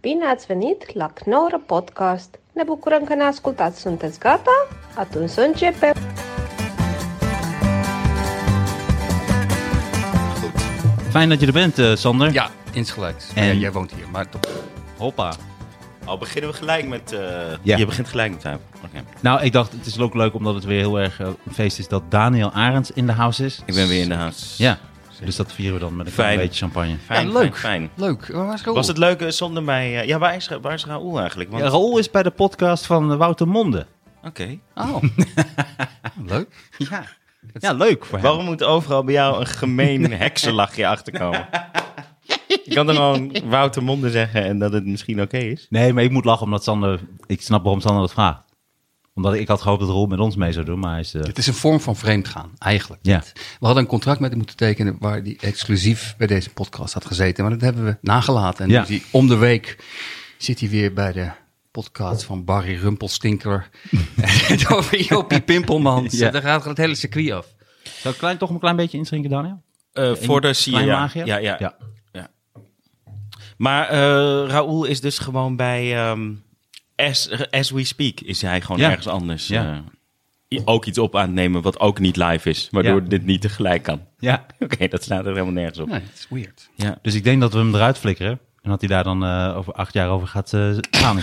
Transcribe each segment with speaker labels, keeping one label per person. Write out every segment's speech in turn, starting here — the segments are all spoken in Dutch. Speaker 1: Bine ați venit la Knorr Podcast! Ne bucurăm că ne ascultați! Sunteți gata? Atunci să începem!
Speaker 2: Fijn dat je er bent, eh, Sander.
Speaker 3: Ja, insgelijks.
Speaker 2: En-
Speaker 3: Ja, jij woont hier, maar toch.
Speaker 2: Hoppa.
Speaker 4: Al Oh, beginnen we gelijk met. eh,
Speaker 2: Ja.
Speaker 4: Je begint gelijk met hem. Oké.
Speaker 2: Nou, ik dacht, het is ook leuk omdat het weer heel erg eh, een feest is dat Daniel Arends in de house is.
Speaker 4: Ik ben weer in de huis.
Speaker 2: Ja, dus dat vieren we dan met een klein
Speaker 4: Fijn.
Speaker 2: beetje champagne.
Speaker 4: Fijn,
Speaker 3: ja, leuk.
Speaker 4: Fijn, fijn.
Speaker 3: Leuk. Waar was Raoul?
Speaker 4: Was het leuk eh, zonder mij? eh, ja, waar is, Ra- waar is Raoul eigenlijk? Want-
Speaker 2: Oh. Ja, Raoul is bij de podcast van eh, Wouter Monde.
Speaker 4: Oké.
Speaker 3: Oh. leuk.
Speaker 4: Ja.
Speaker 2: Ja, leuk voor hem.
Speaker 4: Waarom moet overal bij jou een gemeen heksenlachje achterkomen? Je kan dan gewoon Wouter Monde zeggen en dat het misschien oké is.
Speaker 2: Nee, maar ik moet lachen omdat Sander... Ik snap waarom Sander dat vraagt. Omdat ik had gehoopt dat Roel met ons mee zou doen, maar hij is... eh,
Speaker 3: Het is een vorm van vreemdgaan, eigenlijk.
Speaker 2: Ja.
Speaker 3: We hadden een contract met hem moeten tekenen waar die exclusief bij deze podcast had gezeten. Maar dat hebben we nagelaten. En
Speaker 2: Ja.
Speaker 3: nu is hij om de week zit hij weer bij de podcast van Barry Rumpelstinker. en over Jopie Pimpelmans.
Speaker 2: Ja.
Speaker 3: Daar gaat het hele circuit af.
Speaker 2: Zal ik klein, toch een klein beetje inschenken, Daniel?
Speaker 4: Eh, voor de
Speaker 2: Klein
Speaker 4: Sierra.
Speaker 2: laagje?
Speaker 4: Ja, ja. Maar eh Raoul is dus gewoon bij. ehm, as, as we speak is hij gewoon
Speaker 2: Ja.
Speaker 4: ergens anders.
Speaker 2: Ja.
Speaker 4: eh, ook iets op aan het nemen wat ook niet live is. Waardoor
Speaker 2: Ja.
Speaker 4: dit niet tegelijk kan.
Speaker 2: Ja.
Speaker 4: Oké, dat slaat er helemaal nergens op.
Speaker 3: Nee, het is weird.
Speaker 4: Ja.
Speaker 2: Dus ik denk dat we hem eruit flikkeren. En dat hij daar dan eh, over acht jaar over gaat eh gaan.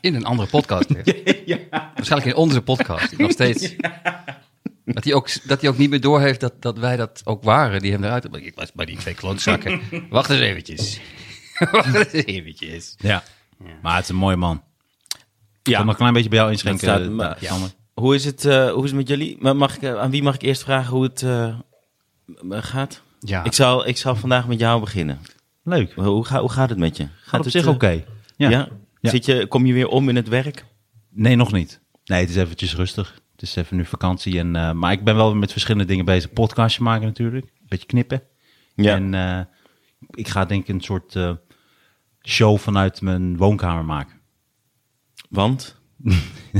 Speaker 3: In een andere podcast weer. Waarschijnlijk in onze podcast. Nog steeds. Dat, hij ook, dat hij ook niet meer doorheeft dat, dat wij dat ook waren. Die hem eruit hebben. Ik was bij die twee klootzakken. Wacht eens eventjes. Wacht eens eventjes.
Speaker 2: ja. Maar het is een mooie man. Ik
Speaker 4: Ja.
Speaker 2: kan nog een klein beetje bij jou inschenken.
Speaker 4: Dat staat-
Speaker 2: eh,
Speaker 4: maar-
Speaker 2: ja, Sander.
Speaker 4: Hoe is het, eh, hoe is het met jullie? Maar Mag ik, eh, aan wie mag ik eerst vragen hoe het eh, m- gaat?
Speaker 3: Ja.
Speaker 4: Ik, zal, ik zal vandaag met jou beginnen.
Speaker 2: Leuk.
Speaker 4: Hoe, hoe ga, hoe gaat het met je? Gaat,
Speaker 2: Gaat op
Speaker 4: het,
Speaker 2: zich
Speaker 4: eh,
Speaker 2: oké. Ja.
Speaker 4: Ja. Zit je, kom je weer om in het werk?
Speaker 2: Nee, nog niet. Nee, het is eventjes rustig. Het is even nu vakantie. En, eh, maar ik ben wel met verschillende dingen bezig. Podcastje maken natuurlijk. Een beetje knippen.
Speaker 4: Ja.
Speaker 2: En eh, ik ga denk ik een soort eh, show vanuit mijn woonkamer maken.
Speaker 4: Want?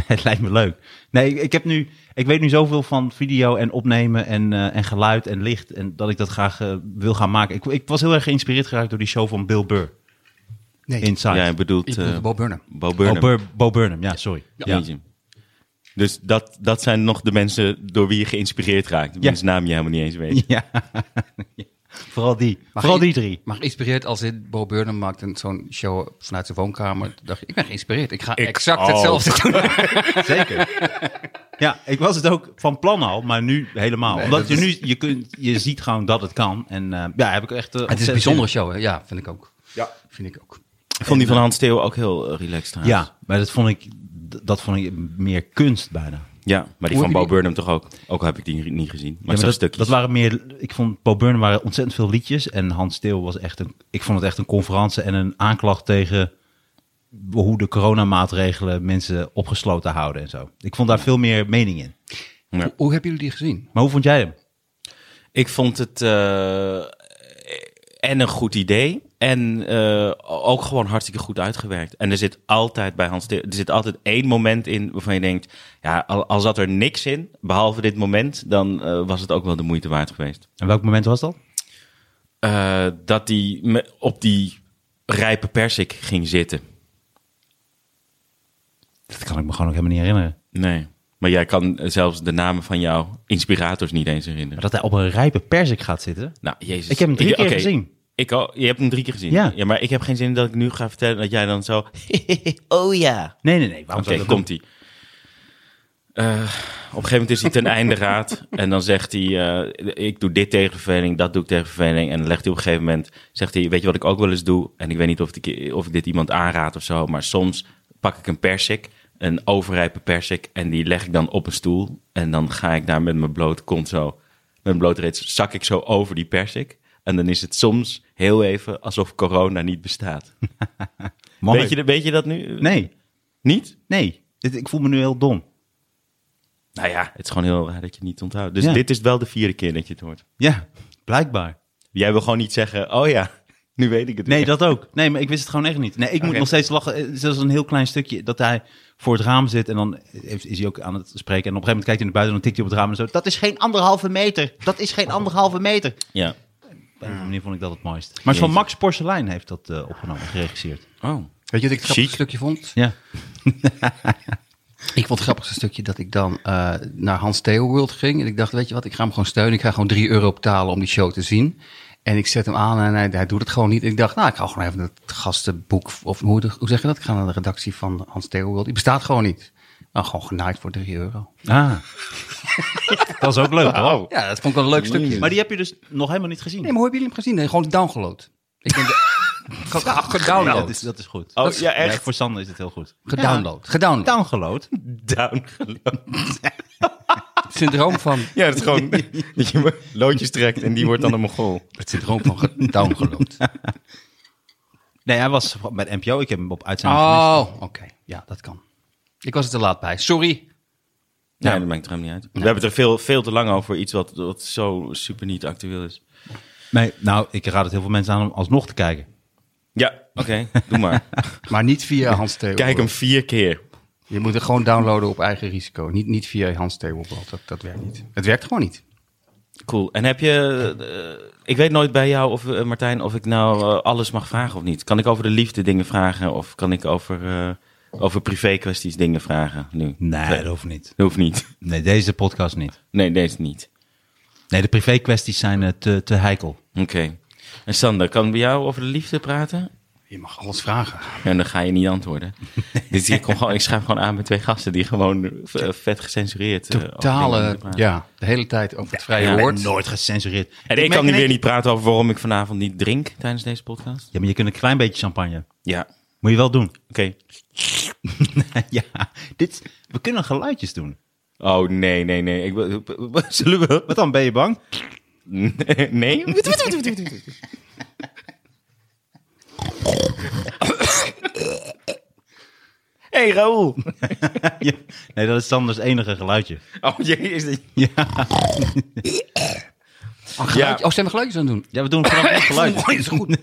Speaker 2: het lijkt me leuk. Nee, ik, ik heb nu... Ik weet nu zoveel van video en opnemen en, eh, en geluid en licht. En dat ik dat graag eh, wil gaan maken. Ik, ik was heel erg geïnspireerd geraakt door die show van Bill Burr.
Speaker 3: Nee,
Speaker 2: Inside.
Speaker 4: Jij bedoelt
Speaker 3: ik
Speaker 4: eh
Speaker 3: bedoel Bob Burnham.
Speaker 4: Bo
Speaker 2: Oh,
Speaker 4: Burnham.
Speaker 2: Bur- Bo Burnham, ja, sorry. Ja.
Speaker 4: Jeetje. Dus dat, dat zijn nog de mensen door wie je geïnspireerd raakt. Wiens naam je helemaal niet eens weet.
Speaker 2: Ja. Vooral die. Vooral die drie.
Speaker 3: Maar geïnspireerd als in Bob Burnham maakt een, zo'n show vanuit zijn woonkamer. Toen dacht ik, ik ben geïnspireerd. Ik ga
Speaker 4: Ik
Speaker 3: exact
Speaker 4: ook.
Speaker 3: hetzelfde doen.
Speaker 2: Zeker. Ja, ik was het ook van plan al, maar nu helemaal.
Speaker 3: Nee,
Speaker 2: Omdat
Speaker 3: dat
Speaker 2: je nu, je, kunt, je ziet gewoon dat het kan. En eh, ja, heb ik echt... eh,
Speaker 3: Het is
Speaker 2: ontzettend-
Speaker 3: een bijzondere show, hè? Ja, vind ik ook.
Speaker 2: Ja.
Speaker 3: Vind ik ook.
Speaker 4: Ik vond die van Hans Theo ook heel eh, relaxed trouwens.
Speaker 2: Ja, maar dat vond ik, dat vond ik meer kunst bijna.
Speaker 4: ja. Maar die
Speaker 3: Hoe
Speaker 4: van
Speaker 3: heb je
Speaker 4: Bo
Speaker 3: die-
Speaker 4: Burnham toch ook? Ook al heb ik die niet gezien. Maar,
Speaker 2: Ja,
Speaker 4: zo'n
Speaker 2: maar dat,
Speaker 4: stukjes.
Speaker 2: dat waren meer... Ik vond Paul Burnham waren ontzettend veel liedjes. En Hans Steeuw was echt een... Ik vond het echt een conferentie en een aanklacht tegen... hoe de coronamaatregelen mensen opgesloten houden en zo. Ik vond daar veel meer mening in.
Speaker 4: Ja.
Speaker 3: Hoe, hoe hebben jullie die gezien?
Speaker 2: Maar hoe vond jij hem?
Speaker 4: Ik vond het eh, en een goed idee. En eh, ook gewoon hartstikke goed uitgewerkt. En er zit altijd bij Hans Theo- er zit altijd één moment in waarvan je denkt, ja, al, al zat er niks in, behalve dit moment, dan eh, was het ook wel de moeite waard geweest.
Speaker 2: En welk moment was dat?
Speaker 4: Eh, dat hij me- op die rijpe persik ging zitten.
Speaker 2: Dat kan ik me gewoon ook helemaal niet herinneren.
Speaker 4: Nee. Maar jij kan eh, zelfs de namen van jouw inspirators niet eens herinneren.
Speaker 2: Maar dat hij op een rijpe perzik gaat zitten.
Speaker 4: Nou, Jezus.
Speaker 2: Ik heb hem drie keer
Speaker 4: oké.
Speaker 2: gezien.
Speaker 4: Ik al, je hebt hem drie keer gezien.
Speaker 2: Ja.
Speaker 4: maar ik heb geen zin in dat ik nu ga vertellen dat jij dan zo. oh ja.
Speaker 2: Nee, nee, nee. Waarom zou
Speaker 4: Oké,
Speaker 2: ik dat
Speaker 4: komt ie. Eh, op een gegeven moment is hij ten einde raad. En dan zegt hij: eh, Ik doe dit tegen verveling, dat doe ik tegen verveling. En dan legt hij op een gegeven moment: Zegt hij, Weet je wat ik ook wel eens doe? En ik weet niet of ik, of ik dit iemand aanraad of zo. Maar soms pak ik een persik, een overrijpe persik. En die leg ik dan op een stoel. En dan ga ik daar met mijn bloot kont zo. Met mijn blote reeds zak ik zo over die persik. En dan is het soms heel even alsof corona niet bestaat.
Speaker 2: doen? Mooi.
Speaker 4: Weet, je, weet je dat nu?
Speaker 2: Nee,
Speaker 4: Niet?
Speaker 2: nee. Dit, ik voel me nu heel dom.
Speaker 4: Nou ja, het is gewoon heel raar dat je het niet onthoudt. Dus
Speaker 2: Ja.
Speaker 4: dit is wel de vierde keer dat je het hoort.
Speaker 2: Ja, blijkbaar.
Speaker 4: Jij wil gewoon niet zeggen, oh ja, nu weet ik het
Speaker 2: Nee,
Speaker 4: weer.
Speaker 2: dat ook. Nee, maar ik wist het gewoon echt niet. Nee, ik moet
Speaker 4: Oké.
Speaker 2: nog steeds lachen. Eh, Zelfs een heel klein stukje dat hij voor het raam zit en dan heeft- is hij ook aan het spreken. En op een gegeven moment kijkt hij naar buiten en dan tikt hij op het raam en zo. Dat is geen anderhalve meter. Dat is geen anderhalve meter.
Speaker 4: Ja.
Speaker 2: Dan een of andere manier vond ik dat het mooist. Maar het is van
Speaker 4: Jezus.
Speaker 2: Max Porselein heeft dat eh, opgenomen, geregisseerd.
Speaker 4: Oh.
Speaker 3: Weet je wat ik het grappigste
Speaker 4: Chic.
Speaker 3: stukje vond?
Speaker 2: Ja.
Speaker 3: Ik vond het grappigste stukje dat ik dan eh, naar Hans Theo World ging. En ik dacht, weet je wat, ik ga hem gewoon steunen. Ik ga gewoon 3 euro betalen om die show te zien. En ik zet hem aan en hij, hij doet het gewoon niet. Ik dacht, nou, ik ga gewoon even het gastenboek, of hoe, hoe zeg je dat? Ik ga naar de redactie van Hans Theo World. Die bestaat gewoon niet. Nou, gewoon genaaid voor 3 euro.
Speaker 2: Ah. dat is ook leuk, hoor.
Speaker 3: Ja, dat vond ik wel een leuk stukje.
Speaker 2: Maar die heb je dus nog helemaal niet gezien.
Speaker 3: Nee, maar hoe hebben jullie hem gezien? Nee, gewoon download. Ik ben de... Gewoon
Speaker 2: Ja,
Speaker 3: gedownload.
Speaker 2: dat, is, dat is goed.
Speaker 4: Oh,
Speaker 2: Dat is-
Speaker 4: ja, echt?
Speaker 2: Nee, voor Sander is het heel goed.
Speaker 3: Gedownload. Gedownload.
Speaker 2: Downgeload?
Speaker 3: Het syndroom van...
Speaker 4: Ja, dat is gewoon dat je loodjes trekt en die wordt dan een mongool.
Speaker 3: Het syndroom van gedownload.
Speaker 2: Nee, hij was bij de NPO. Ik heb hem op uitzending
Speaker 4: Ah.
Speaker 2: gemist.
Speaker 3: Oh, oké. Ja, dat kan. Ik was er te laat bij. Sorry.
Speaker 4: Ja, dat maakt er helemaal niet uit. We hebben het er veel, veel te lang over iets wat, wat zo super niet actueel is.
Speaker 2: Nee, nou, ik raad het heel veel mensen aan om alsnog te kijken.
Speaker 4: Ja, oké, doe maar.
Speaker 3: Maar niet via Hans Theo.
Speaker 4: Kijk hem vier keer.
Speaker 3: Je moet het gewoon downloaden op eigen risico. Niet, niet via Hans Theo. Dat, dat werkt niet. Het werkt gewoon niet.
Speaker 4: Cool. En heb je, eh, ik weet nooit bij jou of eh, Martijn of ik nou eh, alles mag vragen of niet. Kan ik over de liefde dingen vragen of kan ik over, eh, over privé kwesties dingen vragen nu?
Speaker 2: Nee, dat hoeft niet.
Speaker 4: Dat hoeft niet.
Speaker 2: Nee, deze podcast niet.
Speaker 4: Nee, deze niet.
Speaker 2: Nee, de privé kwesties zijn eh, te, te heikel.
Speaker 4: Oké. En Sander, kan ik bij jou over de liefde praten?
Speaker 3: Je mag alles vragen.
Speaker 4: En dan ga je niet antwoorden. dus ik, kom gewoon, ik schrijf gewoon aan met twee gasten die gewoon eh, vet gecensureerd. eh, over dingen
Speaker 3: Totale,
Speaker 4: praten.
Speaker 3: ja, de hele tijd over het vrije
Speaker 4: ja,
Speaker 3: woord.
Speaker 2: Nooit gecensureerd.
Speaker 4: En ik
Speaker 2: merk
Speaker 4: kan nu
Speaker 2: in
Speaker 4: weer
Speaker 2: één-
Speaker 4: niet praten over waarom ik vanavond niet drink tijdens deze podcast.
Speaker 2: Ja, maar je kunt een klein beetje champagne.
Speaker 4: Ja, oké.
Speaker 2: Moet je wel doen. ja, dit, we kunnen geluidjes doen.
Speaker 4: Oh, nee, nee, nee. Ik, wil- zullen we...
Speaker 2: Wat dan, ben je bang?
Speaker 4: Nee? hey, Raoul.
Speaker 2: Ja. Nee, dat is Sanders enige geluidje.
Speaker 4: Oh, jee, is dit...
Speaker 3: Oh, geluid- oh, zijn we geluidjes aan het doen?
Speaker 2: Ja, we doen vooral geluidjes.
Speaker 3: Mooi, is goed.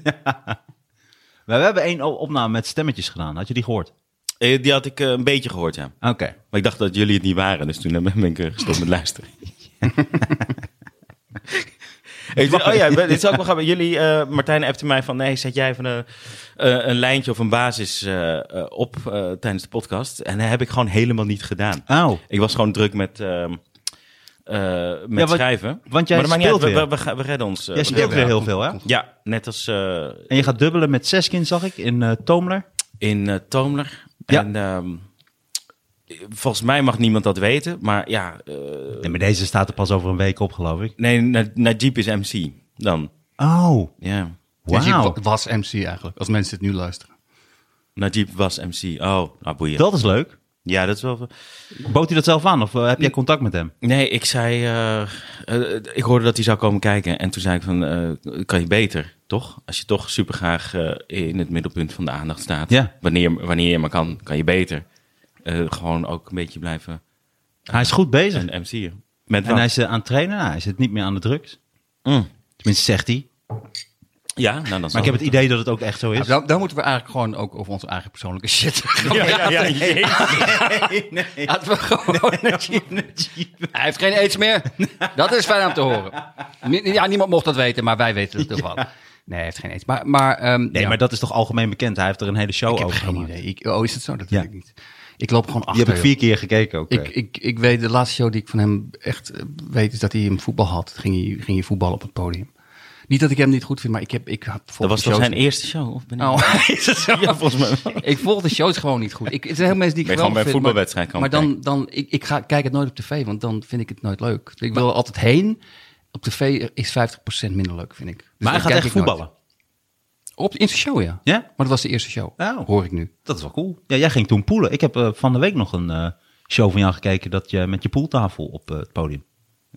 Speaker 2: Maar we hebben één o- opname met stemmetjes gedaan. Had je die gehoord?
Speaker 4: Eh, Die had ik eh, een beetje gehoord, ja.
Speaker 2: Oké.
Speaker 4: Maar ik dacht dat jullie het niet waren, dus toen ben ik eh, gestopt met luisteren. ik dacht, oh ja, dit is ook wel grappig. Jullie, eh, Martijn appte mij van, nee, zet jij even een, eh, een lijntje of een basis eh, eh, op eh, tijdens de podcast. En dat heb ik gewoon helemaal niet gedaan.
Speaker 2: Au.
Speaker 4: Ik was gewoon druk met, ehm, eh, met
Speaker 2: Ja, want-
Speaker 4: schrijven.
Speaker 2: want jij
Speaker 4: maar dat maakt niet
Speaker 2: speelt
Speaker 4: uit, we,
Speaker 2: weer.
Speaker 4: we, we gaan- we redden ons. eh,
Speaker 2: Jij
Speaker 4: we
Speaker 2: speelt
Speaker 4: redden-
Speaker 2: weer heel veel, hè?
Speaker 4: Ja, net als eh,
Speaker 2: En je gaat dubbelen met Seskin, zag ik, in eh Toomler.
Speaker 4: in eh Toomler.
Speaker 2: Ja.
Speaker 4: En ehm, volgens mij mag niemand dat weten, maar ja... eh,
Speaker 2: Nee, maar deze staat er pas over een week op, geloof ik.
Speaker 4: Nee, Na- Najib is MC dan.
Speaker 2: Oh,
Speaker 4: Ja.
Speaker 3: Dus ik
Speaker 2: wauw.
Speaker 3: wa- was MC eigenlijk, als mensen het nu luisteren.
Speaker 4: Najib was MC. Oh, nou boeien.
Speaker 2: Dat is leuk.
Speaker 4: Ja, dat is wel...
Speaker 2: Bood hij dat zelf aan of eh, heb jij contact met hem?
Speaker 4: Nee, ik zei... eh, eh, ik hoorde dat hij zou komen kijken. En toen zei ik van, eh, kan je beter, toch? Als je toch supergraag eh, in het middelpunt van de aandacht staat.
Speaker 2: Ja.
Speaker 4: Wanneer, wanneer je maar kan, kan je beter. Eh, gewoon ook een beetje blijven
Speaker 2: Hij is goed bezig.
Speaker 4: een MC'er. Met
Speaker 2: En
Speaker 4: wat?
Speaker 2: hij is eh, aan het trainen. Nou, hij zit niet meer aan de drugs.
Speaker 4: Mm.
Speaker 2: Tenminste, zegt hij.
Speaker 4: Ja, nou dan zal
Speaker 2: Maar ik heb het idee dat het ook echt zo
Speaker 3: Nou,
Speaker 2: is.
Speaker 3: dan, dan moeten we eigenlijk gewoon ook over onze eigen persoonlijke shit.
Speaker 4: Ja, ja, ja, jezus.
Speaker 3: Laten we gewoon Hij heeft geen aids meer. Dat is fijn om te horen. Nie- Ja, niemand mocht dat weten, maar wij weten het ervan. Nee, hij heeft geen aids. Maar, maar, ehm,
Speaker 2: Nee,
Speaker 3: ja,
Speaker 2: maar dat is toch algemeen bekend? Hij heeft er een hele show
Speaker 3: ik heb
Speaker 2: over
Speaker 3: geen
Speaker 2: gemaakt.
Speaker 3: idee. Ik, oh, is het zo? Dat
Speaker 2: Ja.
Speaker 3: weet ik niet. Ik loop gewoon achter.
Speaker 2: Die heb ik
Speaker 3: joh.
Speaker 2: vier keer gekeken ook. eh.
Speaker 3: ik, dus ik, ik weet, de laatste show die ik van hem echt eh, weet, is dat hij hem voetbal had. Ging hij, ging hij voetballen op het podium. Niet dat ik hem niet goed vind, maar ik heb, ik had
Speaker 4: Dat was toch zijn
Speaker 3: eerste.
Speaker 4: eerste show? Of ben ik...
Speaker 3: Oh, is het zo?
Speaker 4: Ja, volgens mij wel.
Speaker 3: Ik volg de shows gewoon niet goed. Ik, er zijn heel mensen die ik
Speaker 4: Ben je gewoon bij
Speaker 3: geweldig
Speaker 4: een
Speaker 3: vind,
Speaker 4: voetbalwedstrijd
Speaker 3: Maar,
Speaker 4: kan
Speaker 3: maar dan, dan ik, ik ga, kijk het nooit op tv, want dan vind ik het nooit leuk. Ik wil er altijd heen. Op tv is 50% minder leuk, vind ik. Dus
Speaker 2: maar hij
Speaker 3: dat
Speaker 2: gaat
Speaker 3: kijk
Speaker 2: echt
Speaker 3: ik nooit.
Speaker 2: voetballen.
Speaker 3: Op, in zijn show, ja.
Speaker 2: Ja?
Speaker 3: Maar dat was de eerste show,
Speaker 2: Oh.
Speaker 3: hoor ik nu.
Speaker 2: Dat is wel cool. Ja, jij ging toen poelen. Ik heb eh, van de week nog een eh, show van jou gekeken dat je met je poeltafel op eh, het podium.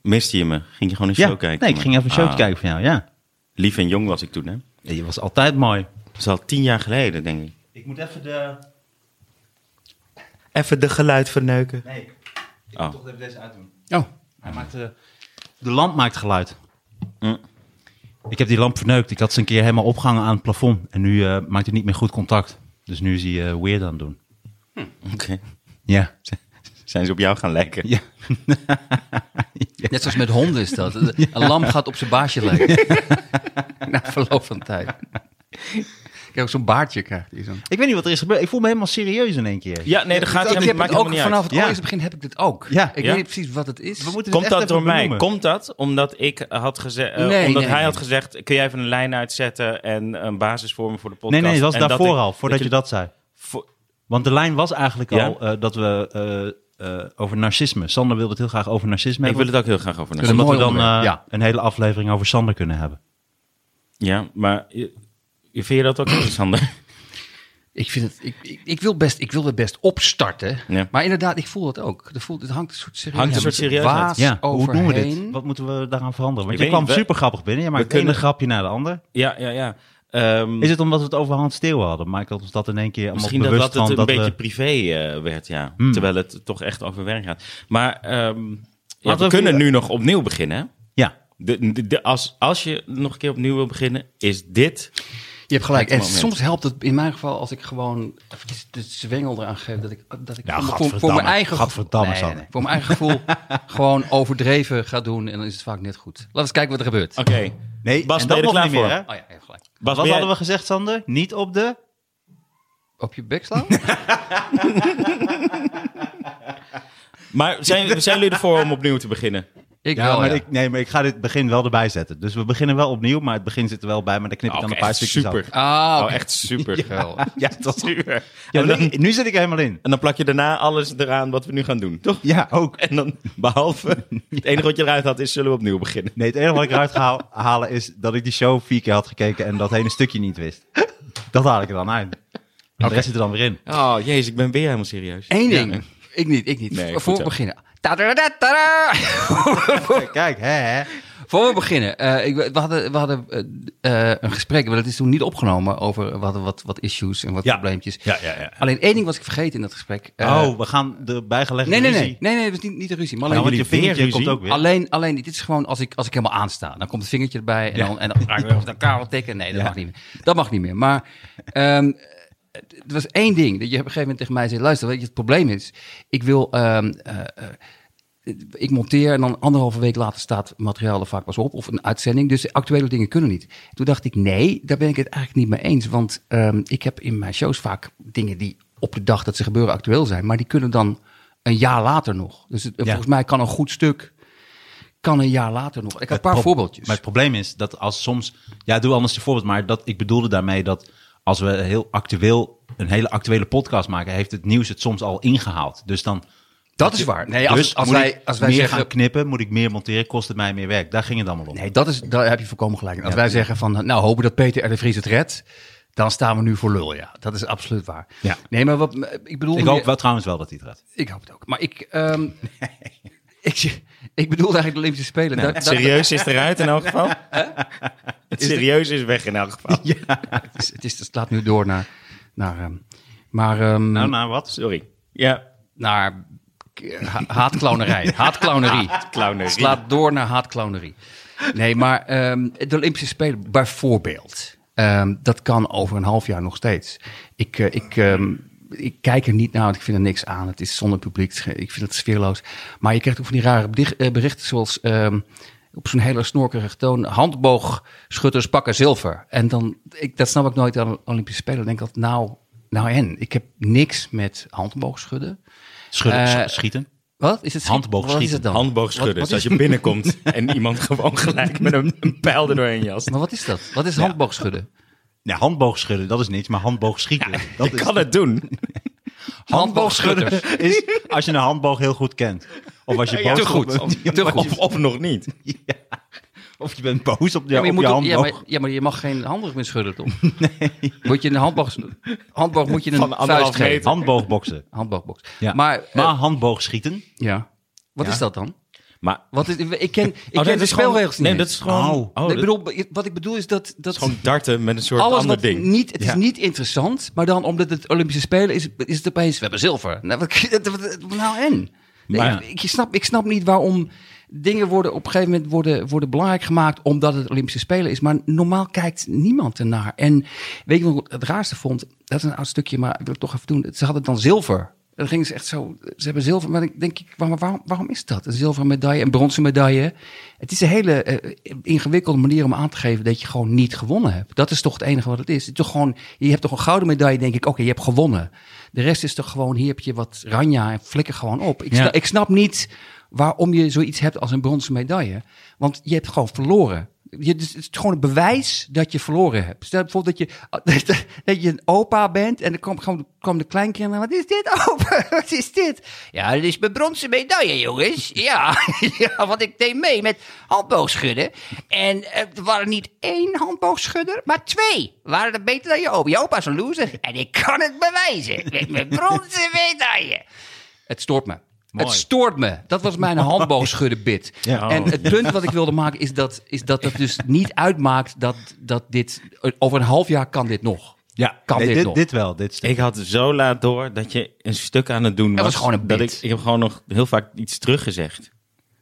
Speaker 4: Miste je me? Ging je gewoon een
Speaker 2: Ja,
Speaker 4: show kijken?
Speaker 2: nee, ik ging even een showtje
Speaker 4: Ah,
Speaker 2: kijken van jou. Ja.
Speaker 4: Lief en jong was ik toen, hè?
Speaker 2: Ja, je was altijd mooi.
Speaker 4: Dat is al tien jaar geleden, denk ik.
Speaker 2: Ik moet even de.
Speaker 4: Even de geluid verneuken.
Speaker 2: Nee, ik moet
Speaker 4: Oh.
Speaker 2: toch even deze uitdoen.
Speaker 3: Oh,
Speaker 2: Hij
Speaker 4: Mhm.
Speaker 2: maakt, eh, de lamp maakt geluid. Ik heb die lamp verneukt. Ik had ze een keer helemaal opgehangen aan het plafond. En nu eh, maakt hij niet meer goed contact. Dus nu is hij eh, weird aan het doen.
Speaker 4: Oké.
Speaker 2: Ja.
Speaker 4: Zijn ze op jou gaan lijken?
Speaker 2: ja.
Speaker 3: net zoals met honden is dat. Een lam gaat op zijn baasje lijken. na verloop van tijd. Ik heb ook zo'n baardje krijgt hier zo'n...
Speaker 2: Ik weet niet wat er is gebeurd. Ik voel me helemaal serieus in één keer.
Speaker 4: Ja, nee, dat gaat
Speaker 3: ik
Speaker 4: helemaal-
Speaker 3: heb
Speaker 4: maakt
Speaker 3: het ook
Speaker 4: helemaal niet
Speaker 3: vanaf
Speaker 4: uit.
Speaker 3: het
Speaker 2: Ja.
Speaker 3: allereerste begin heb ik dit ook.
Speaker 2: Ja.
Speaker 3: Ik
Speaker 4: Ja.
Speaker 3: weet niet precies wat het is.
Speaker 2: We moeten dit
Speaker 4: Komt
Speaker 2: echt
Speaker 4: dat
Speaker 2: even
Speaker 4: door mij?
Speaker 2: benoemen.
Speaker 4: Komt dat omdat ik had gezegd, eh,
Speaker 3: Nee,
Speaker 4: omdat
Speaker 3: nee,
Speaker 4: hij
Speaker 3: nee.
Speaker 4: had gezegd, kun jij even een lijn uitzetten en een basis vormen voor de
Speaker 2: Nee,
Speaker 4: podcast?
Speaker 2: nee, dat was
Speaker 4: En dat
Speaker 2: daarvoor
Speaker 4: ik-
Speaker 2: al, voordat je
Speaker 4: ik-
Speaker 2: dat zei.
Speaker 4: voor-
Speaker 2: Want de lijn was eigenlijk
Speaker 4: Ja?
Speaker 2: al eh, dat we eh, eh, over narcisme. Sander wilde het heel graag over narcisme
Speaker 4: ik wil
Speaker 2: hebben.
Speaker 4: het ook heel graag over.
Speaker 3: Dat is een
Speaker 4: nadenken.
Speaker 2: Zodat we
Speaker 3: mooi
Speaker 2: dan
Speaker 3: onderwerp,
Speaker 2: eh,
Speaker 3: ja.
Speaker 2: een hele aflevering over Sander kunnen hebben.
Speaker 4: Ja, maar eh, vind je dat ook interessant?
Speaker 3: Ik, vind het, ik, ik, ik wil best, ik wil het best opstarten.
Speaker 4: Ja.
Speaker 3: Maar inderdaad, ik voel dat ook. Er voelt, het hangt een soort serieus,
Speaker 4: Hangt een soort serieusheid.
Speaker 3: waas
Speaker 2: Ja, hoe
Speaker 3: overheen.
Speaker 2: doen we dit? Wat moeten we daaraan veranderen? Want
Speaker 4: Ik
Speaker 2: je
Speaker 4: weet
Speaker 2: kwam
Speaker 4: niet, we-
Speaker 2: super grappig binnen. Je maakt de
Speaker 4: kunnen-
Speaker 2: ene grapje naar de ander.
Speaker 4: ja, ja, ja. Ehm,
Speaker 2: Is het omdat we het over Hans Steeuwen hadden? Maakt dat ons dat in één keer allemaal
Speaker 4: Misschien dat
Speaker 2: bewust
Speaker 4: dat het een
Speaker 2: van dat
Speaker 4: beetje
Speaker 2: we... Hmm.
Speaker 4: privé eh, werd, ja. Terwijl het toch echt over werk gaat. Maar ehm, ja, we
Speaker 2: we
Speaker 4: kunnen
Speaker 2: even-
Speaker 4: nu nog opnieuw beginnen. hè?
Speaker 2: Ja,
Speaker 4: De, de, de- als, als je nog een keer opnieuw wil beginnen, is dit...
Speaker 3: Je hebt gelijk.
Speaker 4: Het
Speaker 3: En
Speaker 4: moment.
Speaker 3: soms helpt het in mijn geval als ik gewoon eventjes de zwengel eraan geef. Dat ik, dat ik
Speaker 2: Nou,
Speaker 3: voor- voor, voor
Speaker 2: gadverdamme.
Speaker 3: mijn eigen gevoel,
Speaker 2: Gadverdamme, Sander.
Speaker 3: voor mijn eigen gevoel gewoon overdreven ga doen. En dan is het vaak net goed. Laten we eens kijken wat er gebeurt.
Speaker 2: Oh,
Speaker 4: Oké.
Speaker 2: nee,
Speaker 4: Bas,
Speaker 2: en dat
Speaker 4: ben je er
Speaker 2: nog
Speaker 4: klaar
Speaker 2: niet meer,
Speaker 4: voor?
Speaker 2: hè?
Speaker 3: Oh ja, je hebt gelijk.
Speaker 2: Wat
Speaker 4: Bas, ben jij-
Speaker 2: hadden we gezegd, Sander? Niet op de...
Speaker 3: Op je bek slaan?
Speaker 4: Maar zijn, zijn jullie ervoor om opnieuw te beginnen?
Speaker 3: Ik
Speaker 2: Oh, Ja,
Speaker 3: wel,
Speaker 2: maar
Speaker 3: ja.
Speaker 2: Ik, nee, maar ik ga dit begin wel erbij zetten. Dus we beginnen wel opnieuw, maar het begin zit er wel bij. Maar dan knip ik dan
Speaker 4: Oh,
Speaker 2: een
Speaker 4: echt
Speaker 2: paar stukjes
Speaker 4: super.
Speaker 2: af.
Speaker 3: Ah,
Speaker 4: Oh,
Speaker 3: oké.
Speaker 4: echt super.
Speaker 3: Geweldig.
Speaker 2: Ja, dat
Speaker 4: Super.
Speaker 2: Ja,
Speaker 4: en, dan,
Speaker 2: nu, nu zit ik er helemaal in.
Speaker 4: en dan plak je daarna alles eraan wat we nu gaan doen, toch?
Speaker 2: Ja, ook.
Speaker 4: En dan, behalve, het enige wat je eruit had is, zullen we opnieuw beginnen?
Speaker 2: Nee, het enige wat ik eruit ga haal- halen is dat ik die show vier keer had gekeken en dat hele stukje niet wist. Dat haal ik er dan uit. En De rest zit er dan weer in.
Speaker 4: Oh, jezus, ik ben weer helemaal serieus.
Speaker 3: Eén ding. Ik niet, ik niet.
Speaker 4: Nee,
Speaker 3: Vo-
Speaker 4: goed
Speaker 3: voor we
Speaker 4: zo.
Speaker 3: beginnen. Tadadada, tada!
Speaker 2: Kijk, hè, hè.
Speaker 3: voor we beginnen. eh, ik, we we hadden, we hadden eh, eh, een gesprek, maar dat is toen niet opgenomen over we hadden wat, wat issues en wat
Speaker 2: Ja.
Speaker 3: probleempjes.
Speaker 2: Ja, ja, ja.
Speaker 3: Alleen één ding was ik vergeten in dat gesprek. Eh,
Speaker 2: oh, we gaan de bijgelegde
Speaker 3: Nee, nee,
Speaker 2: ruzie.
Speaker 3: nee. Nee, nee, het is niet, niet de ruzie. Maar
Speaker 2: Nou,
Speaker 3: alleen,
Speaker 2: want je
Speaker 4: Jullie
Speaker 2: vingertje
Speaker 4: vingerruzie.
Speaker 2: komt ook weer.
Speaker 3: alleen, alleen, dit is gewoon als ik, als ik helemaal aansta. Dan komt het vingertje erbij en
Speaker 2: Ja.
Speaker 3: dan, en dan raak ik weer over elkaar wat tikken. Nee, dat
Speaker 2: Ja.
Speaker 3: mag niet meer. Dat mag niet meer. Maar ehm, het het was één ding dat je op een gegeven moment tegen mij zei, luister, weet je, het probleem is, ik wil, ehm, eh, eh, ik monteer en dan anderhalve week later staat materiaal er vaak pas op of een uitzending. Dus actuele dingen kunnen niet. Toen dacht ik, nee, daar ben ik het eigenlijk niet mee eens. Want ehm, ik heb in mijn shows vaak dingen die op de dag dat ze gebeuren actueel zijn. Maar die kunnen dan een jaar later nog. Dus het- volgens mij kan een goed stuk, kan een jaar later nog. Ik had een paar
Speaker 2: Pro-
Speaker 3: voorbeeldjes.
Speaker 2: Maar het probleem is dat als soms... Ja, doe anders een voorbeeld. Maar dat, ik bedoelde daarmee dat als we heel actueel, een hele actuele podcast maken... heeft het nieuws het soms al ingehaald. Dus dan...
Speaker 3: dat is waar. Nee, als,
Speaker 2: dus
Speaker 3: als
Speaker 2: moet
Speaker 3: wij,
Speaker 2: ik
Speaker 3: als wij
Speaker 2: meer
Speaker 3: zeggen,
Speaker 2: gaan knippen, moet ik meer monteren, kost het mij meer werk. Daar ging het allemaal om.
Speaker 3: Nee, dat is, daar heb je voorkomen gelijk. in. Als
Speaker 2: Ja.
Speaker 3: wij zeggen van, nou, hopen dat Peter R. de Vries het redt, dan staan we nu voor lul, ja. Dat is absoluut waar.
Speaker 2: Ja.
Speaker 3: Nee, maar wat, ik bedoel...
Speaker 2: ik hoop wel, trouwens wel dat hij het redt.
Speaker 3: ik hoop het ook. Maar ik, ehm ik, ik bedoel eigenlijk de Olympische Spelen.
Speaker 4: Nou,
Speaker 3: Daar-
Speaker 4: het
Speaker 3: daar-
Speaker 4: serieus is eruit in elk geval. Het
Speaker 3: Is de-
Speaker 4: serieus is weg in elk geval.
Speaker 3: het, is, het, is, het slaat nu door naar... naar ehm, maar ehm,
Speaker 2: Nou, nou, wat?
Speaker 4: Sorry. Ja,
Speaker 3: naar ha- haatclownerij. Haatclownerie.
Speaker 4: Haatclownerie.
Speaker 3: Slaat door naar haatclownerie. Nee, maar ehm, de Olympische Spelen bijvoorbeeld. ehm, dat kan over een half jaar nog steeds. Ik, eh, ik, ehm, ik kijk er niet naar, want ik vind er niks aan. Het is zonder publiek. het is ge- Ik vind het sfeerloos. Maar je krijgt ook van die rare bedicht- eh, berichten zoals... ehm, op zo'n hele snorkerige toon, handboogschutters pakken zilver. En dan, ik, dat snap ik nooit aan de Olympische Spelen. Dan denk ik altijd, nou, nou en? Ik heb niks met handboogschudden.
Speaker 2: Schudden,
Speaker 3: Eh,
Speaker 2: sch- schieten.
Speaker 3: Wat? Is het schiet-
Speaker 2: Handboogschieten.
Speaker 3: Wat is het dan?
Speaker 4: handboogschudden.
Speaker 3: Wat- wat
Speaker 4: dat
Speaker 3: is-
Speaker 4: Dus je binnenkomt en iemand gewoon gelijk met een, een pijl er doorheen jast.
Speaker 3: Maar wat is dat? Wat is handboogschudden?
Speaker 2: Nee, handboogschudden, dat is niks, maar handboogschieten. dat
Speaker 4: Je
Speaker 2: is,
Speaker 4: kan het doen.
Speaker 3: Handboogschutters.
Speaker 2: is als je een handboog heel goed kent. Of als je boos
Speaker 3: te goed.
Speaker 2: Op,
Speaker 3: Te goed.
Speaker 4: Of, of nog niet.
Speaker 2: of je bent boos op, de,
Speaker 3: Ja, maar je
Speaker 2: op
Speaker 3: moet
Speaker 2: je
Speaker 3: ook- ja,
Speaker 2: handboog.
Speaker 3: maar, ja, maar je mag geen handboog meer schudden, toch? Nee. Moet je een handboog... Handboog moet je een
Speaker 4: Van anderhalf
Speaker 3: vuist geven.
Speaker 4: meter.
Speaker 2: Handboogboksen.
Speaker 3: Handboogbox.
Speaker 2: Ja.
Speaker 3: Maar, eh,
Speaker 2: maar handboogschieten.
Speaker 3: ja. Wat
Speaker 2: Ja.
Speaker 3: is dat dan?
Speaker 4: Maar
Speaker 3: Wat is, ik ken, ik
Speaker 4: Oh,
Speaker 3: ken
Speaker 4: dat
Speaker 3: de
Speaker 4: is gewoon-
Speaker 3: spelregels niet
Speaker 4: Nee,
Speaker 3: eens.
Speaker 4: dat is gewoon,
Speaker 2: Oh.
Speaker 4: oh,
Speaker 3: Nee,
Speaker 4: dat
Speaker 3: ik bedoel, wat ik bedoel is dat... dat
Speaker 4: is gewoon darten met een soort
Speaker 3: alles
Speaker 4: ander
Speaker 3: wat
Speaker 4: ding.
Speaker 3: niet... Het
Speaker 2: Ja.
Speaker 3: is niet interessant, maar dan omdat het Olympische Spelen is... Is het opeens... We hebben zilver. Nou, wat- wat- wat- nou en? Nee,
Speaker 2: Maar-
Speaker 3: ik, ik snap, ik snap niet waarom dingen worden op een gegeven moment worden, worden belangrijk gemaakt omdat het Olympische Spelen is. Maar normaal kijkt niemand ernaar. En weet je wat ik het raarste vond? Dat is een oud stukje, maar ik wil het toch even doen. Ze hadden dan zilver Dan gingen ze echt zo, ze hebben zilver, maar dan denk ik, waarom, waarom, waarom is dat? Een zilveren medaille, een bronzen medaille. Het is een hele eh, ingewikkelde manier om aan te geven dat je gewoon niet gewonnen hebt. Dat is toch het enige wat het is. Het is toch gewoon, je hebt toch een gouden medaille, denk ik, oké, je hebt gewonnen. De rest is toch gewoon, hier heb je wat ranja en flikker gewoon op. Ik,
Speaker 2: Ja.
Speaker 3: snap, ik snap niet waarom je zoiets hebt als een bronzen medaille. Want je hebt gewoon verloren. Je, dus het is gewoon een bewijs dat je verloren hebt. Stel bijvoorbeeld dat je, dat je een opa bent en dan kwam, gewoon kwam de kleinkinderen. Wat is dit, opa? Wat is dit? Ja, dit is mijn bronzen medaille, jongens. Ja, ja want ik deed mee met handboogschudden. En eh, er waren niet één handboogschudder, maar twee. Waren er beter dan je opa. Je opa is een loser en ik kan het bewijzen met mijn bronzen medaille. Het stoort me.
Speaker 2: Mooi.
Speaker 3: Het stoort me. Dat was mijn handboogschudden bit.
Speaker 2: Ja. Oh.
Speaker 3: en het punt wat ik wilde maken is dat, is dat het dus niet uitmaakt dat, dat dit... Over een half jaar kan dit nog.
Speaker 2: Ja,
Speaker 3: Kan
Speaker 2: nee,
Speaker 3: dit
Speaker 2: dit,
Speaker 3: nog?
Speaker 2: dit wel. Dit stuk.
Speaker 4: Ik had zo laat door dat je een stuk aan het doen was.
Speaker 3: was gewoon een
Speaker 4: dat
Speaker 3: bit.
Speaker 4: ik, ik heb gewoon nog heel vaak iets teruggezegd.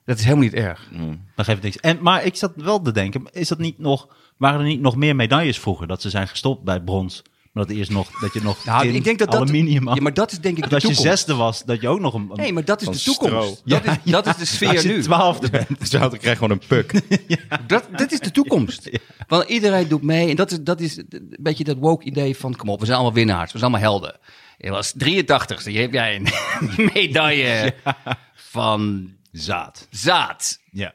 Speaker 3: Dat is helemaal niet erg.
Speaker 2: Dan geeft het niks. En, maar ik zat wel te denken, is dat niet nog, waren er niet nog meer medailles vroeger? Dat ze zijn gestopt bij brons. Maar dat eerst nog, dat je nog
Speaker 3: Nou,
Speaker 2: tin,
Speaker 3: ik denk dat dat,
Speaker 2: aluminium had.
Speaker 3: ja, maar dat is denk ik de
Speaker 2: dat je
Speaker 3: toekomst.
Speaker 2: zesde was, dat je ook nog een... een-
Speaker 3: Nee, maar dat is
Speaker 4: Van
Speaker 3: de toekomst.
Speaker 4: stro.
Speaker 3: Dat, is, dat is de sfeer
Speaker 2: als je
Speaker 3: nu.
Speaker 2: twaalfde bent.
Speaker 4: Zou ik krijg gewoon een puk.
Speaker 3: Dat, dat is de toekomst. Want iedereen doet mee. En dat is, dat is een beetje dat woke idee van... kom op, we zijn allemaal winnaars. We zijn allemaal helden. Je was 83ste. Je hebt jij een medaille van
Speaker 2: Zaad.
Speaker 3: zaad.
Speaker 2: Ja.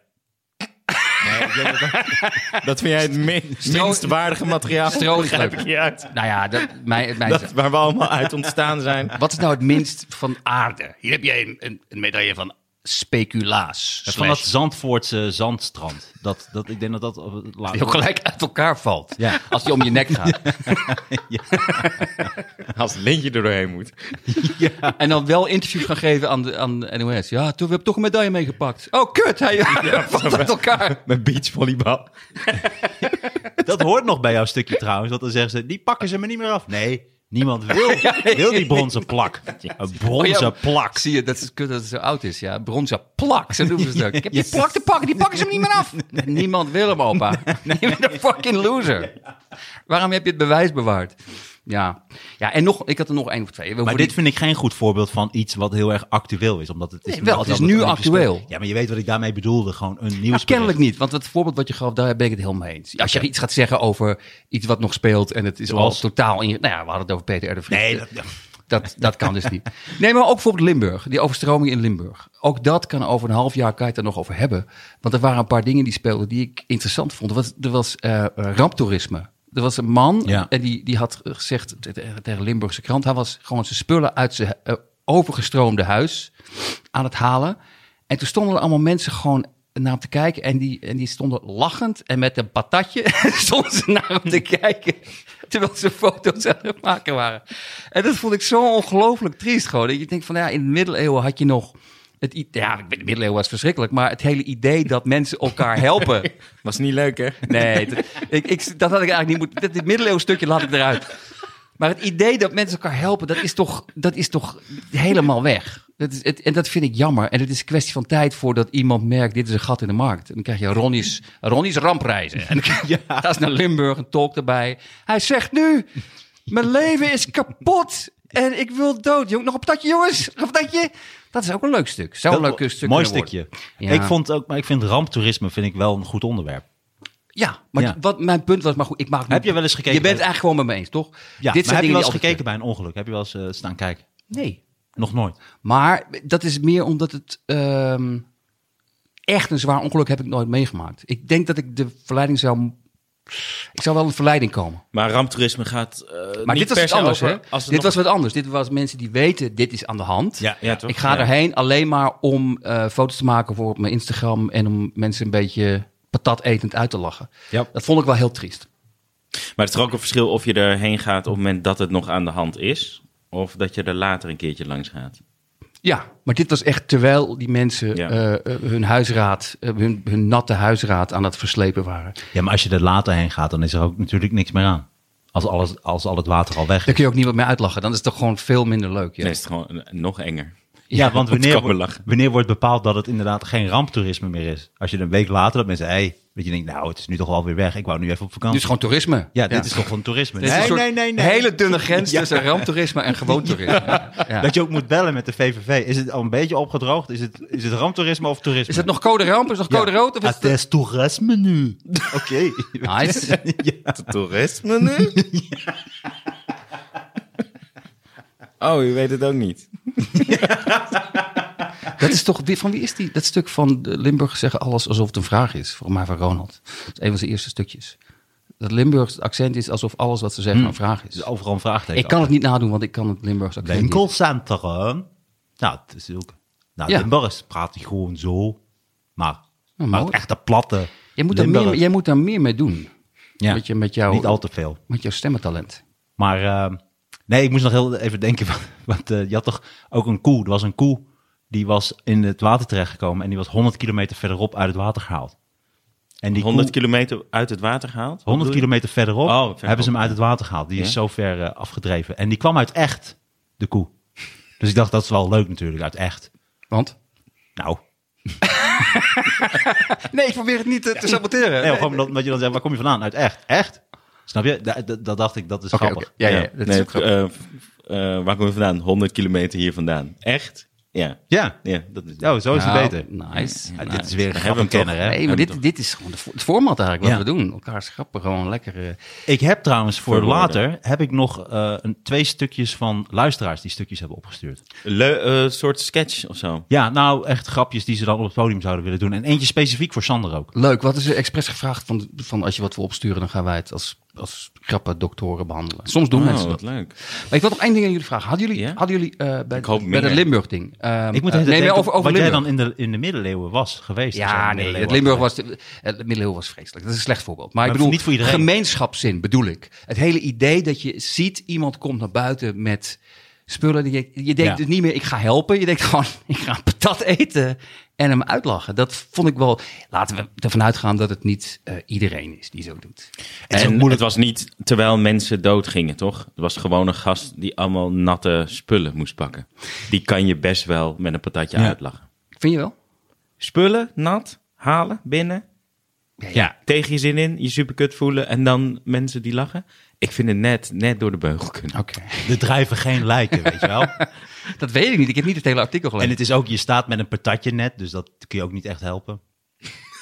Speaker 4: Dat vind jij het minst waardige materiaal.
Speaker 3: Strooistruik.
Speaker 4: Begrijp ik niet uit.
Speaker 3: Nou ja, dat, mijn, mijn,
Speaker 4: Dat, waar we allemaal uit ontstaan zijn.
Speaker 3: wat is nou het minst van aarde? Hier heb jij een, een, een medaille van speculaas.
Speaker 2: Van dat
Speaker 3: Slash,
Speaker 2: Zandvoortse zandstrand. Dat, dat, ik denk dat dat... eh,
Speaker 3: die ook
Speaker 2: later-
Speaker 3: gelijk uit elkaar valt.
Speaker 2: Ja.
Speaker 3: Als die om je nek gaat.
Speaker 4: Als het lintje er doorheen moet.
Speaker 3: En dan wel interview gaan geven aan de, aan de NOS. Ja, toen, we hebben toch een medaille meegepakt. Oh, kut. Hij valt uit elkaar.
Speaker 4: Met beachvolleybal.
Speaker 2: Dat hoort nog bij jouw stukje trouwens. Want dan zeggen ze, die pakken ze me niet meer af. Nee, niemand wil, wil die bronzen plak. Een
Speaker 3: Oh ja,
Speaker 2: bronzen plak.
Speaker 3: Zie je, dat is kut dat het zo oud is. Ja, bronzen plak. Zo noemen ze het ook. Ik heb die plak te pakken. Die pakken ze hem niet meer af. Niemand wil hem, opa. Je bent een fucking loser. Waarom heb je het bewijs bewaard? Ja, ja en nog, ik had er nog één of twee. We
Speaker 2: Maar
Speaker 3: hoeven
Speaker 2: dit
Speaker 3: niet-
Speaker 2: vind ik geen goed voorbeeld van iets wat heel erg actueel is. Omdat het is
Speaker 3: Nee, wel, het is nu
Speaker 2: omdat Olympische
Speaker 3: actueel.
Speaker 2: Spelen- Ja, maar je weet wat ik daarmee bedoelde. Gewoon een
Speaker 3: Ja,
Speaker 2: nieuws.
Speaker 3: kennelijk niet, want het voorbeeld wat je gaf, daar ben ik het helemaal mee eens. Als je iets gaat zeggen over iets wat nog speelt en het is al
Speaker 2: Zoals?
Speaker 3: totaal... In, nou ja, we hadden het over Peter R. de Vries.
Speaker 2: Nee, dat, ja.
Speaker 3: Dat, dat kan dus niet. Nee, maar ook bijvoorbeeld Limburg, die overstroming in Limburg. Ook dat kan over een half jaar, kan je het er nog over hebben. Want er waren een paar dingen die speelden die ik interessant vond. Er was, er was eh, ramptoerisme. Er was een man eh,
Speaker 2: Ja.
Speaker 3: en die, die had gezegd te- te- tegen Limburgse krant... hij was gewoon zijn spullen uit zijn eh, overgestroomde huis aan het halen. En toen stonden er allemaal mensen gewoon naar hem te kijken. En die, en die stonden lachend en met een patatje stonden ze naar hem te kijken. Terwijl ze foto's aan het maken waren. En dat vond ik zo ongelooflijk triest gewoon. Dat je denkt van ja, in de middeleeuwen had je nog... Het, i- ja, ik weet, de middeleeuwen was verschrikkelijk. Maar het hele idee dat mensen elkaar helpen.
Speaker 4: Was niet leuk, hè?
Speaker 3: Nee, dat, ik, ik, dat had ik eigenlijk niet moeten. Dit, dit middeleeuwen stukje laat ik eruit. Maar het idee dat mensen elkaar helpen, dat is toch, dat is toch helemaal weg. Dat is, het, en dat vind ik jammer. En het is een kwestie van tijd voordat iemand merkt, dit is een gat in de markt. En dan krijg je Ronnie's, Ronnie's rampreizen. En dan krijg je, dat is naar Limburg, een tolk erbij. Hij zegt nu, mijn leven is kapot en ik wil dood. Jong, nog een patatje, jongens. Nog een patatje. Dat is ook een leuk stuk. Zou een
Speaker 2: Dat-
Speaker 3: leuk stuk
Speaker 2: Mooi
Speaker 3: kunnen worden.
Speaker 2: stukje.
Speaker 3: Ja.
Speaker 2: Ik vond ook, maar ik vind ramptoerisme vind ik wel een goed onderwerp.
Speaker 3: Ja, maar
Speaker 2: Ja.
Speaker 3: die- wat mijn punt was, maar goed, ik maak nu-
Speaker 2: Heb je wel eens gekeken
Speaker 3: Je bent het
Speaker 2: bij-
Speaker 3: eigenlijk gewoon met me eens, toch?
Speaker 2: Ja, maar heb je wel eens
Speaker 3: die
Speaker 2: gekeken bij een ongeluk? Heb je wel eens eh, staan kijken?
Speaker 3: altijd- Nee,
Speaker 2: Nog nooit.
Speaker 3: maar dat is meer omdat het ehm, echt een zwaar ongeluk heb ik nooit meegemaakt. Ik denk dat ik de verleiding zou, ik zou wel een verleiding komen.
Speaker 4: Maar ramptoerisme gaat. eh,
Speaker 3: Maar
Speaker 4: niet
Speaker 3: dit was
Speaker 4: per
Speaker 3: iets
Speaker 4: se
Speaker 3: anders,
Speaker 4: over
Speaker 3: hè?
Speaker 4: als
Speaker 3: Dit
Speaker 4: het nog-
Speaker 3: was wat anders. Dit was mensen die weten, dit is aan de hand.
Speaker 2: Ja,
Speaker 4: ja, toch?
Speaker 3: Ik ga
Speaker 4: Ja.
Speaker 3: erheen alleen maar om eh, foto's te maken voor op mijn Instagram en om mensen een beetje patat etend uit te lachen.
Speaker 2: Ja.
Speaker 3: Dat vond ik wel heel triest.
Speaker 4: Maar het is er ook een verschil of je erheen gaat op het moment dat het nog aan de hand is. Of dat je er later een keertje langs gaat.
Speaker 3: Ja, maar dit was echt terwijl die mensen
Speaker 4: Ja.
Speaker 3: eh, eh, hun huisraad, eh, hun, hun natte huisraad aan het verslepen waren.
Speaker 2: Ja, maar als je er later heen gaat, dan is er ook natuurlijk niks meer aan. Als, alles, als al het water al weg
Speaker 3: Daar
Speaker 2: is.
Speaker 3: kun je ook niemand mee uitlachen. Dan is het toch gewoon veel minder leuk. Ja.
Speaker 4: Dan is het gewoon eh, nog enger.
Speaker 2: Ja, want
Speaker 4: dat
Speaker 2: wanneer,
Speaker 4: kan wel
Speaker 2: wordt-
Speaker 4: lachen.
Speaker 2: wanneer wordt bepaald dat het inderdaad geen ramptoerisme meer is? Als je een week later dat mensen, hé, hey, Dat je denkt, nou, het is nu toch wel weer weg. Ik wou nu even op
Speaker 3: Dit
Speaker 2: vakantie.
Speaker 3: is gewoon toerisme.
Speaker 2: ja, dit is toch gewoon toerisme.
Speaker 3: Dit is een
Speaker 2: Nee,
Speaker 3: soort
Speaker 2: nee, nee, nee.
Speaker 3: hele dunne grens tussen ramptoerisme en gewoon toerisme. Ja.
Speaker 2: Dat je ook moet bellen met de VVV. Is het al een beetje opgedroogd? Is het, is het ramptoerisme of toerisme?
Speaker 3: Is het nog code ramp? Is het nog code rood? Of is
Speaker 2: het is toerisme nu. Oké.
Speaker 3: Nice.
Speaker 4: Toerisme nu? Oh, u weet het ook niet.
Speaker 3: Dat is toch, van wie is die? Dat stuk van de Limburg zeggen alles alsof het een vraag is. Voor mij van Ronald. Dat is een van zijn eerste stukjes. Dat Limburgs accent is alsof alles wat ze zeggen een vraag is.
Speaker 2: Dus overal een vraagteken.
Speaker 3: Ik kan het niet nadoen, want ik kan het Limburgs accent niet.
Speaker 2: Winkelcentrum. Nou, het is ook... Nou,
Speaker 3: Ja.
Speaker 2: Limburgers praat hij gewoon zo. Maar,
Speaker 3: mooi.
Speaker 2: maar het echte platte
Speaker 3: Jij moet, daar meer,
Speaker 2: Limburger-
Speaker 3: jij moet daar meer mee doen.
Speaker 2: Ja.
Speaker 3: Met, je, met, jouw,
Speaker 2: Niet al te veel.
Speaker 3: met jouw stemmentalent.
Speaker 2: Maar eh, nee, ik moest nog heel even denken. Want, want, eh, je had toch ook een koe. Er was een koe die was in het water terechtgekomen. En die was 100 kilometer verderop uit het water gehaald. En die
Speaker 4: 100
Speaker 2: 100,
Speaker 4: kilometer uit het water gehaald? Wat
Speaker 2: 100
Speaker 4: bedoel je?
Speaker 2: kilometer verderop
Speaker 4: Oh, verderop,
Speaker 2: hebben ze hem uit het water gehaald. Die is
Speaker 4: Ja.
Speaker 2: zo ver eh, afgedreven. En die kwam uit echt, de koe. Dus ik dacht, dat is wel leuk natuurlijk, uit echt.
Speaker 3: Want?
Speaker 2: Nou,
Speaker 3: Nee, ik probeer het niet eh, te, saboteren.
Speaker 2: nee, gewoon omdat, omdat je dan zegt, waar kom je vandaan? Uit echt, echt? Snap je? Da- da- Dat, dacht ik, dat is grappig.
Speaker 3: Ja, ja, dat is
Speaker 4: nee,
Speaker 3: ook grappig.
Speaker 4: eh, eh, waar kom je vandaan? 100 kilometer hier vandaan. Echt? Ja.
Speaker 2: Ja,
Speaker 4: Ja, dat is
Speaker 2: Oh, zo is
Speaker 3: Nou,
Speaker 2: het beter.
Speaker 3: Nice.
Speaker 2: Ja,
Speaker 3: nice.
Speaker 2: dit is weer een
Speaker 4: hebben we hem
Speaker 2: grappenkenner, hè?
Speaker 3: Nee, maar dit, dit is gewoon de vo- het format eigenlijk wat
Speaker 2: Ja.
Speaker 3: we doen. Elkaars grappen gewoon lekker. eh,
Speaker 2: Ik heb trouwens voor
Speaker 4: Verwoorden.
Speaker 2: later heb ik nog eh, een, twee stukjes van luisteraars die stukjes hebben opgestuurd.
Speaker 4: Een leu- eh, soort sketch of zo.
Speaker 2: Ja, nou echt grapjes die ze dan op het podium zouden willen doen. En eentje specifiek voor Sander ook.
Speaker 3: Leuk, wat is er expres gevraagd van, van als je wat wil opsturen, dan gaan wij het als, als grappen doktoren behandelen. Soms doen
Speaker 4: Oh,
Speaker 3: mensen
Speaker 4: wat
Speaker 3: dat.
Speaker 4: leuk.
Speaker 3: Maar ik wil nog één ding aan jullie vragen. Hadden jullie,
Speaker 4: Ja?
Speaker 3: hadden jullie eh, bij,
Speaker 4: hoop
Speaker 3: bij dat
Speaker 4: meer.
Speaker 3: Limburg-ding? ehm,
Speaker 2: Ik moet
Speaker 3: eh,
Speaker 2: even
Speaker 3: nee,
Speaker 2: denken
Speaker 3: maar over, over
Speaker 2: wat
Speaker 3: Limburg.
Speaker 2: jij dan in de, in de middeleeuwen was geweest. of zo,
Speaker 3: Ja, nee,
Speaker 2: middeleeuwen.
Speaker 3: het Limburg was, de- het middeleeuwen was vreselijk. Dat is een slecht voorbeeld. Maar,
Speaker 2: Maar
Speaker 3: ik bedoel,
Speaker 2: niet voor iedereen.
Speaker 3: gemeenschapszin bedoel ik. Het hele idee dat je ziet, iemand komt naar buiten met spullen. die Je, je denkt
Speaker 2: Ja.
Speaker 3: dus niet meer, ik ga helpen. Je denkt gewoon, ik ga patat eten en hem uitlachen. Dat vond ik wel, laten we ervan uitgaan dat het niet eh, iedereen is die zo doet.
Speaker 2: is ook
Speaker 4: en
Speaker 2: moeilijk-
Speaker 4: het was niet terwijl mensen doodgingen, toch? Het was gewoon een gast die allemaal natte spullen moest pakken. Die kan je best wel met een patatje
Speaker 2: Ja.
Speaker 4: uitlachen.
Speaker 3: Vind je wel?
Speaker 4: Spullen, nat, halen, binnen,
Speaker 2: Ja,
Speaker 4: tegen je zin in, je superkut voelen en dan mensen die lachen. Ik vind het net, net door de beugel kunnen.
Speaker 3: Oké.
Speaker 2: de drijven geen lijken, weet je wel.
Speaker 3: Dat weet ik niet. Ik heb niet het hele
Speaker 2: En
Speaker 3: artikel gelezen.
Speaker 2: het is ook, je staat met een patatje net, dus dat kun je ook niet echt helpen.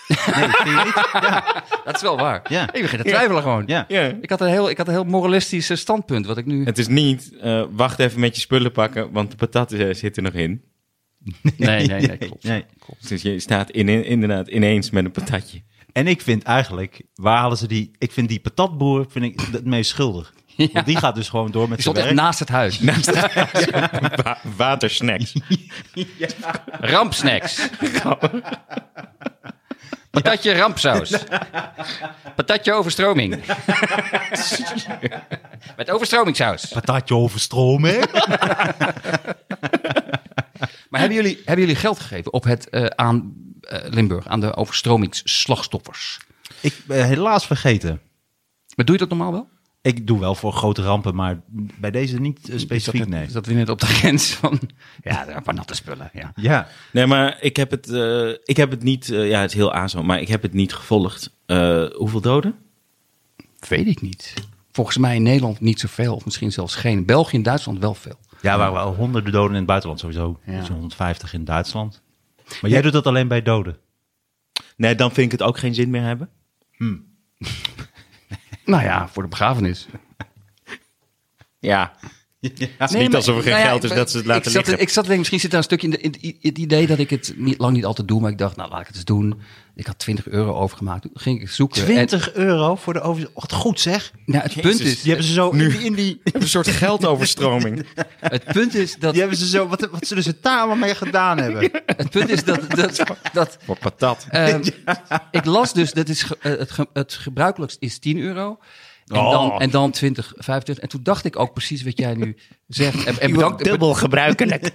Speaker 2: Nee, vind je niet?
Speaker 3: Dat is wel waar.
Speaker 2: Ja.
Speaker 3: Ik begin te twijfelen gewoon.
Speaker 2: Ja.
Speaker 4: Ja.
Speaker 3: Ik had een heel, ik had een heel moralistisch eh, standpunt wat ik nu...
Speaker 4: Het is niet, eh, wacht even met je spullen pakken, want de patat eh, zit er nog in.
Speaker 3: Nee, nee, nee, klopt.
Speaker 2: Nee.
Speaker 4: Dus je staat in, in- inderdaad ineens met een patatje.
Speaker 2: En ik vind eigenlijk, waar halen ze die... Ik vind die patatboer vind ik het meest schuldig. Want die gaat dus gewoon door met
Speaker 3: Ik
Speaker 2: zijn
Speaker 3: stond echt
Speaker 2: werk.
Speaker 3: naast het huis.
Speaker 4: Wa- watersnacks.
Speaker 3: Rampsnacks. Patatje rampsaus. Patatje overstroming. Met overstromingssaus.
Speaker 2: Patatje overstromen.
Speaker 3: Maar hebben jullie, hebben jullie geld gegeven op het, eh, aan eh, Limburg, aan de overstromingsslachtoffers?
Speaker 2: Ik ben helaas vergeten.
Speaker 3: Maar doe je dat normaal wel?
Speaker 2: Ik doe wel voor grote rampen, maar bij deze niet eh, specifiek,
Speaker 3: dat,
Speaker 2: nee.
Speaker 3: Is dat weer net op de grens van... Ja, van natte spullen, ja.
Speaker 2: Ja,
Speaker 4: Nee, maar ik heb het, eh, ik heb het niet, eh, ja, het is heel azo, maar ik heb het niet gevolgd. Eh, hoeveel doden?
Speaker 3: Weet ik niet. Volgens mij in Nederland niet zoveel, of misschien zelfs geen. België en Duitsland wel veel.
Speaker 2: ja er waren wel honderden doden in het buitenland sowieso.
Speaker 3: Ja.
Speaker 2: Zo'n 150 in Duitsland. Maar jij doet dat alleen bij doden.
Speaker 4: Nee, dan vind ik het ook geen zin meer hebben.
Speaker 3: Nou ja, voor de begrafenis.
Speaker 4: Ja. Het is
Speaker 3: Nee,
Speaker 4: niet
Speaker 3: maar-
Speaker 4: alsof er geen
Speaker 3: nou ja,
Speaker 4: geld is
Speaker 3: ik-
Speaker 4: dat ze het laten
Speaker 3: ik zat,
Speaker 4: liggen.
Speaker 3: Ik zat te denken, misschien zit daar een stukje in, de, in het i- het idee dat ik het niet, lang niet altijd doe. Maar ik dacht, nou laat ik het eens doen. Ik had 20 euro overgemaakt. Toen ging ik zoeken. En-
Speaker 2: 20 euro voor de over... Wat goed zeg.
Speaker 3: nou, het, punt is,
Speaker 2: Die hebben ze zo in die... in die-
Speaker 4: Een soort geldoverstroming.
Speaker 3: het punt is dat...
Speaker 2: die hebben ze zo... Wat, wat zullen ze daar allemaal mee gedaan hebben?
Speaker 3: Het punt is dat... dat, dat
Speaker 4: Voor patat.
Speaker 3: ehm, Ik las dus, dat is ge- eh, het, ge- het gebruikelijkst is 10 euro. En, dan,
Speaker 2: Oh.
Speaker 3: en dan 20, 25. En toen dacht ik ook precies wat jij nu zegt. En, en bedankt.
Speaker 4: Dubbel gebruikelijk.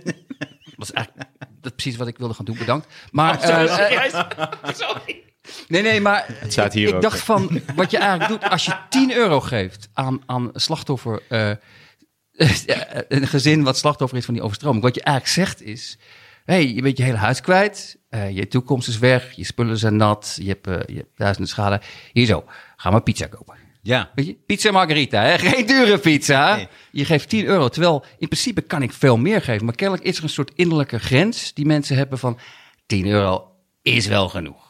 Speaker 3: Dat is eigenlijk dat is precies wat ik wilde gaan doen, bedankt. Maar, eh, eh, Nee, nee, maar het
Speaker 4: staat hier
Speaker 3: ik,
Speaker 4: ook.
Speaker 3: dacht van, wat je eigenlijk doet, als je 10 euro geeft aan, aan een slachtoffer, eh, een gezin wat slachtoffer is van die overstroming, wat je eigenlijk zegt is, hey, je bent je hele huis kwijt. eh, je toekomst is weg. Je spullen zijn nat. Je hebt, eh, je hebt duizenden schade. Hier zo, ga maar pizza kopen.
Speaker 2: Ja.
Speaker 3: Weet je, pizza margarita, hè? geen dure pizza.
Speaker 2: Nee.
Speaker 3: Je geeft 10 euro, terwijl in principe kan ik veel meer geven. Maar kennelijk is er een soort innerlijke grens die mensen hebben van 10 euro is wel genoeg.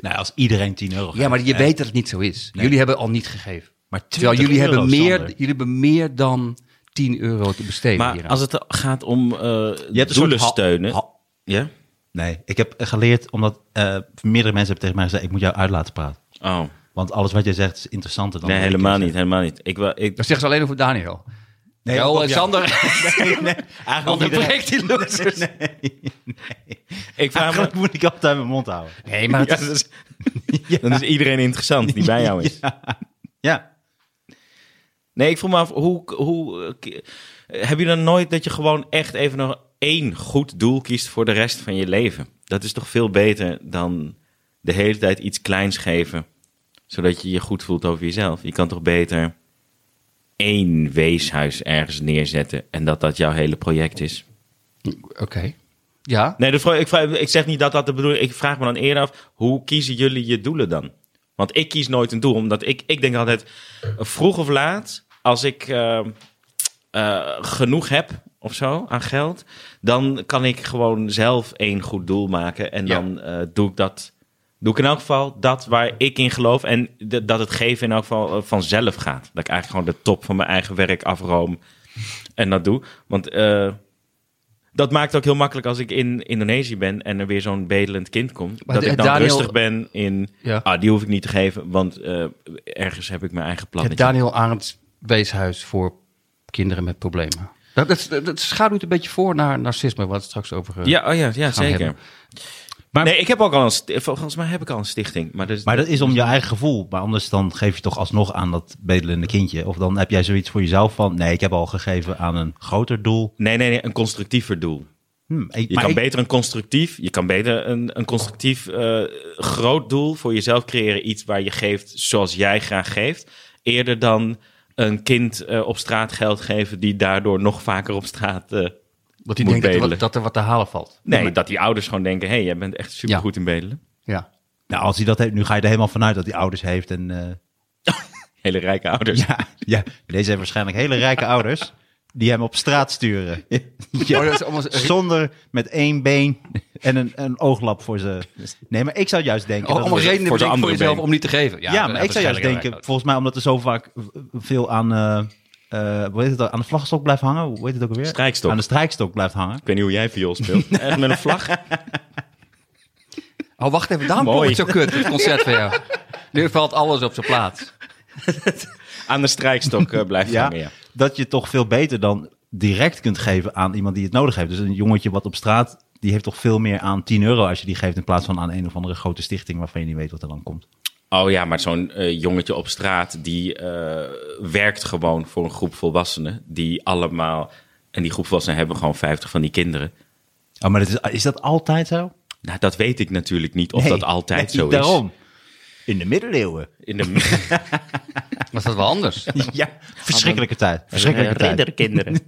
Speaker 2: Nou, als iedereen 10 euro
Speaker 3: Ja, maar je
Speaker 2: geeft, hè.
Speaker 3: weet dat het niet zo is.
Speaker 2: Nee.
Speaker 3: Jullie hebben al niet gegeven.
Speaker 2: Maar
Speaker 3: Terwijl
Speaker 2: 20
Speaker 3: jullie, hebben
Speaker 2: euro,
Speaker 3: meer,
Speaker 2: Sander.
Speaker 3: jullie hebben meer dan 10 euro te besteden
Speaker 4: Maar
Speaker 3: hieraan.
Speaker 4: als het gaat om eh
Speaker 2: hebt een
Speaker 4: doelen
Speaker 2: soort ha-
Speaker 4: steunen.
Speaker 2: ha-
Speaker 4: ja?
Speaker 2: Nee, ik heb geleerd, omdat eh, meerdere mensen hebben tegen mij gezegd... ik moet jou uit laten praten.
Speaker 4: Oh,
Speaker 2: Want alles wat jij zegt is interessanter dan...
Speaker 4: nee,
Speaker 2: wat ik
Speaker 4: helemaal
Speaker 2: zeg.
Speaker 4: niet. Helemaal niet. Ik, wel- ik,
Speaker 3: Dat zeggen ze alleen over Daniel.
Speaker 2: Nee,
Speaker 3: Nee,
Speaker 2: dat-
Speaker 3: oh,
Speaker 2: ja.
Speaker 3: Sander,
Speaker 2: Nee, nee, eigenlijk, niet.
Speaker 3: onderbreekt die dus. losers. Nee,
Speaker 4: ik vraag me,
Speaker 2: eigenlijk moet ik altijd mijn mond houden.
Speaker 3: maar het
Speaker 4: Ja,
Speaker 3: is-
Speaker 4: dat
Speaker 2: dus-
Speaker 4: is- dan is iedereen interessant die bij jou is.
Speaker 2: Ja.
Speaker 4: Nee, ik vroeg me af, hoe, hoe, eh, ki- eh, heb je dan nooit dat je gewoon echt even nog één goed doel kiest voor de rest van je leven? Dat is toch veel beter dan de hele tijd iets kleins geven, zodat je je goed voelt over jezelf. Je kan toch beter één weeshuis ergens neerzetten en dat dat jouw hele project is?
Speaker 3: Oké. Ja,
Speaker 4: Nee, de vrouw- ik, vraag- ik zeg niet dat dat de bedoeling Ik vraag me dan eerder af, hoe kiezen jullie je doelen dan? Want ik kies nooit een doel, omdat ik, ik denk altijd... vroeg of laat, als ik eh, eh, genoeg heb of zo aan geld... dan kan ik gewoon zelf één goed doel maken. En
Speaker 3: Ja.
Speaker 4: dan eh, doe ik dat... Doe ik in elk geval dat waar ik in geloof... en d- dat het geven in elk geval eh, vanzelf gaat. Dat ik eigenlijk gewoon de top van mijn eigen werk afroom... en dat doe. Want... eh, dat maakt het ook heel makkelijk als ik in Indonesië ben en er weer zo'n bedelend kind komt.
Speaker 3: Maar
Speaker 4: dat
Speaker 3: de-
Speaker 4: ik dan
Speaker 3: Daniel-
Speaker 4: rustig ben in,
Speaker 3: Ja.
Speaker 4: ah, die hoef ik niet te geven, want eh, ergens heb ik mijn eigen
Speaker 3: het
Speaker 4: plannetje.
Speaker 3: Daniel Arends Weeshuis voor kinderen met problemen. Dat, dat, dat, dat schaduwt een beetje voor naar narcisme, waar we het straks over... eh,
Speaker 4: ja, oh ja, ja
Speaker 3: gaan
Speaker 4: zeker.
Speaker 3: hebben.
Speaker 2: Maar-
Speaker 4: nee, ik heb ook al een, sti- volgens mij heb ik al een stichting. Maar, dus,
Speaker 2: Maar dat is om je eigen gevoel. Maar anders dan geef je toch alsnog aan dat bedelende kindje. Of dan heb jij zoiets voor jezelf van... nee, ik heb al gegeven aan een groter doel.
Speaker 4: nee, nee, nee, een constructiever doel.
Speaker 2: Hm, ik,
Speaker 4: Je
Speaker 2: maar
Speaker 4: kan
Speaker 2: ik-
Speaker 4: beter een constructief, je kan beter een, een constructief eh, groot doel voor jezelf creëren. Iets waar je geeft zoals jij graag geeft. Eerder dan een kind eh, op straat geld geven die daardoor nog vaker op straat
Speaker 3: Dat
Speaker 4: eh,
Speaker 3: hij
Speaker 4: moet
Speaker 3: denkt dat er, wat,
Speaker 4: bedelen.
Speaker 3: dat er wat te halen valt.
Speaker 4: Nee, dat die ouders gewoon denken: hé, hey, jij bent echt supergoed in bedelen.
Speaker 3: Ja.
Speaker 2: nou, als hij dat heeft, nu ga je er helemaal vanuit dat hij ouders heeft. En, eh,
Speaker 4: Hele rijke ouders.
Speaker 2: ja, ja, deze heeft waarschijnlijk hele rijke ouders... die hem op straat sturen. Ja.
Speaker 3: Oh, dat is allemaal zo-
Speaker 2: Zonder met één been en een, een ooglap voor ze. Nee, maar ik zou juist denken...
Speaker 3: Oh,
Speaker 2: dat-
Speaker 3: allemaal redenen voor,
Speaker 4: voor de
Speaker 3: voor
Speaker 4: andere
Speaker 3: jezelf
Speaker 4: been.
Speaker 3: om niet te geven.
Speaker 2: Ja,
Speaker 3: Ja, dat-
Speaker 2: maar
Speaker 3: dat
Speaker 2: ik zou juist
Speaker 3: waarschijnlijk
Speaker 2: denken,
Speaker 3: wel.
Speaker 2: volgens mij omdat er zo vaak v- veel aan, eh eh, hoe heet het, aan de vlaggestok blijft hangen. Hoe heet het ook alweer?
Speaker 4: Strijkstok.
Speaker 2: Aan de strijkstok blijft hangen.
Speaker 4: Ik weet niet hoe jij viool speelt. Echt met een vlag.
Speaker 3: Oh, wacht even, daarom
Speaker 4: Mooi.
Speaker 3: komt het zo kut, het concert van jou. Nu valt alles op zijn plaats.
Speaker 4: Aan de strijkstok eh, blijft
Speaker 2: Ja,
Speaker 4: hangen. Ja.
Speaker 2: dat je toch veel beter dan direct kunt geven aan iemand die het nodig heeft. Dus een jongetje wat op straat, die heeft toch veel meer aan 10 euro als je die geeft in plaats van aan een of andere grote stichting waarvan je niet weet wat er dan komt.
Speaker 4: Oh ja, maar zo'n eh, jongetje op straat die eh, werkt gewoon voor een groep volwassenen. Die allemaal. En die groep volwassenen hebben gewoon 50 van die kinderen.
Speaker 2: Oh, maar dat is, is dat altijd zo?
Speaker 4: Nou, dat weet ik natuurlijk niet of
Speaker 2: Nee,
Speaker 4: dat altijd
Speaker 2: nee,
Speaker 4: zo is.
Speaker 2: daarom. In de middeleeuwen.
Speaker 4: In de
Speaker 3: Was dat wel anders?
Speaker 2: Ja, verschrikkelijke tijd. Verschrikkelijke tijd.
Speaker 4: kinderkinderen.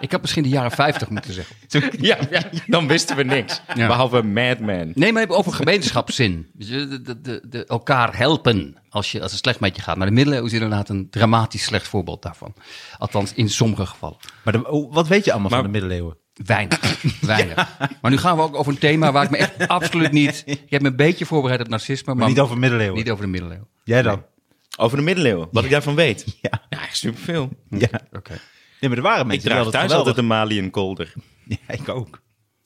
Speaker 3: Ik had misschien de jaren 50 moeten zeggen.
Speaker 4: ja, ja, dan wisten we niks.
Speaker 3: Ja.
Speaker 4: Behalve Madman.
Speaker 3: Nee, maar even over gemeenschapszin. Weet je, De, de, de, de elkaar helpen als, je, als het slecht met je gaat. Maar de middeleeuwen is inderdaad een dramatisch slecht voorbeeld daarvan. Althans, in sommige gevallen.
Speaker 2: Maar de- oh, wat weet je allemaal
Speaker 4: Maar-
Speaker 2: van de middeleeuwen?
Speaker 3: Weinig. Weinig. Maar nu gaan we ook over een thema waar ik me echt absoluut niet... Ik heb me een beetje voorbereid op narcisme, maar,
Speaker 2: niet over middeleeuwen.
Speaker 3: niet over de middeleeuwen.
Speaker 2: Jij dan?
Speaker 4: Over de middeleeuwen. Wat ik daarvan weet.
Speaker 2: Ja.
Speaker 4: Ja, superveel.
Speaker 2: Ja.
Speaker 3: Oké.
Speaker 2: Nee, maar er waren
Speaker 4: Ik
Speaker 2: mensen
Speaker 4: draag
Speaker 2: die
Speaker 4: thuis
Speaker 2: hadden
Speaker 4: altijd
Speaker 2: het
Speaker 4: een Mali en kolder.
Speaker 2: geweldig. Ja, ik ook.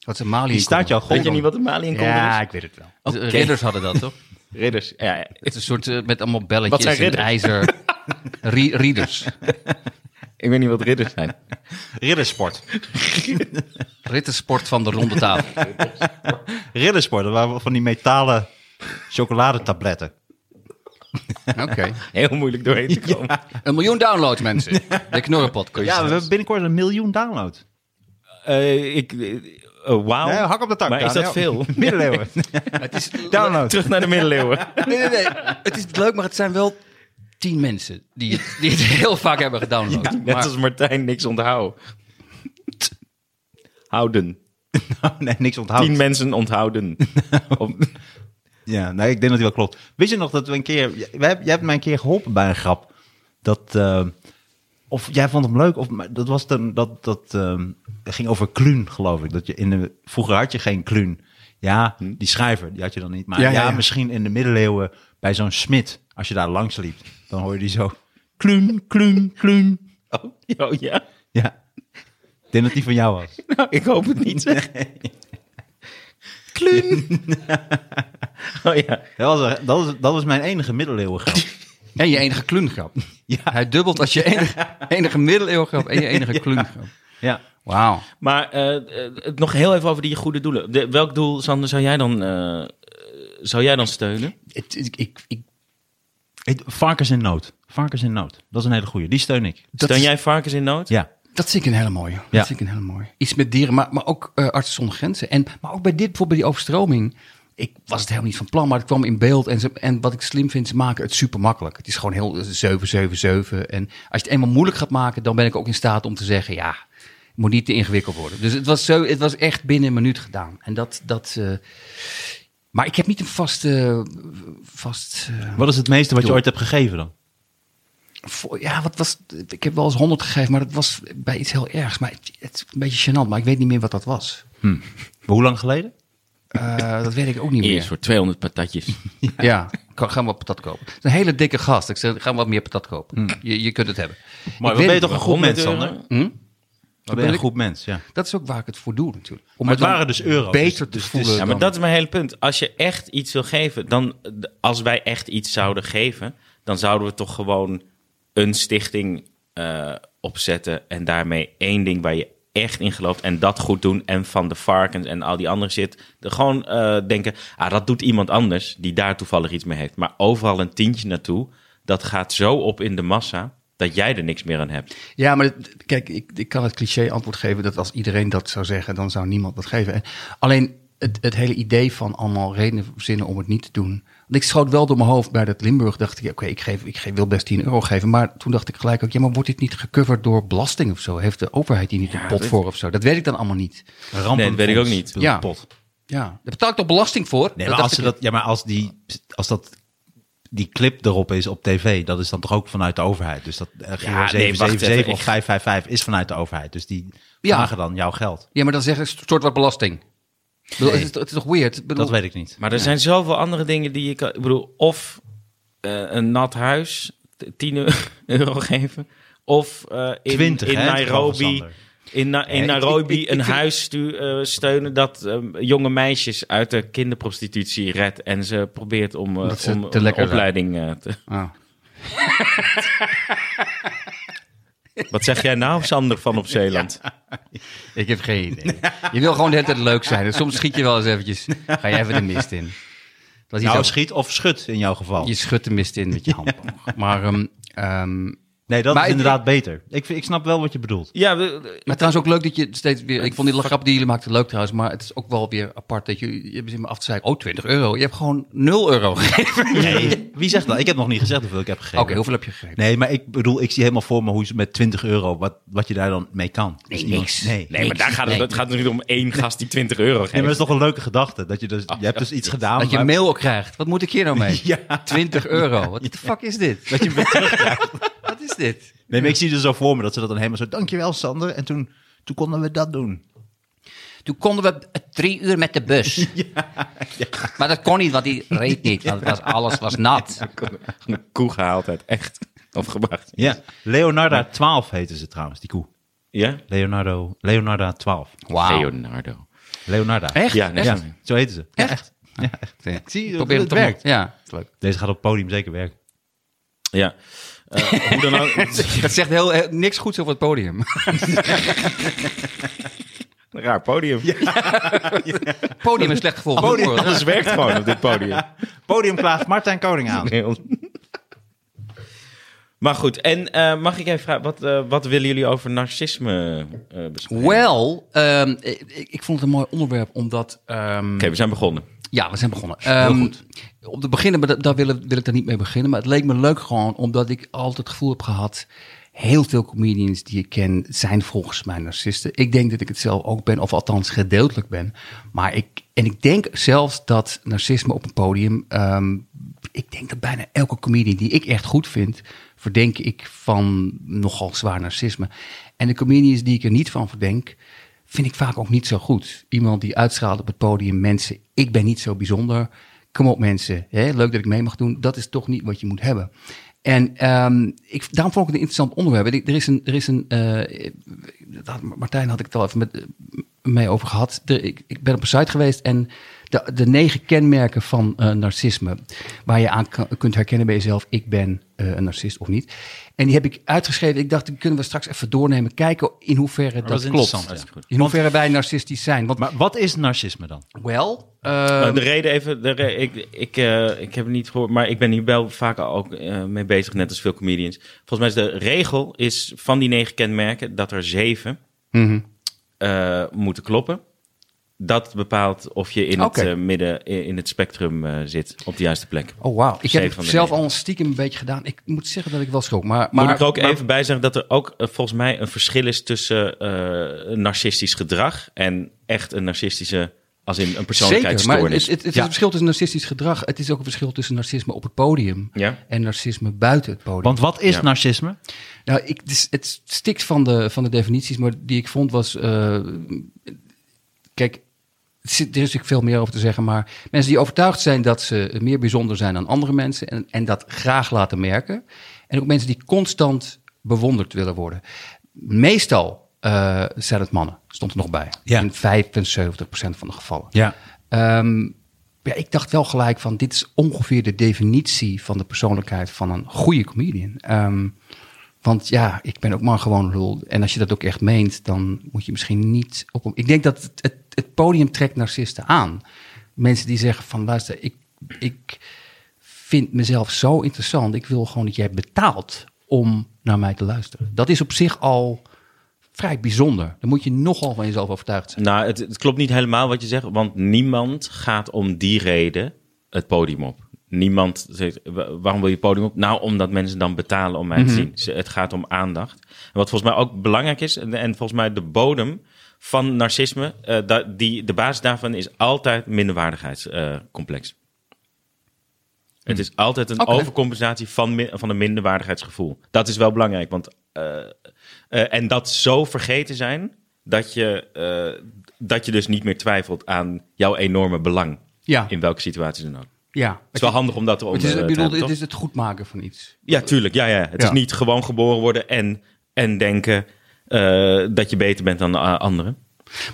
Speaker 3: Wat is een Mali?
Speaker 2: Die staat jou
Speaker 4: Weet je
Speaker 2: gewoon.
Speaker 4: niet wat een Mali en kolder is?
Speaker 3: ik weet het wel. De Ridders hadden dat, toch?
Speaker 4: Ridders. Ja,
Speaker 3: Het is een soort eh, met allemaal
Speaker 4: Wat
Speaker 3: belletjes
Speaker 4: zijn
Speaker 3: en
Speaker 4: ridders?
Speaker 3: ijzer. Ri- ridders.
Speaker 4: ik weet niet wat ridders zijn.
Speaker 2: Riddersport.
Speaker 3: Rittensport van de ronde tafel.
Speaker 2: Riddersport, dat waren van die metalen chocoladetabletten.
Speaker 3: Oké.
Speaker 4: Heel moeilijk doorheen te komen.
Speaker 3: Een miljoen downloads, mensen. De Knorrenpodcast.
Speaker 2: Ja, we hebben binnenkort een miljoen downloads.
Speaker 4: Eh, ik, eh, eh, Wauw.
Speaker 2: Nee, hak op de tak.
Speaker 4: Maar is dat
Speaker 2: Daniel.
Speaker 4: veel?
Speaker 2: Middeleeuwen.
Speaker 3: het is,
Speaker 2: Downloads.
Speaker 4: Terug naar de middeleeuwen.
Speaker 3: Nee, nee, nee. Het is leuk, maar het zijn wel tien mensen die het, die het heel vaak hebben gedownload.
Speaker 4: Net
Speaker 3: maar,
Speaker 4: als Martijn niks onthouden. Houden.
Speaker 2: nee, niks onthoud.
Speaker 4: Tien mensen onthouden. Of-
Speaker 2: Ja, nee, ik denk dat die wel klopt. Wist je nog dat we een keer... Jij, wij hebben- jij hebt mij een keer geholpen bij een grap. Dat... eh, of jij vond hem leuk, of maar dat was dan dat dat ehm, het ging over Kluun, geloof ik. Dat je in de vroeger had je geen Kluun. Ja, die schrijver, die had je dan niet. Maar ja,
Speaker 5: Ja, ja, ja.
Speaker 2: misschien in de middeleeuwen bij zo'n smid, als je daar langs liep, dan hoor je die zo Kluun, Kluun, Kluun.
Speaker 4: oh, oh, ja.
Speaker 2: Ja, ik denk dat die van jou was.
Speaker 4: Nou, ik hoop het niet. zeg.
Speaker 2: Kluun.
Speaker 4: Oh ja.
Speaker 2: Dat was, dat was, dat was mijn enige middeleeuwen grap.
Speaker 3: En je enige klungrap.
Speaker 2: Ja.
Speaker 3: Hij dubbelt als je enige, enige middeleeuwgrap en je enige klungrap.
Speaker 2: Ja.
Speaker 3: Wauw.
Speaker 4: Maar eh, eh, het nog heel even over die goede doelen. De- welk doel, Sander, zou jij dan, eh, zou jij dan steunen?
Speaker 3: Het- Ik, ik, ik,
Speaker 2: Ik- Varkens in nood. Varkens in nood. Dat is een hele goede. Die steun ik.
Speaker 3: dat,
Speaker 4: Steun
Speaker 3: is-
Speaker 4: jij varkens in nood?
Speaker 2: Ja.
Speaker 3: dat vind ik een hele mooie.
Speaker 2: Ja.
Speaker 3: Dat vind ik een hele mooie. Iets met dieren, maar, maar ook eh, artsen zonder grenzen. En, maar ook bij dit, bijvoorbeeld bij die overstroming. Ik was het helemaal niet van plan, maar het kwam in beeld. En, ze, en wat ik slim vind, ze maken het super makkelijk. Het is gewoon heel eh, 777. En als je het eenmaal moeilijk gaat maken, dan ben ik ook in staat om te zeggen: ja, het moet niet te ingewikkeld worden. Dus het was, zo, het was echt binnen een minuut gedaan. En dat. dat eh, maar ik heb niet een vaste. vast, eh,
Speaker 2: Wat is het meeste wat je
Speaker 3: Doe.
Speaker 2: ooit hebt gegeven dan?
Speaker 3: Voor- ja, wat was. Ik heb wel eens 100 gegeven, maar dat was bij iets heel ergs. Maar het, het is een beetje gênant, maar ik weet niet meer wat dat was.
Speaker 2: Maar hoe lang geleden?
Speaker 3: Eh, dat weet ik ook niet meer.
Speaker 4: Eerst voor 200 patatjes.
Speaker 3: Ja, ik kan- ga maar patat kopen. Het is een hele dikke gast. Ik zeg, ga maar wat meer patat kopen. Je, je kunt het hebben.
Speaker 2: Maar
Speaker 3: Ik
Speaker 2: dan ben je
Speaker 3: weet-
Speaker 2: toch een goed
Speaker 4: €100
Speaker 2: mens, Sander? Dan
Speaker 3: Hm?
Speaker 2: ben je
Speaker 3: ben
Speaker 2: een
Speaker 3: ik?
Speaker 2: goed mens, ja.
Speaker 3: Dat is ook waar ik het voor doe natuurlijk. Om
Speaker 2: Maar
Speaker 3: me
Speaker 2: het
Speaker 3: dan
Speaker 2: waren dus euro's.
Speaker 3: Beter
Speaker 2: dus-
Speaker 3: te
Speaker 2: dus het is-
Speaker 3: voelen.
Speaker 4: Ja, maar
Speaker 3: dan-
Speaker 4: dat is mijn hele punt. Als je echt iets wil geven, dan eh, d- als wij echt iets zouden geven, dan zouden we toch gewoon een stichting eh, opzetten en daarmee één ding waar je echt in gelooft en dat goed doen en van de varkens en al die andere shit. De, gewoon eh, denken, ah, dat doet iemand anders die daar toevallig iets mee heeft. Maar overal een tientje naartoe, dat gaat zo op in de massa dat jij er niks meer aan hebt.
Speaker 3: Ja, maar dit- kijk, ik, ik kan het cliché antwoord geven dat als iedereen dat zou zeggen, dan zou niemand dat geven. En alleen het, het hele idee van allemaal redenen verzinnen om het niet te doen. Want ik schoot wel door mijn hoofd bij dat Limburg. Dacht ik, ja, oké, ik, geef, ik geef, wil best 10 euro geven. Maar toen dacht ik gelijk ook, ja, maar wordt dit niet gecoverd door belasting of zo? Heeft de overheid hier niet een pot
Speaker 4: dat-
Speaker 3: voor of zo? Dat weet ik dan allemaal niet.
Speaker 2: Rampen
Speaker 4: Nee, dat weet ik ook
Speaker 2: voor
Speaker 4: niet.
Speaker 2: de
Speaker 3: Ja.
Speaker 2: Pot.
Speaker 3: Ja, daar betaal ik toch belasting voor?
Speaker 2: Nee,
Speaker 3: Dat
Speaker 2: maar als,
Speaker 3: dacht
Speaker 2: ze
Speaker 3: ik-
Speaker 2: dat, ja, maar als, die, als dat, die clip erop is op tv, dat is dan toch ook vanuit de overheid. Dus dat eh,
Speaker 4: nee,
Speaker 2: GO
Speaker 4: wacht
Speaker 2: 777
Speaker 4: even,
Speaker 2: of
Speaker 4: ik-
Speaker 2: 555 is vanuit de overheid. Dus die
Speaker 3: Ja.
Speaker 2: vragen dan jouw geld.
Speaker 3: Ja, maar dan zeggen ze, stort wat belasting. Ik bedoel,
Speaker 2: Nee.
Speaker 3: het, is, het is toch weird? Ik bedoel-
Speaker 2: Dat weet ik niet.
Speaker 4: Maar er zijn zoveel andere dingen die je kan... Ik bedoel, of eh, een nat huis, t- 10 euro geven. Of eh, in,
Speaker 2: 20,
Speaker 4: in
Speaker 2: hè, het geval van
Speaker 4: Nairobi,
Speaker 2: Sander.
Speaker 4: in, Na- in
Speaker 3: ik-
Speaker 4: Nairobi
Speaker 3: ik- ik- ik
Speaker 4: een
Speaker 3: vind-
Speaker 4: huis stu- eh, steunen dat eh, jonge meisjes uit de kinderprostitutie redt. En ze probeert om, eh,
Speaker 3: Omdat ze
Speaker 4: om
Speaker 3: te
Speaker 4: een
Speaker 3: lekker zijn.
Speaker 4: opleiding eh, te...
Speaker 3: Ah.
Speaker 4: Wat zeg jij nou, Sander van op Zeeland?
Speaker 3: Ik heb geen idee. Je wil gewoon de hele tijd leuk zijn. En soms schiet je wel eens eventjes. Ga je even de mist in. Dat is
Speaker 2: Nou,
Speaker 3: iets
Speaker 2: schiet of schud in jouw geval.
Speaker 3: over- je schudt de mist in met je handboog. Maar, ehm, ehm,
Speaker 2: Nee, dat
Speaker 3: Maar
Speaker 2: is
Speaker 3: ik-
Speaker 2: inderdaad beter. Ik, vind- ik snap wel wat je bedoelt.
Speaker 4: Ja, we-
Speaker 3: maar trouwens ook leuk dat je steeds weer... Ik vond die grap die jullie maakten leuk trouwens. Maar het is ook wel weer apart dat jullie... Je hebt me af te zeggen, oh 20 euro. Je hebt gewoon 0 euro gegeven.
Speaker 2: Nee, wie zegt dat? Ik heb nog niet gezegd hoeveel ik heb gegeven.
Speaker 3: Oké, hoeveel heb je gegeven?
Speaker 2: Nee, maar ik bedoel, ik zie helemaal voor me hoe ze met 20 euro, wat, wat je daar dan mee kan. Dus
Speaker 3: Nee,
Speaker 2: iemand-
Speaker 3: niks.
Speaker 2: Nee.
Speaker 3: Nee,
Speaker 4: nee, maar daar gaat het,
Speaker 3: Nee.
Speaker 4: het gaat natuurlijk om één gast die 20 euro
Speaker 2: Nee,
Speaker 4: geeft.
Speaker 2: maar dat is toch een leuke gedachte. Dat je, dus, je hebt dus iets gedaan.
Speaker 3: Oh, Dat je
Speaker 2: maar-
Speaker 3: een mail ook krijgt. Wat moet ik hier nou mee?
Speaker 2: Ja.
Speaker 3: 20 euro. Wat de fuck is dit?
Speaker 2: dat je hem weer terugkrijgt.
Speaker 3: Wat is dit?
Speaker 2: Nee, maar ik zie er zo voor me dat ze dat dan helemaal zo. Dankjewel, Sander. En toen, toen konden we dat doen.
Speaker 3: Toen konden we drie uur met de bus. Maar dat kon niet, want die reed niet. Want het was, alles was nat.
Speaker 4: Een koe gehaald uit echt. Of gebracht.
Speaker 2: Ja. Leonarda 12 heette ze trouwens, die koe.
Speaker 4: Ja?
Speaker 2: Leonardo, Leonarda 12.
Speaker 3: Wauw.
Speaker 4: Leonardo.
Speaker 2: Leonarda.
Speaker 3: Echt?
Speaker 4: Ja, nee,
Speaker 3: Echt?
Speaker 4: sorry.
Speaker 2: Zo heette ze. Ja, echt.
Speaker 3: Ik
Speaker 2: zie je,
Speaker 3: Probeer
Speaker 2: het
Speaker 3: het toch
Speaker 2: werkt.
Speaker 3: nog- Ja.
Speaker 2: Deze gaat op het podium zeker werken.
Speaker 4: Ja. Eh, hoe dan ook.
Speaker 3: Dat zegt heel, eh, niks goeds over het podium.
Speaker 4: Een raar podium.
Speaker 3: podium is slecht gevoel. voor de oren.
Speaker 4: Alles werkt gewoon op dit podium.
Speaker 2: Podium klaagt Martijn Koning aan.
Speaker 4: Maar goed, en eh, mag ik even vragen, wat, eh, wat willen jullie over narcisme eh, bespreken? Oké,
Speaker 3: Wel, ehm, ik, ik vond het een mooi onderwerp, omdat... ehm,
Speaker 4: we zijn begonnen.
Speaker 3: Ja, we zijn begonnen. Ehm, Op te beginnen, maar da- daar wil, ik- wil ik dan niet mee beginnen. Maar het leek me leuk gewoon, omdat ik altijd het gevoel heb gehad... Heel veel comedians die ik ken zijn volgens mij narcisten. Ik denk dat ik het zelf ook ben, of althans gedeeltelijk ben. Maar ik, en ik denk zelfs dat narcisme op een podium. ehm, ik denk dat bijna elke comedian die ik echt goed vind, verdenk ik van nogal zwaar narcisme. En de comedians die ik er niet van verdenk, vind ik vaak ook niet zo goed. Iemand die uitstraalt op het podium, mensen, ik ben niet zo bijzonder. Kom op mensen, hè? leuk dat ik mee mag doen. Dat is toch niet wat je moet hebben. En ehm, ik, daarom vond ik het een interessant onderwerp. En ik- Er is een, er is een eh, dat- Martijn had ik het al even met, eh, mee over gehad. Er- ik, ik ben op een site geweest en de, de negen kenmerken van eh, narcisme. Waar je aan kan- kunt herkennen bij jezelf, ik ben eh, een narcist of niet. En die heb ik uitgeschreven. Ik dacht, die kunnen we straks even doornemen. Kijken in hoeverre dat,
Speaker 2: dat is
Speaker 3: klopt.
Speaker 2: interessant, ja.
Speaker 3: In hoeverre wij narcistisch zijn. Want,
Speaker 2: Maar wat is narcisme dan?
Speaker 3: wel, eh,
Speaker 4: Eh, de reden even, de re- ik, ik, eh, ik heb het niet gehoord, maar ik ben hier wel vaak ook eh, mee bezig, net als veel comedians. Volgens mij is de regel is van die negen kenmerken dat er zeven
Speaker 3: mhm.
Speaker 4: eh, moeten kloppen. Dat bepaalt of je in
Speaker 3: Oké.
Speaker 4: het eh, midden, in in het spectrum eh, zit, op de juiste plek.
Speaker 3: Oh, wauw. Ik
Speaker 4: Zeven
Speaker 3: heb
Speaker 4: van
Speaker 3: het
Speaker 4: de
Speaker 3: zelf
Speaker 4: negen.
Speaker 3: al stiekem een beetje gedaan. Ik moet zeggen dat ik wel schrok. Maar,
Speaker 4: Moet
Speaker 3: maar-
Speaker 4: ik er ook
Speaker 3: maar-
Speaker 4: even bij zeggen dat er ook eh, volgens mij een verschil is tussen eh, narcistisch gedrag en echt een narcistische, als in een
Speaker 3: Zeker, maar het,
Speaker 4: persoonlijkheidsstoornis.
Speaker 3: het, het is
Speaker 2: Ja.
Speaker 3: een verschil tussen narcistisch gedrag. Het is ook een verschil tussen narcisme op het podium
Speaker 4: Ja.
Speaker 3: en narcisme buiten het podium.
Speaker 2: Want wat is
Speaker 4: Ja.
Speaker 2: narcisme?
Speaker 3: nou, ik, het, is- het stikt van de, van de definities, maar die ik vond was... eh, kijk, er zit- er is natuurlijk veel meer over te zeggen, maar mensen die overtuigd zijn dat ze meer bijzonder zijn dan andere mensen en, en dat graag laten merken. En ook mensen die constant bewonderd willen worden. Meestal eh, zijn het mannen, stond er nog bij.
Speaker 2: Ja.
Speaker 3: In 75% van de gevallen.
Speaker 2: Ja.
Speaker 3: Ehm, ja, ik dacht wel gelijk van dit is ongeveer de definitie van de persoonlijkheid van een goede comedian. Ehm, want ja, ik ben ook maar gewoon lul. En als je dat ook echt meent, dan moet je misschien niet op. Ik denk dat het, het, het podium trekt narcisten aan. Mensen die zeggen van luister, ik, ik vind mezelf zo interessant. Ik wil gewoon dat jij betaalt om naar mij te luisteren. Dat is op zich al vrij bijzonder. Dan moet je nogal van jezelf overtuigd zijn.
Speaker 4: Nou, het, het klopt niet helemaal wat je zegt, want niemand gaat om die reden het podium op. Niemand zegt, "Wa- waarom wil je het podium op? Nou, omdat mensen dan betalen om mij te zien. Ze- Het gaat om aandacht. En wat volgens mij ook belangrijk is, en, en volgens mij de bodem van narcisme, eh, da- die, de basis daarvan is altijd minderwaardigheidscomplex. Eh, Het is altijd een
Speaker 3: Oké.
Speaker 4: overcompensatie van, mi- van een minderwaardigheidsgevoel. Dat is wel belangrijk, want eh, eh, en dat zo vergeten zijn dat je, eh, dat je dus niet meer twijfelt aan jouw enorme belang.
Speaker 3: Ja,
Speaker 4: In welke situatie dan ook. Het
Speaker 3: ja.
Speaker 4: is wel handig om dat te
Speaker 3: Maar het is,
Speaker 4: onderzoeken.
Speaker 3: ik bedoel, het is het goed maken van iets.
Speaker 4: Ja, tuurlijk. Ja, ja. Het
Speaker 3: Ja.
Speaker 4: is niet gewoon geboren worden en, en denken eh, dat je beter bent dan eh, anderen.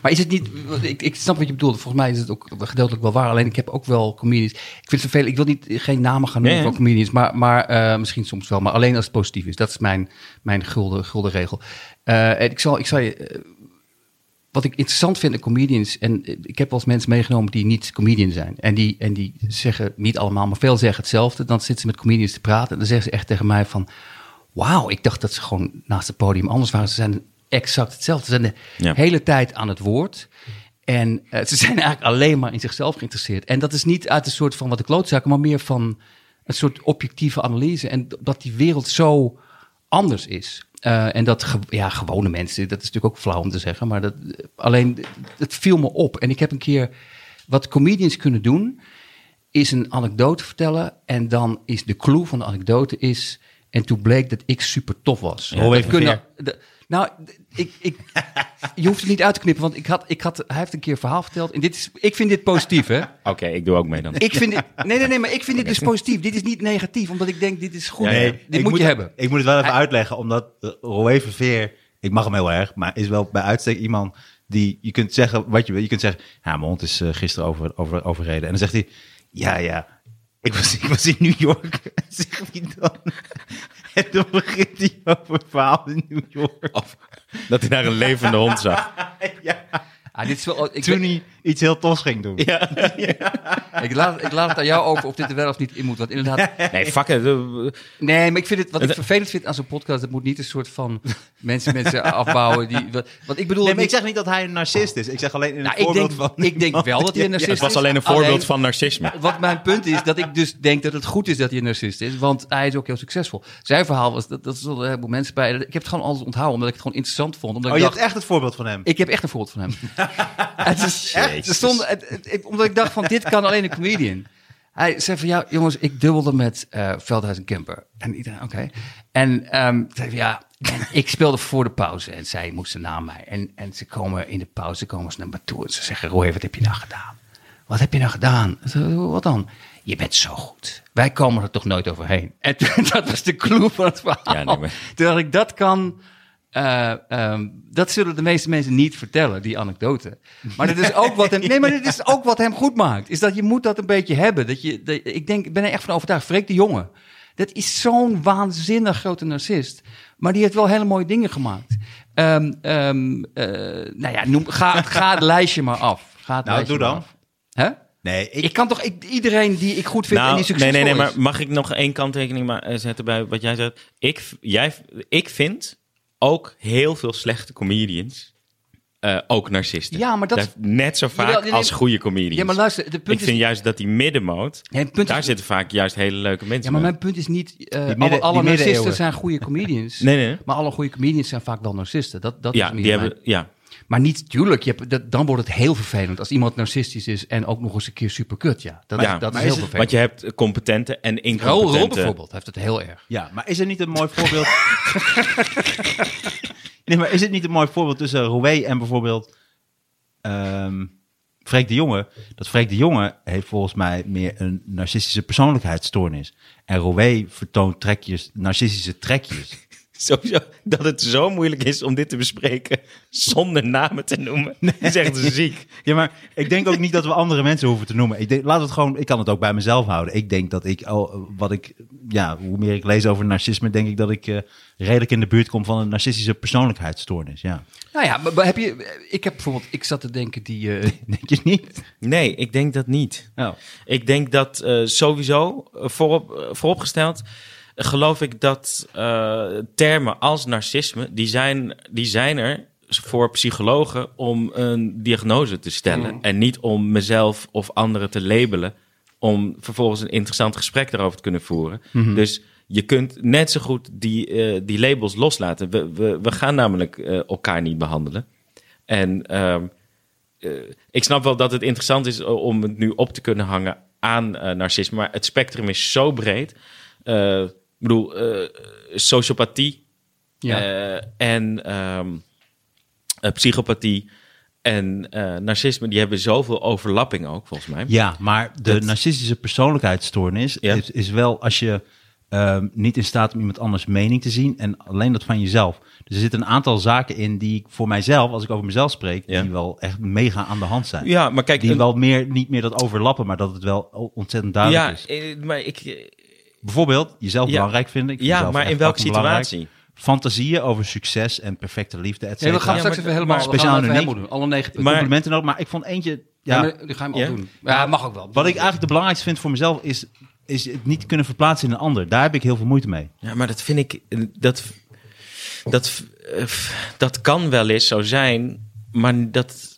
Speaker 3: Maar is het niet, ik, ik snap wat je bedoelt. Volgens mij is het ook gedeeltelijk wel waar. Alleen ik heb ook wel comedians. Ik vind het vervelend. Ik wil niet, geen namen gaan noemen
Speaker 4: Nee.
Speaker 3: van comedians. Maar, maar eh, misschien soms wel. Maar alleen als het positief is. Dat is mijn, mijn gulden, gulden regel. Eh, en ik zal, ik zal je eh, wat ik interessant vind aan comedians, en eh, ik heb wel eens mensen meegenomen die niet comedian zijn. En die, en die zeggen, niet allemaal, maar veel zeggen hetzelfde. Dan zitten ze met comedians te praten en dan zeggen ze echt tegen mij van... Wauw, ik dacht dat ze gewoon naast het podium anders waren. Ze zijn exact hetzelfde. Ze zijn de
Speaker 4: Ja.
Speaker 3: hele tijd aan het woord. En eh, ze zijn eigenlijk alleen maar in zichzelf geïnteresseerd. En dat is niet uit een soort van wat ik klootzakken, maar meer van een soort objectieve analyse. En dat die wereld zo anders is. Eh, en dat ge- ja, gewone mensen, dat is natuurlijk ook flauw om te zeggen, maar dat, eh, alleen het viel me op. En ik heb een keer wat comedians kunnen doen, is een anekdote vertellen. En dan is de clue van de anekdote is. En toen bleek dat ik super tof was.
Speaker 2: Hoe
Speaker 3: Dat
Speaker 2: even
Speaker 3: kunnen- de- nou, d- ik, ik, je hoeft het niet uit te knippen, want ik had, ik had, hij heeft een keer een verhaal verteld. En dit is, ik vind dit positief, hè?
Speaker 4: Oké, ik doe ook mee dan.
Speaker 3: Ik vind dit, nee, nee, nee, maar ik vind dit dus positief. Dit is niet negatief, omdat ik denk, dit is goed.
Speaker 2: Nee,
Speaker 3: dit
Speaker 2: ik
Speaker 3: moet, je hebben.
Speaker 2: Ik moet het wel even
Speaker 3: Hij-
Speaker 2: uitleggen, omdat eh, Roé Verveer, ik mag hem heel erg, maar is wel bij uitstek iemand die, je kunt zeggen wat je wil. Je kunt zeggen, ja, mijn hond is eh, gisteren over, over, overreden. En dan zegt hij, ja, ja, ik was, ik was in New York. zeg hij dan. En dan begint hij over het verhaal in New York.
Speaker 4: Dat hij naar een levende hond zag.
Speaker 3: Ah, dit is wel, ik ben-
Speaker 2: Toen hij iets heel tofs ging doen.
Speaker 4: Ja.
Speaker 3: Ik laat, ik laat het aan jou over of dit er wel of niet in moet. Want inderdaad,
Speaker 4: Nee, fuck it. Eh,
Speaker 3: Nee, maar ik vind het, wat ik vervelend vind aan zo'n podcast, het moet niet een soort van mensen, mensen afbouwen. Die, wat, want ik bedoel,
Speaker 2: Nee, maar ik
Speaker 3: niet-
Speaker 2: zeg niet dat hij een narcist is. Ik zeg alleen in het
Speaker 3: nou, ik,
Speaker 2: voorbeeld
Speaker 3: denk,
Speaker 2: van...
Speaker 3: ik denk wel dat hij een narcist
Speaker 4: het
Speaker 3: is.
Speaker 2: Oh,
Speaker 4: was alleen een voorbeeld van narcisme.
Speaker 3: Wat mijn punt is, dat ik dus denk dat het goed is dat hij een narcist is, want hij is ook heel succesvol. Zijn verhaal was, dat, dat zullen een heleboel mensen bij. Ik heb het gewoon altijd onthouden, omdat ik het gewoon interessant vond. Omdat
Speaker 2: Oh,
Speaker 3: ik
Speaker 2: je
Speaker 3: dacht,
Speaker 2: hebt echt het voorbeeld van hem.
Speaker 3: ik heb echt een voorbeeld van hem. het is echt, er
Speaker 4: Jezus.
Speaker 3: stond, het- het- ik- omdat ik dacht van, dit kan alleen een comedian. Hij zei van, ja jongens, ik dubbelde met eh, Veldhuis en Kemper. En iedereen, oké. En ehm zei van, ja, en ik speelde voor de pauze. En zij moesten na mij. En, en ze komen in de pauze, komen ze naar me toe. En ze zeggen, Roy, wat heb je nou gedaan? Wat heb je nou gedaan? Ik zei, Wat dan? Je bent zo goed. Wij komen er toch nooit overheen. En toen- dat was de clue van het verhaal.
Speaker 4: Ja, nee, maar-
Speaker 3: Toen dacht ik, dat kan... eh, ehm, dat zullen de meeste mensen niet vertellen, die anekdote. Maar dat is ook wat hem, nee, maar dit is ook wat hem goed maakt. Is dat je moet dat een beetje hebben. Dat je, dat- ik, denk, ik ben er echt van overtuigd. Freek de Jonge. Dat is zo'n waanzinnig grote narcist. Maar die heeft wel hele mooie dingen gemaakt. Ehm, ehm, eh, nou ja, noem, ga, ga het lijstje maar af. Ga het
Speaker 2: Nou,
Speaker 3: lijstje
Speaker 2: doe
Speaker 3: maar
Speaker 2: dan.
Speaker 3: af. Hè?
Speaker 2: Nee,
Speaker 3: Ik, kan toch ik, iedereen die ik goed vind en die
Speaker 4: nee,
Speaker 3: succesvol
Speaker 4: Nou, nee, nee,
Speaker 3: is.
Speaker 4: maar mag ik nog één kanttekening ma- eh, zetten bij wat jij zegt? Ik, v- jij, v- ik vind ook heel veel slechte comedians eh, ook narcisten.
Speaker 3: Ja, maar dat-
Speaker 4: is net zo vaak
Speaker 3: Jawel, nee, nee.
Speaker 4: als goede comedians.
Speaker 3: Ja, maar luister, de punt
Speaker 4: ik vind
Speaker 3: is...
Speaker 4: juist dat die middenmoot,
Speaker 3: Nee, het punt
Speaker 4: daar
Speaker 3: is-
Speaker 4: zitten vaak juist hele leuke
Speaker 3: ja,
Speaker 4: mensen
Speaker 3: maar
Speaker 4: bij.
Speaker 3: mijn punt is niet... eh,
Speaker 2: midden-
Speaker 3: alle alle
Speaker 2: die
Speaker 3: narcisten
Speaker 2: middeleeuwen.
Speaker 3: zijn goede comedians.
Speaker 4: Nee, nee, nee.
Speaker 3: Maar alle goede comedians zijn vaak wel narcisten. Dat, dat
Speaker 4: Ja,
Speaker 3: is meer
Speaker 4: die
Speaker 3: mijn-
Speaker 4: hebben, ja.
Speaker 3: Maar niet, tuurlijk, je hebt, dat, dan wordt het heel vervelend als iemand narcistisch is en ook nog eens een keer superkut. Ja, dat,
Speaker 4: Ja,
Speaker 3: is, dat is
Speaker 4: maar
Speaker 3: heel
Speaker 4: is het-
Speaker 3: vervelend.
Speaker 4: Want je hebt competente en
Speaker 3: Raoul
Speaker 4: incompetente.
Speaker 3: Rol bijvoorbeeld heeft het heel erg.
Speaker 2: Ja, maar is er niet een mooi voorbeeld... nee, maar is het niet een mooi voorbeeld tussen Roué en bijvoorbeeld ehm Freek de Jonge? Dat Freek de Jonge heeft volgens mij meer een narcistische persoonlijkheidsstoornis. En Roué vertoont trekjes, narcistische trekjes.
Speaker 4: Sowieso dat het zo moeilijk is om dit te bespreken zonder namen te noemen. Dat is echt ziek.
Speaker 2: Ja, maar ik denk ook niet dat we andere mensen hoeven te noemen. Ik denk, laat het gewoon, ik kan het ook bij mezelf houden. Ik denk dat ik, al wat ik, ja, hoe meer ik lees over narcisme, denk ik dat ik eh, redelijk in de buurt kom van een narcistische persoonlijkheidsstoornis. Ja,
Speaker 3: Nou ja, maar, maar heb je, ik heb bijvoorbeeld, ik zat te denken die, eh,
Speaker 2: denk je niet?
Speaker 4: Nee, ik denk dat niet.
Speaker 2: Oh.
Speaker 4: Ik denk dat eh, sowieso, eh, voorop, eh, vooropgesteld, eh, geloof ik dat eh, termen als narcisme, die zijn, die zijn er voor psychologen om een diagnose te stellen. En niet om mezelf of anderen te labelen, om vervolgens een interessant gesprek daarover te kunnen voeren. Dus je kunt net zo goed die, eh, die labels loslaten. We, we, we gaan namelijk eh, elkaar niet behandelen. En ehm, eh, ik snap wel dat het interessant is eh, om het nu op te kunnen hangen aan eh, narcisme. Maar het spectrum is zo breed. Eh, ik bedoel, eh, sociopathie
Speaker 3: ja.
Speaker 4: eh, en ehm, eh, psychopathie en eh, narcisme, die hebben zoveel overlapping ook, volgens mij.
Speaker 2: Ja, maar de narcistische persoonlijkheidsstoornis
Speaker 4: Ja.
Speaker 2: is, is wel als je ehm, niet in staat om iemand anders mening te zien en alleen dat van jezelf. Dus er zitten een aantal zaken in die ik voor mijzelf, als ik over mezelf spreek,
Speaker 4: Ja.
Speaker 2: die wel echt mega aan de hand zijn.
Speaker 4: Ja, maar kijk,
Speaker 2: Die
Speaker 4: een-
Speaker 2: wel meer, niet meer dat overlappen, maar dat het wel o- ontzettend duidelijk
Speaker 4: ja,
Speaker 2: is.
Speaker 4: eh, maar ik,
Speaker 2: Bijvoorbeeld jezelf
Speaker 4: Ja.
Speaker 2: belangrijk vinden. Ik vind
Speaker 4: ja,
Speaker 2: mezelf
Speaker 4: maar
Speaker 2: echt
Speaker 4: in welke
Speaker 2: fucking belangrijk.
Speaker 4: situatie?
Speaker 2: Fantasieën over succes en perfecte liefde, et
Speaker 3: Nee, we
Speaker 2: cetera.
Speaker 3: gaan
Speaker 4: Ja,
Speaker 3: straks
Speaker 4: maar-
Speaker 3: even helemaal
Speaker 4: maar
Speaker 3: we gaan
Speaker 2: speciaal
Speaker 3: even
Speaker 2: naar
Speaker 3: helemaal doen. Alle negen punten.
Speaker 4: maar-
Speaker 2: Complimenten ook, maar ik vond eentje...
Speaker 3: Ja,
Speaker 2: Ja,
Speaker 3: maar die ga je maar
Speaker 4: Ja.
Speaker 3: doen. Ja, mag ook wel.
Speaker 2: Wat ik eigenlijk het belangrijkste vind voor mezelf is, is het niet kunnen verplaatsen in een ander. Daar heb ik heel veel moeite mee.
Speaker 4: Ja, maar dat vind ik. Dat, dat, eh, dat kan wel eens zo zijn. Maar dat.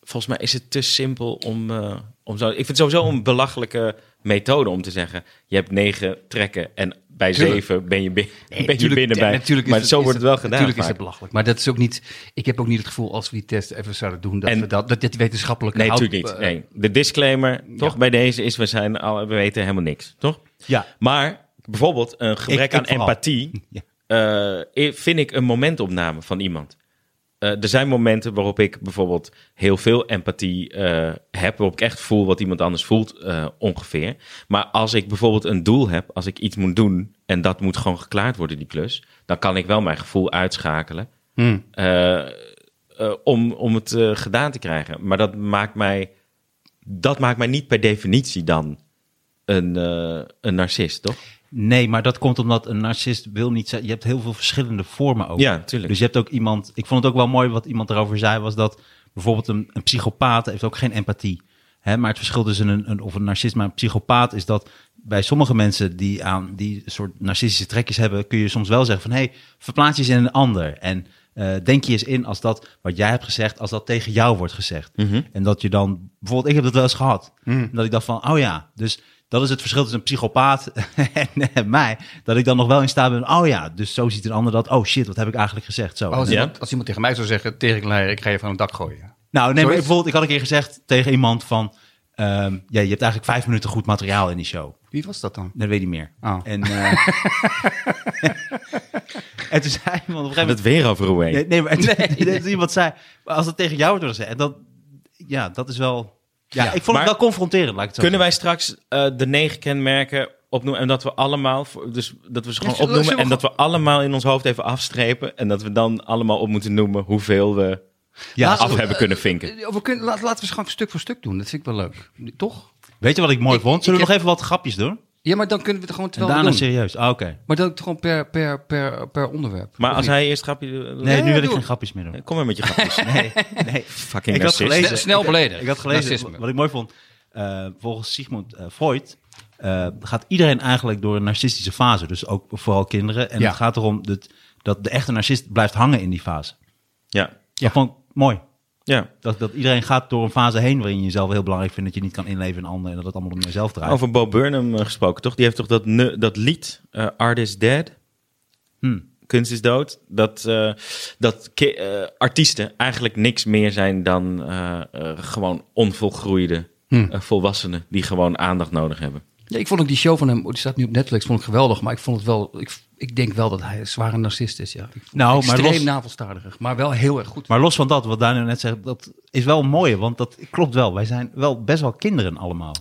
Speaker 4: Volgens mij is het te simpel om. eh, om zo, ik vind het sowieso een belachelijke methode om te zeggen. Je hebt negen trekken en bij
Speaker 3: Tuurlijk.
Speaker 4: zeven ben je, bin-
Speaker 3: Nee,
Speaker 4: ben je
Speaker 3: natuurlijk-
Speaker 4: binnen
Speaker 3: ja,
Speaker 4: bij.
Speaker 3: natuurlijk is
Speaker 4: maar
Speaker 3: het-
Speaker 4: zo
Speaker 3: is
Speaker 4: wordt het wel gedaan.
Speaker 3: Natuurlijk is
Speaker 4: vaak.
Speaker 3: het belachelijk. Maar dat is ook niet. Ik heb ook niet het gevoel als we die test even zouden doen. dat,
Speaker 4: En-
Speaker 3: we dat, dat dit wetenschappelijk.
Speaker 4: Nee, natuurlijk
Speaker 3: eh,
Speaker 4: niet. Nee. De disclaimer toch bij deze is: we, zijn al, we weten helemaal niks. Toch?
Speaker 2: Ja.
Speaker 4: Maar bijvoorbeeld een gebrek
Speaker 2: ik
Speaker 4: aan
Speaker 2: vooral.
Speaker 4: empathie
Speaker 2: Ja.
Speaker 4: eh, vind ik een momentopname van iemand. Eh, er zijn momenten waarop ik bijvoorbeeld heel veel empathie eh, heb, waarop ik echt voel wat iemand anders voelt eh, ongeveer. Maar als ik bijvoorbeeld een doel heb, als ik iets moet doen en dat moet gewoon geklaard worden, die klus, dan kan ik wel mijn gevoel uitschakelen
Speaker 2: Hmm.
Speaker 4: eh, eh, om, om het eh, gedaan te krijgen. Maar dat maakt mij, dat maakt mij niet per definitie dan een, eh, een narcist, toch?
Speaker 2: Nee, maar dat komt omdat een narcist wil niet zijn. Je hebt heel veel verschillende vormen ook.
Speaker 4: Ja, tuurlijk.
Speaker 2: Dus je hebt ook iemand. Ik vond het ook wel mooi wat iemand erover zei, was dat bijvoorbeeld een, een psychopaat heeft ook geen empathie. Hè? Maar het verschil tussen een, een, of een narcist maar een psychopaat is dat bij sommige mensen die aan die soort narcistische trekjes hebben, kun je soms wel zeggen van hé, hey, verplaats je eens in een ander. En eh, denk je eens in als dat wat jij hebt gezegd, als dat tegen jou wordt gezegd.
Speaker 4: Mhm.
Speaker 2: En dat je dan, bijvoorbeeld, ik heb dat wel eens gehad. Dat ik dacht van, oh ja, dus dat is het verschil tussen een psychopaat en, en mij. Dat ik dan nog wel in staat ben, oh ja, dus zo ziet een ander dat. Oh shit, wat heb ik eigenlijk gezegd? Zo.
Speaker 3: als,
Speaker 4: Ja.
Speaker 3: iemand, als iemand tegen mij zou zeggen, teringleier, ik ga je van het dak gooien.
Speaker 2: Nou, nee, maar
Speaker 3: Zoiets?
Speaker 2: bijvoorbeeld, ik had een keer gezegd tegen iemand van... ehm, ja, je hebt eigenlijk vijf minuten goed materiaal in die show.
Speaker 3: Wie was dat dan?
Speaker 2: Dat weet ik niet meer.
Speaker 3: Oh.
Speaker 2: En, eh, en toen zei iemand op een gegeven
Speaker 4: Gaat
Speaker 2: moment...
Speaker 4: het weer over Roemeen?
Speaker 2: Nee, nee maar en toen- en toen iemand zei... Maar als dat tegen jou wordt gezegd, dat, ja, dat is wel... Ja,
Speaker 4: Ja,
Speaker 2: ik vond
Speaker 4: maar-
Speaker 2: het wel confronterend, laat ik het zo
Speaker 4: Kunnen
Speaker 2: zeggen.
Speaker 4: wij straks eh, de negen kenmerken opnoemen en dat we allemaal, voor- dus dat we ze gewoon
Speaker 3: zullen-
Speaker 4: opnoemen
Speaker 3: zullen
Speaker 4: en
Speaker 3: we
Speaker 4: dat we allemaal in ons hoofd even afstrepen en dat we dan allemaal op moeten noemen hoeveel we
Speaker 2: Ja,
Speaker 3: Laten
Speaker 4: af
Speaker 2: absoluut.
Speaker 4: hebben kunnen vinken.
Speaker 3: Eh, We kunnen, laat- laten we ze gewoon stuk voor stuk doen. Dat vind ik wel leuk. Toch?
Speaker 2: Weet je wat ik mooi
Speaker 3: Ik-
Speaker 2: vond? Zullen
Speaker 3: ik
Speaker 2: we nog even wat grapjes doen?
Speaker 3: Ja, maar dan kunnen we het
Speaker 2: En
Speaker 3: gewoon terwijl we
Speaker 2: daarna
Speaker 3: doen.
Speaker 2: serieus. Ah, oké.
Speaker 3: Maar dan gewoon per, per, per, per onderwerp.
Speaker 4: Maar
Speaker 3: Of
Speaker 4: als
Speaker 3: niet?
Speaker 4: hij eerst grapje doet,
Speaker 2: Nee,
Speaker 4: eh,
Speaker 2: nu wil ik
Speaker 3: doe
Speaker 2: geen
Speaker 3: het.
Speaker 2: grapjes meer doen.
Speaker 4: kom weer met je grapjes.
Speaker 2: Nee, nee.
Speaker 4: Fucking
Speaker 2: Ik had
Speaker 4: narcist.
Speaker 2: gelezen-
Speaker 3: Snel- Snel beleden.
Speaker 2: Ik had gelezen,
Speaker 3: Narcisme.
Speaker 2: wat ik mooi vond. eh, volgens Sigmund eh, Freud eh, gaat iedereen eigenlijk door een narcistische fase. Dus ook vooral kinderen. En
Speaker 3: Ja.
Speaker 2: het gaat erom dat, dat de echte narcist blijft hangen in die fase.
Speaker 4: Ja,
Speaker 2: Dat vond ik mooi.
Speaker 4: ja.
Speaker 2: Dat, dat iedereen gaat door een fase heen waarin je jezelf heel belangrijk vindt. Dat je niet kan inleven in anderen en dat het allemaal om jezelf draait.
Speaker 4: Over Bo Burnham eh, gesproken, toch? Die heeft toch dat, nu- dat lied, eh, Art is Dead? Kunst is dood. Dat, eh, dat ki- eh, artiesten eigenlijk niks meer zijn dan eh, eh, gewoon onvolgroeide eh, volwassenen die gewoon aandacht nodig hebben.
Speaker 3: Ja, ik vond ook die show van hem, oh, die staat nu op Netflix, vond ik geweldig. Maar ik vond het wel, ik, ik denk wel dat hij een zware narcist is, ja. Ik vond
Speaker 2: Nou,
Speaker 3: het
Speaker 2: maar
Speaker 3: Extreem
Speaker 2: los-
Speaker 3: navelstaardig, maar wel heel erg goed.
Speaker 2: Maar los van dat, wat Daniel net zegt, dat is wel mooi. Want dat klopt wel. Wij zijn wel best wel kinderen allemaal.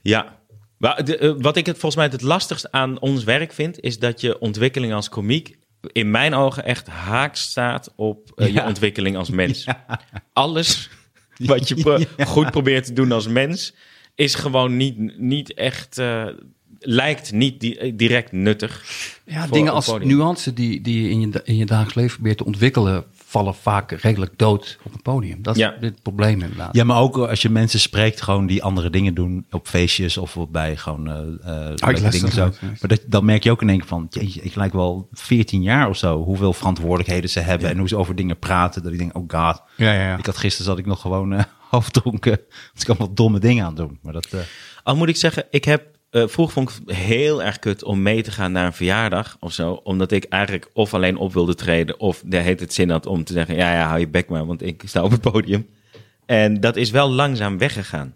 Speaker 4: Ja. Wa- de, eh, Wat ik het volgens mij het lastigst aan ons werk vind, is dat je ontwikkeling als komiek in mijn ogen echt haaks staat op eh,
Speaker 2: Ja.
Speaker 4: je ontwikkeling als mens. Alles wat je pro- goed probeert te doen als mens, is gewoon niet, niet echt, eh, lijkt niet di- eh, direct nuttig.
Speaker 3: Ja,
Speaker 4: voor
Speaker 3: dingen
Speaker 4: een
Speaker 3: als
Speaker 4: podium.
Speaker 3: nuance die, die je in je, da- in je dagelijks leven probeert te ontwikkelen, vallen vaak redelijk dood op een podium. Dat is
Speaker 4: Ja.
Speaker 3: het probleem inderdaad.
Speaker 2: Ja, maar ook als je mensen spreekt gewoon die andere dingen doen op feestjes of bij gewoon eh, eh leuke
Speaker 3: las
Speaker 2: dingen
Speaker 3: dat
Speaker 2: zo.
Speaker 3: ook, ja.
Speaker 2: Maar dat, dan merk je ook in één keer van, jeetje, ik lijk wel 14 jaar of zo. Hoeveel verantwoordelijkheden ze hebben en hoe ze over dingen praten. Dat ik denk, oh god.
Speaker 3: Ja, ja, ja.
Speaker 2: Ik had gisteren zat ik nog gewoon eh halfdronken. Dus ik allemaal domme dingen aan het doen. Maar dat, eh,
Speaker 4: Al moet ik zeggen, ik heb. eh vroeger vond ik het heel erg kut om mee te gaan naar een verjaardag of zo. Omdat ik eigenlijk of alleen op wilde treden. of de heet het zin had om te zeggen: ja, ja, hou je bek maar, want ik sta op het podium. En dat is wel langzaam weggegaan.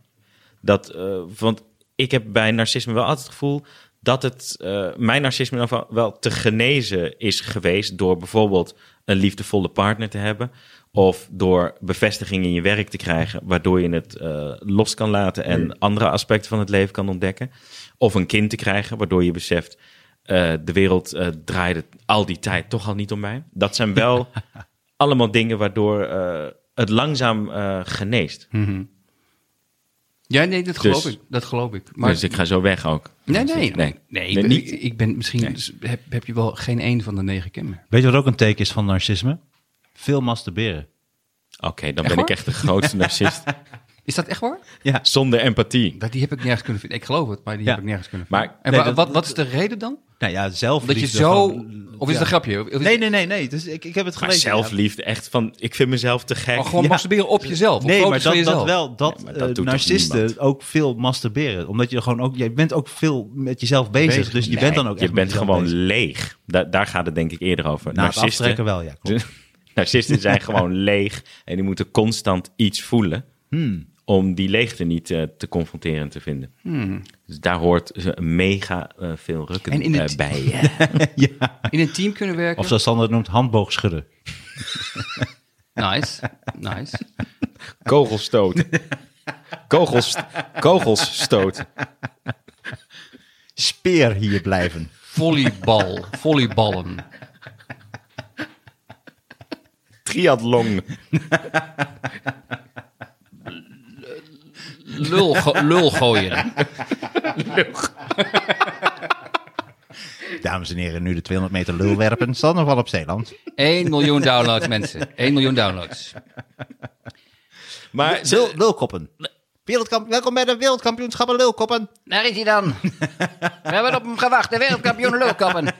Speaker 4: Dat, eh, want ik heb bij narcisme wel altijd het gevoel dat het, eh, mijn narcisme in ieder geval wel te genezen is geweest door bijvoorbeeld een liefdevolle partner te hebben. Of door bevestiging in je werk te krijgen, waardoor je het eh, los kan laten en andere aspecten van het leven kan ontdekken. Of een kind te krijgen, waardoor je beseft, eh, de wereld eh, draaide al die tijd toch al niet om mij. Dat zijn wel allemaal dingen waardoor eh, het langzaam eh, geneest.
Speaker 3: Ja, nee, dat geloof
Speaker 4: Dus-
Speaker 3: ik. Dat geloof ik. Maar
Speaker 4: Dus ik ga zo weg ook.
Speaker 3: nee, nee, nee,
Speaker 4: Nee,
Speaker 3: nee. ik, ben,
Speaker 4: niet.
Speaker 3: ik, ik ben misschien, dus heb, heb je wel geen één van de negen kenmerken.
Speaker 2: weet je wat ook een teken is van narcisme? Veel masturberen.
Speaker 4: Oké, dan ben ik echt de grootste narcist.
Speaker 3: Is dat echt waar?
Speaker 2: Ja.
Speaker 4: Zonder empathie.
Speaker 3: Dat, die heb ik nergens kunnen vinden. Ik geloof het, maar die
Speaker 2: Ja.
Speaker 3: heb ik nergens kunnen
Speaker 4: Maar-
Speaker 3: vinden. en
Speaker 2: nee,
Speaker 3: wa-
Speaker 2: dat-
Speaker 3: wat, wat is de reden dan?
Speaker 2: Nou ja, zelf.
Speaker 3: Dat je zo... Of is het een grapje? Of is het-
Speaker 2: Nee, nee, nee, nee. Dus ik, ik heb het
Speaker 4: Maar
Speaker 2: gelezen. ja.
Speaker 4: zelfliefde, echt van, ik vind mezelf te gek.
Speaker 3: Oh, gewoon
Speaker 2: Ja.
Speaker 3: masturberen op jezelf.
Speaker 2: Nee,
Speaker 3: op
Speaker 2: maar dat,
Speaker 3: foto's van
Speaker 2: dat
Speaker 3: jezelf.
Speaker 2: wel. Dat,
Speaker 4: Nee, maar dat
Speaker 2: eh
Speaker 4: doet toch niemand?
Speaker 2: narcisten ook veel masturberen. Omdat je gewoon ook... Je bent ook veel met jezelf bezig.
Speaker 3: Bezig.
Speaker 2: Dus je
Speaker 3: Nee,
Speaker 2: bent dan ook
Speaker 4: je
Speaker 2: echt
Speaker 4: bent
Speaker 2: met jezelf
Speaker 4: gewoon
Speaker 2: bezig.
Speaker 4: leeg. Da- daar gaat het denk ik eerder over.
Speaker 2: Na het aftrekken wel, ja. klopt.
Speaker 4: narcisten zijn gewoon leeg. En die moeten constant iets voelen.
Speaker 2: Hmm.
Speaker 4: Om die leegte niet eh, te confronterend te vinden.
Speaker 2: Hmm.
Speaker 4: Dus daar hoort eh, mega eh, veel rukken
Speaker 3: En in
Speaker 4: eh,
Speaker 3: het-
Speaker 4: bij.
Speaker 3: In een team kunnen werken.
Speaker 2: Of zoals Sander het noemt, handboogschudden.
Speaker 3: Nice, nice.
Speaker 4: Kogelstoot. Kogels, kogelsstoot.
Speaker 2: Speer hier blijven.
Speaker 3: Volleybal, volleyballen.
Speaker 4: Triathlon.
Speaker 3: Lul, go- lul gooien.
Speaker 2: Dames en heren, nu de 200 meter lul werpen. Sander van op Zeeland.
Speaker 3: 1 miljoen downloads, mensen. 1 miljoen downloads.
Speaker 4: Maar
Speaker 2: Lul, lulkoppen. Wereldkamp- welkom bij de wereldkampioenschappen lulkoppen.
Speaker 3: Daar is hij dan. We hebben op hem gewacht, de wereldkampioen lulkappen.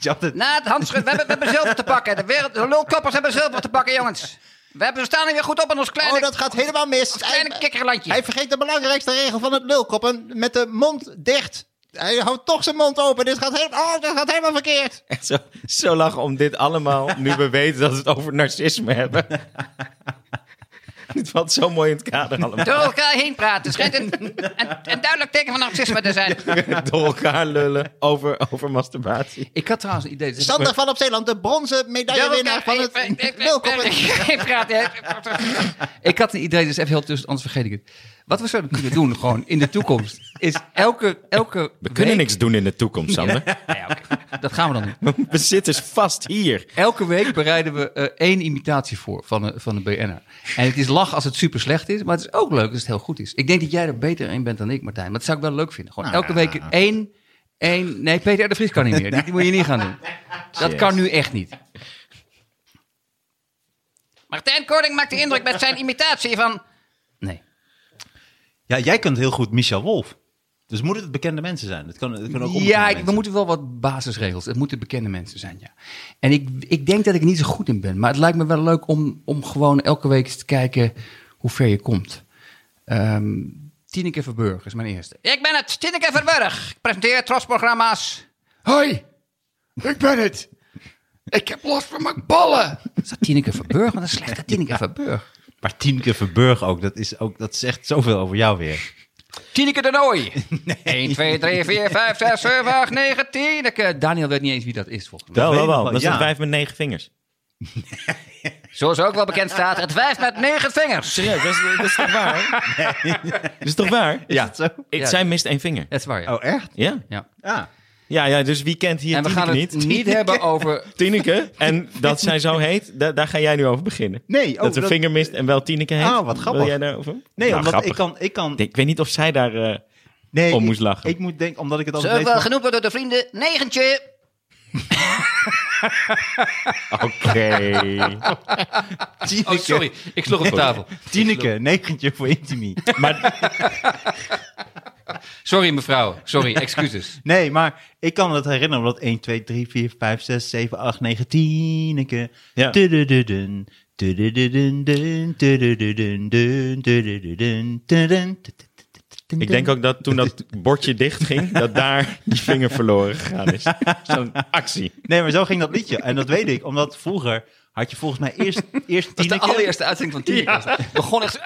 Speaker 2: Je had het-
Speaker 3: Na het handschud, we hebben, we hebben zilver te pakken. De, wereld, de lulkappers hebben zilver te pakken, jongens. We, hebben, we staan er weer goed op in ons kleine,
Speaker 2: oh, dat gaat helemaal mis.
Speaker 3: kleine
Speaker 2: Hij,
Speaker 3: kikkerlandje.
Speaker 2: hij vergeet de belangrijkste regel van het lulkoppen. Met de mond dicht. Hij houdt toch zijn mond open. Dit gaat, heel, oh, dit gaat helemaal verkeerd.
Speaker 4: echt zo, zo lachen om dit allemaal, nu we weten dat we het over narcisme hebben. dit valt zo mooi in het kader allemaal.
Speaker 3: Door elkaar heen praten. Het schijnt een, een, een duidelijk teken van narcisme te zijn.
Speaker 4: Door elkaar lullen over, over masturbatie.
Speaker 3: Ik had trouwens een idee. dat-
Speaker 2: Sander van Opzeeland, de bronzen medaillewinnaar van het
Speaker 3: Ik- ik- ik-
Speaker 2: lulkoppen.
Speaker 3: ik- ik praat, hè. Ik had een idee, dus even heel tussen, anders vergeet ik het. Wat we zouden kunnen doen, gewoon in de toekomst, is elke, elke
Speaker 4: We kunnen
Speaker 3: week-
Speaker 4: niks doen in de toekomst, Sander.
Speaker 3: Nou ja, oké. Dat gaan we dan doen.
Speaker 4: We zitten vast hier.
Speaker 3: Elke week bereiden we eh, één imitatie voor van, een- van een BN'er. En het is lach als het super slecht is, maar het is ook leuk als het heel goed is. Ik denk dat jij er beter in bent dan ik, Martijn. Maar dat zou ik wel leuk vinden. Gewoon elke week één, één... Nee, Peter R. de Vries kan niet meer. Die, die moet je niet gaan doen. Dat kan nu echt niet. Martijn Koning maakt de indruk met zijn imitatie van... Nee.
Speaker 2: Ja, jij kunt heel goed Michel Wolf. Dus moet het bekende mensen zijn? Het kan, het kan ook onbekende
Speaker 3: Ja, ik-
Speaker 2: mensen.
Speaker 3: we moeten wel wat basisregels. Het moeten bekende mensen zijn, ja. En ik, ik denk dat ik er niet zo goed in ben. Maar het lijkt me wel leuk om, om gewoon elke week eens te kijken hoe ver je komt. Ehm Tineke Verburg is mijn eerste. Ik ben het, Tineke Verburg. Ik presenteer trosprogramma's. Hoi, ik ben het. Ik heb last van mijn ballen. Is dat Tineke Verburg? Wat een slechte Tineke Verburg.
Speaker 2: Maar Tienke Verburg ook, dat, is ook, dat zegt zoveel over jou weer.
Speaker 3: Tineke de Nooi. 1, 2, 3, 4, 5, 6, 7, 8, 9, Tineke. Daniel weet niet eens wie dat is, volgens mij.
Speaker 4: Wel,
Speaker 2: weet
Speaker 4: wel,
Speaker 2: ik
Speaker 4: wel.
Speaker 2: wel,
Speaker 4: Dat is
Speaker 2: ja.
Speaker 4: een vijf met negen vingers.
Speaker 3: Zoals ook wel bekend staat, het wijf met negen vingers.
Speaker 4: Serieus, dat is, dat is toch waar? Dat is toch waar?
Speaker 2: Ja. dat zo?
Speaker 4: Ik,
Speaker 3: Ja.
Speaker 4: Zij mist één vinger.
Speaker 3: Dat is waar, ja.
Speaker 2: Oh, echt? Nou,
Speaker 4: Ja.
Speaker 3: ja.
Speaker 2: Ja.
Speaker 4: Ja, ja, dus wie kent hier
Speaker 3: En we
Speaker 4: Tineke
Speaker 3: gaan het
Speaker 4: niet?
Speaker 3: niet, hebben over...
Speaker 4: Tineke, en dat zij zo heet, da- daar ga jij nu over beginnen.
Speaker 2: Nee, oh,
Speaker 4: dat ze
Speaker 2: dat-
Speaker 4: vinger mist en wel Tineke heet.
Speaker 2: Ah, wat grappig.
Speaker 4: Wil jij daarover?
Speaker 2: Nee,
Speaker 4: Nou,
Speaker 2: omdat
Speaker 4: grappig.
Speaker 2: ik kan... Ik kan
Speaker 4: Ik weet niet of zij daar... eh,
Speaker 2: nee,
Speaker 4: om
Speaker 2: ik-
Speaker 4: moest lachen.
Speaker 2: Ik, moet denken, omdat ik het altijd
Speaker 3: Zo
Speaker 2: weet...
Speaker 3: wel
Speaker 2: van-
Speaker 3: genoemd worden door de vrienden, negentje.
Speaker 4: Oké.
Speaker 2: Tieneke,
Speaker 3: Oh, sorry, ik sloeg op tafel.
Speaker 2: Tieneke, negentje voor Intimi.
Speaker 4: maar
Speaker 3: Sorry mevrouw, sorry, excuses.
Speaker 2: Nee, maar ik kan het herinneren, omdat 1, 2, 3, 4, 5, 6, 7, 8, 9, Tieneke.
Speaker 4: Ja.
Speaker 2: Tudududun, tudududun, tudududun, tudududun, tudun, tudududun.
Speaker 4: ik denk ook dat toen dat bordje dicht ging, dat daar die vinger verloren gegaan is. Zo'n actie.
Speaker 2: Nee, maar zo ging dat liedje. En dat weet ik, omdat vroeger had je volgens mij eerst, eerst
Speaker 3: Dat is de
Speaker 2: Tieneke.
Speaker 3: allereerste uitzending van Tineke. was dat. Begon echt... zo-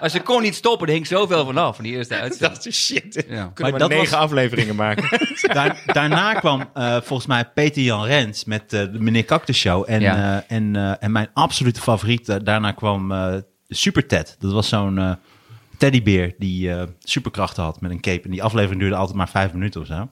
Speaker 3: Maar ze kon niet stoppen, er hing zoveel vanaf van die eerste uitzending.
Speaker 4: Dat is shit.
Speaker 3: Ja.
Speaker 4: Kunnen
Speaker 2: Maar
Speaker 4: we
Speaker 2: dat
Speaker 4: negen
Speaker 2: was-
Speaker 4: afleveringen maken.
Speaker 2: Daar- daarna kwam eh, volgens mij Peter Jan Rens met eh, de Meneer Cactus Show. En,
Speaker 3: Ja.
Speaker 2: eh, en, eh, en mijn absolute favoriet, eh, daarna kwam eh, Super Ted. Dat was zo'n eh, teddybeer die eh, superkrachten had met een cape. En die aflevering duurde altijd maar vijf minuten of zo.
Speaker 3: Maar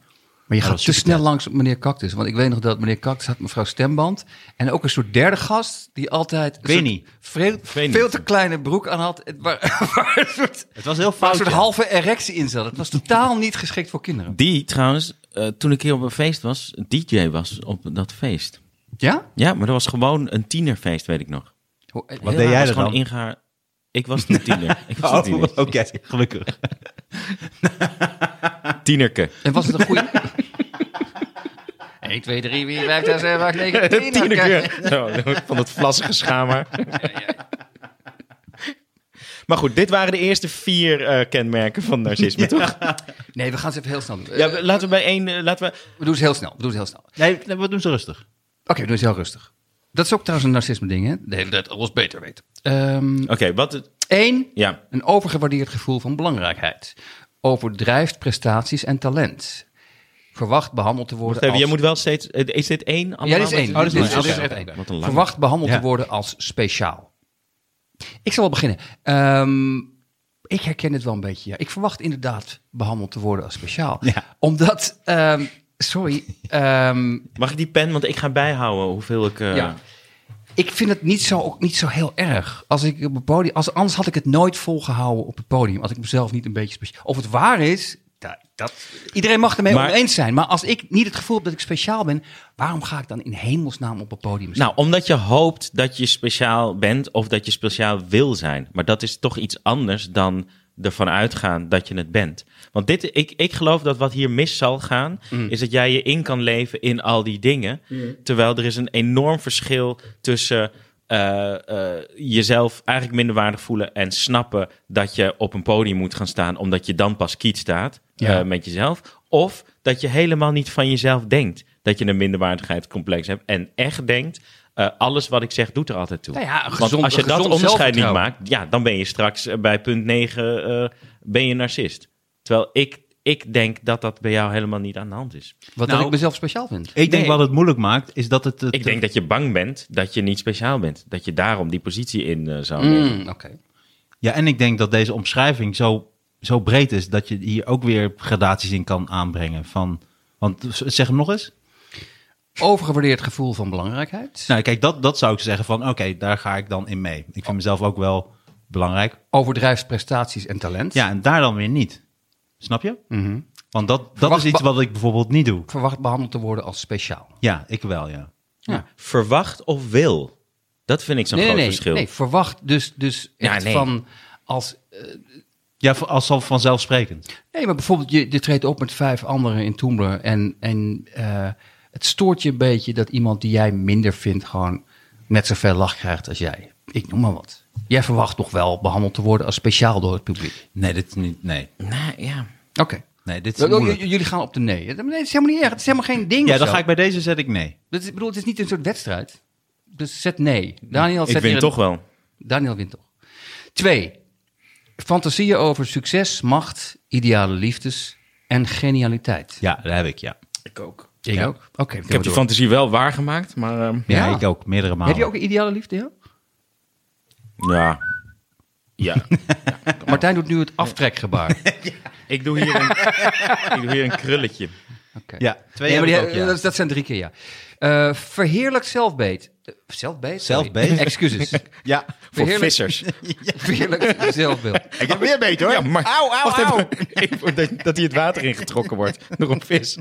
Speaker 3: je
Speaker 2: Ja,
Speaker 3: gaat
Speaker 2: dat
Speaker 3: te
Speaker 2: is super
Speaker 3: snel langs op meneer Cactus. Want ik weet nog dat meneer Cactus had mevrouw Stemband. En ook een soort derde gast die altijd... een soort
Speaker 2: Winnie.
Speaker 3: Veel,
Speaker 4: Winnie.
Speaker 3: veel te kleine broek aan had. het- Waar, waar een soort...
Speaker 2: Het was heel
Speaker 3: Waar
Speaker 2: fout.
Speaker 3: een soort
Speaker 2: ja.
Speaker 3: halve erectie in zat. Het was totaal niet geschikt voor kinderen.
Speaker 4: Die trouwens, eh, toen ik hier op een feest was, een DJ was op dat feest.
Speaker 3: Ja?
Speaker 4: Ja, maar dat was gewoon een tienerfeest, weet ik nog.
Speaker 2: Wat deed jij
Speaker 4: was
Speaker 2: er
Speaker 4: gewoon
Speaker 2: dan?
Speaker 4: ingehaar. Ik was de tiener. Ik was de
Speaker 2: Oh,
Speaker 4: tiener.
Speaker 2: oké, gelukkig.
Speaker 4: Tienerke.
Speaker 3: En was het een goede... 1, 2, 3, 4, 5, 6, 7, 8, 9, 10.
Speaker 4: Tienerke. Zo, van dat vlassige schaamhaar. Maar goed, dit waren de eerste vier eh, kenmerken van narcisme, toch?
Speaker 3: Nee, we gaan ze even heel snel doen. Eh,
Speaker 4: Ja, we- laten we bij één... eh, laten we...
Speaker 3: We doen ze heel snel. We doen ze heel snel. Oké,
Speaker 2: Nee, nee, we doen ze rustig.
Speaker 3: we doen ze heel rustig. Dat is ook trouwens een narcisme ding, hè? De hele tijd alles beter weten. Eén,
Speaker 4: Oké, wat... het- Ja.
Speaker 3: een overgewaardeerd gevoel van belangrijkheid. Overdrijft prestaties en talent. Verwacht behandeld te worden
Speaker 4: Even,
Speaker 3: als...
Speaker 4: jij moet wel steeds... eh, Is dit één?
Speaker 3: Ja,
Speaker 4: allemaal?
Speaker 3: dit is één.
Speaker 2: Oh, dit is
Speaker 3: Dit is-
Speaker 2: maar-
Speaker 3: dit is
Speaker 2: oké,
Speaker 3: echt
Speaker 4: oké.
Speaker 3: één.
Speaker 4: Wat een lange.
Speaker 3: Verwacht behandeld
Speaker 2: Ja.
Speaker 3: te worden als speciaal. Ik zal wel beginnen. Ehm, ik herken het wel een beetje. Ja. Ik verwacht inderdaad behandeld te worden als speciaal.
Speaker 2: Ja.
Speaker 3: Omdat, ehm, sorry, ehm,
Speaker 4: Mag ik die pen? Want ik ga bijhouden hoeveel ik... eh,
Speaker 3: Ja. ik vind het niet zo, ook niet zo heel erg. Als ik op het podium, als, anders had ik het nooit volgehouden op het podium. Als ik mezelf niet een beetje speciaal. Of het waar is, dat daar- dat, iedereen mag ermee
Speaker 4: Maar-
Speaker 3: oneens zijn. Maar als ik niet het gevoel heb dat ik speciaal ben, waarom ga ik dan in hemelsnaam op een podium staan?
Speaker 4: Nou, omdat je hoopt dat je speciaal bent of dat je speciaal wil zijn. Maar dat is toch iets anders dan ervan uitgaan dat je het bent. Want dit, ik, ik geloof dat wat hier mis zal gaan, is dat jij je in kan leven in al die dingen. Terwijl er is een enorm verschil tussen eh, eh, jezelf eigenlijk minderwaardig voelen en snappen dat je op een podium moet gaan staan, omdat je dan pas kiet staat
Speaker 3: Ja.
Speaker 4: eh, met jezelf. Of dat je helemaal niet van jezelf denkt dat je een minderwaardigheidscomplex hebt en echt denkt. eh, alles wat ik zeg doet er altijd toe.
Speaker 3: Nou ja, een
Speaker 4: Want
Speaker 3: gezond-
Speaker 4: als je
Speaker 3: een
Speaker 4: dat
Speaker 3: gezond
Speaker 4: onderscheid niet
Speaker 3: zelfvertrouwen.
Speaker 4: maakt, ja, dan ben je straks eh, bij punt 9 eh, ben je narcist. Terwijl ik, ik denk dat dat bij jou helemaal niet aan de hand is.
Speaker 3: Wat
Speaker 2: nou-
Speaker 3: dat ik mezelf speciaal vind.
Speaker 2: Ik denk
Speaker 4: Nee.
Speaker 2: wat het moeilijk maakt, is dat het... het
Speaker 4: Ik denk dat je bang bent dat je niet speciaal bent. Dat je daarom die positie in eh, zou nemen.
Speaker 3: Mm, Oké.
Speaker 2: Ja, en ik denk dat deze omschrijving zo, zo breed is dat je hier ook weer gradaties in kan aanbrengen. Van, want zeg hem nog eens.
Speaker 3: Overgewaardeerd gevoel van belangrijkheid.
Speaker 2: Nou, kijk, dat, dat zou ik zeggen van oké, daar ga ik dan in mee. Ik vind mezelf ook wel belangrijk.
Speaker 3: Overdrijft prestaties en talent.
Speaker 2: Ja, en daar dan weer niet. Snap je?
Speaker 3: Mhm.
Speaker 2: Want dat, dat
Speaker 3: Verwacht-
Speaker 2: is iets wat ik bijvoorbeeld niet doe.
Speaker 3: Verwacht behandeld te worden als speciaal.
Speaker 2: Ja, ik wel, ja.
Speaker 4: Verwacht of wil. Dat vind ik zo'n
Speaker 3: nee,
Speaker 4: groot
Speaker 3: nee,
Speaker 4: verschil.
Speaker 3: nee. Verwacht dus, dus
Speaker 4: Ja,
Speaker 3: echt
Speaker 4: nee.
Speaker 3: van als... eh,
Speaker 2: Ja, v- als al vanzelfsprekend.
Speaker 3: nee, maar bijvoorbeeld je, je treedt op met vijf anderen in Tumblr en, en eh, het stoort je een beetje dat iemand die jij minder vindt gewoon net zoveel lach krijgt als jij. Ik noem maar wat. Jij verwacht toch wel behandeld te worden als speciaal door het publiek.
Speaker 2: Nee, dit is niet. Nee,
Speaker 4: Nou, ja.
Speaker 3: Oké.
Speaker 2: nee dit is
Speaker 3: J-
Speaker 2: moeilijk.
Speaker 3: j- Jullie gaan op de nee. Nee, Het is helemaal niet erg. Het is helemaal geen ding.
Speaker 2: Ja,
Speaker 3: of
Speaker 2: dan
Speaker 3: zo.
Speaker 2: ga ik bij deze zet ik nee.
Speaker 3: Dat is, ik bedoel, het is niet een soort wedstrijd. Dus zet nee. Daniel zet
Speaker 4: Ik
Speaker 3: hier
Speaker 4: win
Speaker 3: een-
Speaker 4: toch wel.
Speaker 3: Daniel wint toch. Twee. Fantasieën over succes, macht, ideale liefdes en genialiteit.
Speaker 2: Ja, dat heb ik, ja.
Speaker 4: Ik ook.
Speaker 3: Ik ook. Oké,
Speaker 4: Ik heb die fantasie wel waargemaakt, maar... ehm,
Speaker 2: Ja,
Speaker 3: Ja.
Speaker 2: ik ook. Meerdere malen.
Speaker 3: Heb je ook een ideale liefde? Ja?
Speaker 4: Ja. Ja.
Speaker 3: Martijn doet nu het aftrekgebaar. Oké.
Speaker 4: ik, doe hier een, ik doe hier een krulletje.
Speaker 2: Ja, twee
Speaker 3: Nee, maar
Speaker 2: heb
Speaker 3: die-
Speaker 2: ik ook, ja.
Speaker 3: dat, dat zijn drie keer ja. Eh verheerlijk zelfbeet. Eh, Zelfbeet? Sorry.
Speaker 2: Zelfbeet?
Speaker 3: Excuses.
Speaker 2: Ja.
Speaker 4: Voor
Speaker 3: Verheerlijk-
Speaker 4: vissers.
Speaker 3: Verheerlijk zelfbeeld.
Speaker 4: Ik heb Oh, weer beter hoor. Ja, maar, au, au, au. dat, dat hij het water ingetrokken wordt door een vis.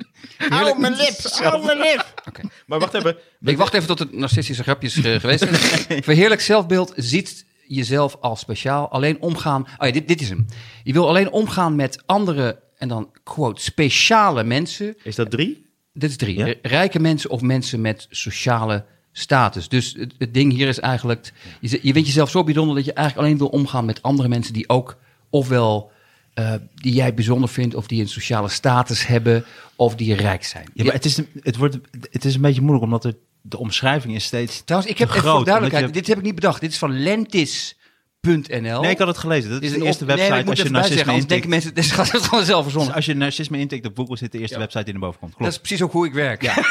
Speaker 4: Au, mijn lip. Au, mijn lip.
Speaker 3: Oké.
Speaker 4: Maar wacht even.
Speaker 3: Ik wacht even tot het narcistische grapjes eh, geweest zijn. Verheerlijk zelfbeeld ziet jezelf als speciaal. Alleen omgaan. Oh ja, dit, dit is hem. Je wil alleen omgaan met andere en dan quote speciale mensen.
Speaker 4: Is dat drie?
Speaker 3: Dit is drie.
Speaker 4: Ja.
Speaker 3: R- Rijke mensen of mensen met sociale status. Dus het, het ding hier is eigenlijk. Je, zet- je bent jezelf zo bijzonder dat je eigenlijk alleen wil omgaan met andere mensen die ook ofwel. eh, die jij bijzonder vindt, of die een sociale status hebben, of die rijk zijn.
Speaker 2: Ja, maar het is, een- het, wordt, het is een beetje moeilijk, omdat de, de omschrijving is steeds
Speaker 3: Trouwens, ik heb
Speaker 2: te
Speaker 3: even
Speaker 2: groot,
Speaker 3: voor duidelijkheid,
Speaker 2: omdat
Speaker 3: dit heb ik niet bedacht. Dit is van lentis.nl.
Speaker 2: je- Nee, ik had het gelezen. Dat is,
Speaker 3: een
Speaker 2: de eerste
Speaker 3: op-
Speaker 2: website
Speaker 3: nee, ik
Speaker 2: als
Speaker 3: moet
Speaker 2: je
Speaker 3: even bijzeggen,
Speaker 2: narcisme
Speaker 3: anders
Speaker 2: intikt.
Speaker 3: denken mensen, dit gaat het gewoon zelf verzonnen.
Speaker 2: Dus Als je narcisme intikt op Google zit de eerste website die naar boven komt.
Speaker 3: Dat
Speaker 2: Klopt.
Speaker 3: is precies ook hoe ik werk. Ja.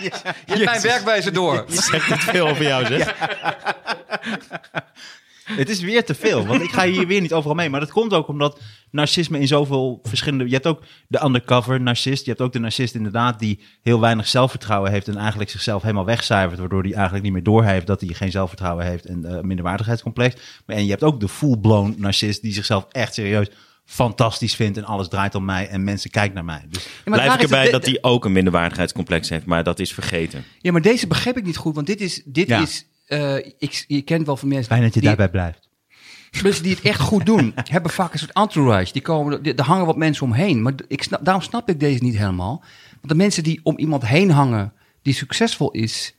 Speaker 3: Je hebt mijn werkwijze door.
Speaker 4: Zegt het veel over jou, zeg.
Speaker 2: Het is weer te veel, want ik ga hier weer niet overal mee. Maar dat komt ook omdat narcisme in zoveel verschillende... Je hebt ook de undercover narcist. Je hebt ook de narcist inderdaad die heel weinig zelfvertrouwen heeft... en eigenlijk zichzelf helemaal wegcijfert... waardoor hij eigenlijk niet meer doorheeft dat hij geen zelfvertrouwen heeft... en eh, een minderwaardigheidscomplex. Maar- En je hebt ook de full-blown narcist die zichzelf echt serieus fantastisch vindt... en alles draait om mij en mensen kijken naar mij. Dus
Speaker 3: Ja, maar
Speaker 4: Blijf
Speaker 3: daar
Speaker 4: ik
Speaker 3: is het-
Speaker 4: erbij
Speaker 3: de-
Speaker 4: dat hij ook een minderwaardigheidscomplex heeft, maar dat is vergeten.
Speaker 3: Ja, maar deze begreep ik niet goed, want dit is... Dit
Speaker 2: Ja.
Speaker 3: is eh, ik, je kent wel van mensen...
Speaker 2: fijn dat je
Speaker 3: die-
Speaker 2: daarbij blijft.
Speaker 3: Mensen die het echt goed doen, hebben vaak een soort entourage. Die komen, die- er hangen wat mensen omheen. Maar ik snap, daarom snap ik deze niet helemaal. Want de mensen die om iemand heen hangen die succesvol is,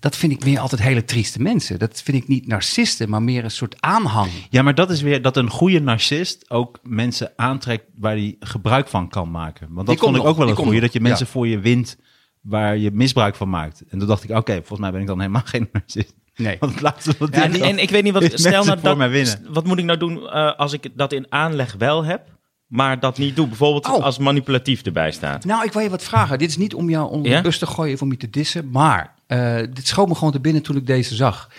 Speaker 3: dat vind ik meer altijd hele trieste mensen. Dat vind ik niet narcisten, maar meer een soort aanhang.
Speaker 2: Ja, maar dat is weer dat een goede narcist ook mensen aantrekt waar hij gebruik van kan maken. Want dat
Speaker 3: komt
Speaker 2: vond ik
Speaker 3: nog,
Speaker 2: ook wel
Speaker 3: die
Speaker 2: een
Speaker 3: komt
Speaker 2: goede,
Speaker 3: nog,
Speaker 2: dat je mensen voor je wint waar je misbruik van maakt. En toen dacht ik, oké, volgens mij ben ik dan helemaal geen narcist.
Speaker 3: Nee.
Speaker 2: Want laatste wat
Speaker 4: Ja,
Speaker 2: dit
Speaker 4: en,
Speaker 2: was,
Speaker 4: en ik weet niet wat.
Speaker 2: is
Speaker 4: Stel
Speaker 2: mensen
Speaker 4: nou
Speaker 2: voor
Speaker 4: dat,
Speaker 2: mij winnen.
Speaker 4: Wat moet ik nou doen eh, als ik dat in aanleg wel heb, maar dat niet doe? Bijvoorbeeld
Speaker 3: Oh.
Speaker 4: als manipulatief erbij staat.
Speaker 3: Nou, ik wil je wat vragen. Dit is niet om jou onder de
Speaker 4: Ja?
Speaker 3: bus te gooien of om je te dissen. Maar eh, dit schoot me gewoon te binnen toen ik deze zag.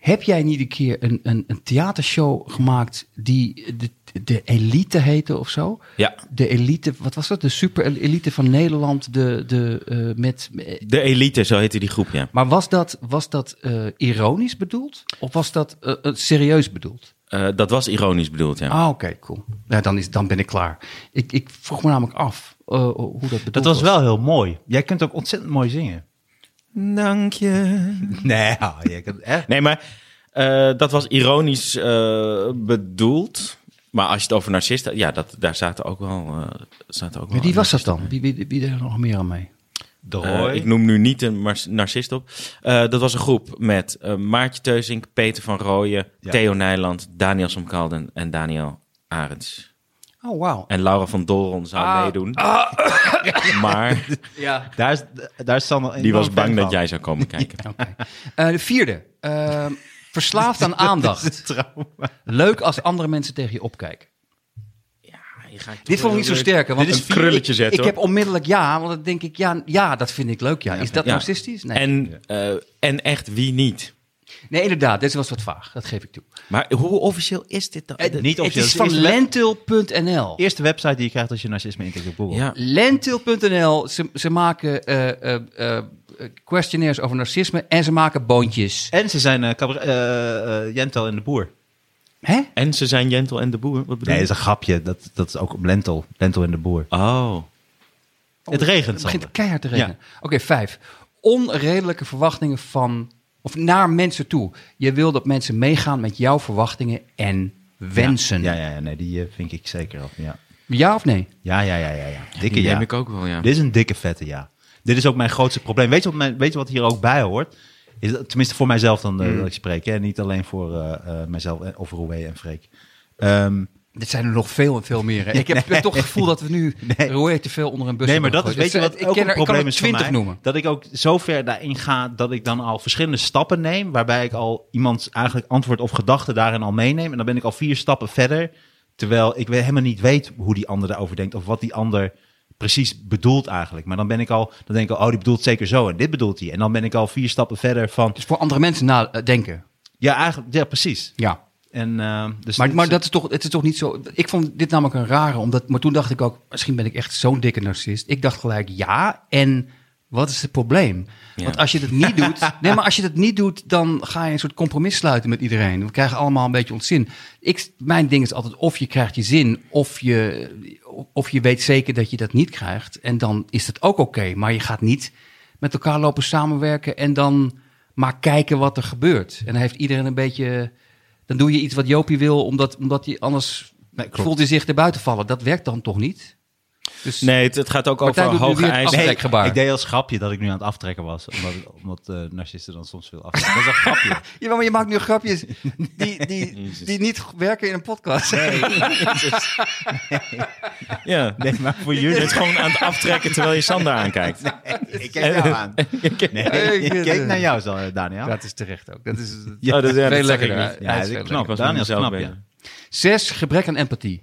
Speaker 3: Heb jij niet een keer een, een, een theatershow gemaakt die de, de elite heette of zo?
Speaker 4: Ja.
Speaker 3: De elite, wat was dat? De super elite van Nederland. De, de, eh, met,
Speaker 4: De elite, zo heette die groep, ja.
Speaker 3: maar was dat, was dat eh, ironisch bedoeld? Of was dat eh, eh, serieus bedoeld?
Speaker 4: Eh, dat was ironisch bedoeld, ja.
Speaker 3: Ah, oké, cool. Ja, dan, is, dan ben ik klaar. Ik, ik vroeg me namelijk af eh, hoe dat bedoeld
Speaker 2: Dat was wel heel mooi. Jij kunt ook ontzettend mooi zingen.
Speaker 4: Dank je.
Speaker 2: Nee,
Speaker 4: oh,
Speaker 2: ja, jij kunt echt.
Speaker 4: Nee, maar eh, dat was ironisch eh, bedoeld. Maar als je het over narcisten... Ja, dat, daar zaten ook wel... eh, zaten ook
Speaker 3: Maar
Speaker 4: wel
Speaker 3: wie was dat dan? Wie, wie, wie deed er nog meer aan mee?
Speaker 2: De
Speaker 4: Eh,
Speaker 2: Roy.
Speaker 4: ik noem nu niet een mars- narcist op. Eh, dat was een groep met eh, Maartje Teuzink, Peter van Rooyen,
Speaker 2: Ja.
Speaker 4: Theo Nijland, Daniel Somkalden en Daniel Arends.
Speaker 3: Oh, wauw.
Speaker 4: En Laura van Doren zou
Speaker 3: Ah.
Speaker 4: meedoen. Maar
Speaker 3: Ja.
Speaker 2: Daar is, daar is Sander
Speaker 4: die was
Speaker 2: enorm fan
Speaker 4: bang dat
Speaker 2: van.
Speaker 4: jij zou komen kijken.
Speaker 3: Oké. Eh, de vierde. Ehm, verslaafd aan aandacht. Leuk als andere mensen tegen je opkijken. Dit vond ik niet zo sterk. hè, Want
Speaker 4: Dit is een krulletje
Speaker 3: ik-
Speaker 4: zetten,
Speaker 3: Ik
Speaker 4: hoor.
Speaker 3: heb onmiddellijk ja, want dan denk ik ja, ja dat vind ik leuk. Ja. Is dat
Speaker 4: Ja.
Speaker 3: narcistisch? Nee.
Speaker 4: En, eh, en echt wie niet.
Speaker 3: nee, inderdaad. Dit was wat vaag. Dat geef ik toe.
Speaker 4: Maar hoe officieel is dit dan?
Speaker 3: Eh,
Speaker 2: niet officieel,
Speaker 3: het
Speaker 2: het
Speaker 3: is
Speaker 2: is
Speaker 3: van
Speaker 2: eerst-
Speaker 3: lentil.nl.
Speaker 2: Eerste website die je krijgt als je narcisme intikt op Google.
Speaker 4: Ja.
Speaker 3: Lentil.nl, ze, ze maken eh, eh, eh, questionnaires over narcisme en ze maken boontjes.
Speaker 2: En ze zijn eh cabaret- eh, eh, Jentel en de Boer.
Speaker 3: Hè?
Speaker 4: En ze zijn Jentel en de Boer. Wat
Speaker 2: Nee,
Speaker 4: bedoel je?
Speaker 2: dat is een grapje. Dat, dat is ook op Lentel. Lentel en de Boer.
Speaker 4: Oh.
Speaker 2: het regent,
Speaker 3: Het begint
Speaker 2: Sander.
Speaker 3: keihard te regenen. Oké, vijf. Onredelijke verwachtingen van, of naar mensen toe. Je wil dat mensen meegaan met jouw verwachtingen en wensen.
Speaker 2: Ja,
Speaker 3: Ja,
Speaker 2: ja, ja. Nee, die eh, vink ik zeker af. Ja,
Speaker 3: of nee?
Speaker 2: ja, ja, ja. ja, ja. Dikke
Speaker 4: Die
Speaker 2: ja.
Speaker 4: neem ik ook wel, ja.
Speaker 2: Dit is een dikke vette ja. Dit is ook mijn grootste probleem. Weet je wat, mijn, weet je wat hier ook bij hoort? Is dat, tenminste voor mijzelf dan
Speaker 4: Mm.
Speaker 2: eh, dat ik spreek. Hè? Niet alleen voor eh, eh, mijzelf, eh, over Roué en Freek. Ehm,
Speaker 3: Dit zijn er nog veel en veel meer. hè. Ik heb toch het gevoel dat we nu nee. te veel onder een bus
Speaker 2: nee, maar dat is,
Speaker 3: hebben
Speaker 2: weet je wat
Speaker 3: gegooid. Dus, eh,
Speaker 2: ook
Speaker 3: ik ken
Speaker 2: een
Speaker 3: er- ik kan
Speaker 2: probleem
Speaker 3: er
Speaker 2: is voor mij?
Speaker 3: 20 noemen.
Speaker 2: Dat ik ook zo ver daarin ga dat ik dan al verschillende stappen neem. Waarbij ik al iemands eigenlijk antwoord of gedachte daarin al meeneem. En dan ben ik al vier stappen verder. Terwijl ik we- helemaal niet weet hoe die ander daarover denkt. Of wat die ander precies bedoelt eigenlijk. Maar dan ben ik al, dan denk ik al, oh die bedoelt zeker zo. En dit bedoelt hij. En dan ben ik al vier stappen verder van,
Speaker 3: Dus voor andere mensen nadenken.
Speaker 2: Ja, eigenlijk, ja, precies.
Speaker 3: Ja.
Speaker 2: En, eh, dus
Speaker 3: Maar, maar dat is toch, het is toch niet zo. Ik vond dit namelijk een rare, omdat, maar toen dacht ik ook, misschien ben ik echt zo'n dikke narcist. Ik dacht gelijk, ja, en wat is het probleem?
Speaker 4: Ja.
Speaker 3: Want als je dat niet doet, nee, maar als je dat niet doet, dan ga je een soort compromis sluiten met iedereen. We krijgen allemaal een beetje ons zin. Ik, mijn ding is altijd, of je krijgt je zin, of je, of je weet zeker dat je dat niet krijgt. En dan is dat ook oké, maar je gaat niet met elkaar lopen samenwerken en dan maar kijken wat er gebeurt. En dan heeft iedereen een beetje. Dan doe je iets wat Jopie wil, omdat, omdat hij anders
Speaker 2: Nee, klopt.
Speaker 3: voelt hij zich erbuiten vallen. Dat werkt dan toch niet? Dus,
Speaker 4: Nee, het, het gaat ook over
Speaker 3: Martijn doet nu
Speaker 4: hoge
Speaker 3: weer het
Speaker 4: eisen.
Speaker 3: afstand.
Speaker 2: Nee,
Speaker 3: Trekgebaar.
Speaker 2: ik deed als grapje dat ik nu aan het aftrekken was. Omdat, omdat eh, narcisten dan soms veel aftrekken. Dat is een grapje.
Speaker 3: Ja, maar je maakt nu grapjes die, die, die niet werken in een podcast.
Speaker 4: Ja.
Speaker 2: Nee, maar voor
Speaker 4: Je
Speaker 2: jullie...
Speaker 4: bent gewoon aan het aftrekken terwijl je Sander aankijkt.
Speaker 2: ik kijk jou aan. Nee, ik keek naar jou, zo, Daniel.
Speaker 3: Dat is terecht ook. Dat is,
Speaker 4: Ja, dat, ja,
Speaker 3: Veel
Speaker 4: dat zag ik
Speaker 3: lekkerder.
Speaker 4: niet.
Speaker 2: ja,
Speaker 3: hij
Speaker 2: dat
Speaker 3: is
Speaker 2: is
Speaker 3: wel
Speaker 4: Ik
Speaker 2: knap.
Speaker 4: was
Speaker 2: Daniel
Speaker 4: met
Speaker 2: is
Speaker 4: mezelf
Speaker 2: knap,
Speaker 4: bezig.
Speaker 2: ja.
Speaker 3: Zes, gebrek aan empathie.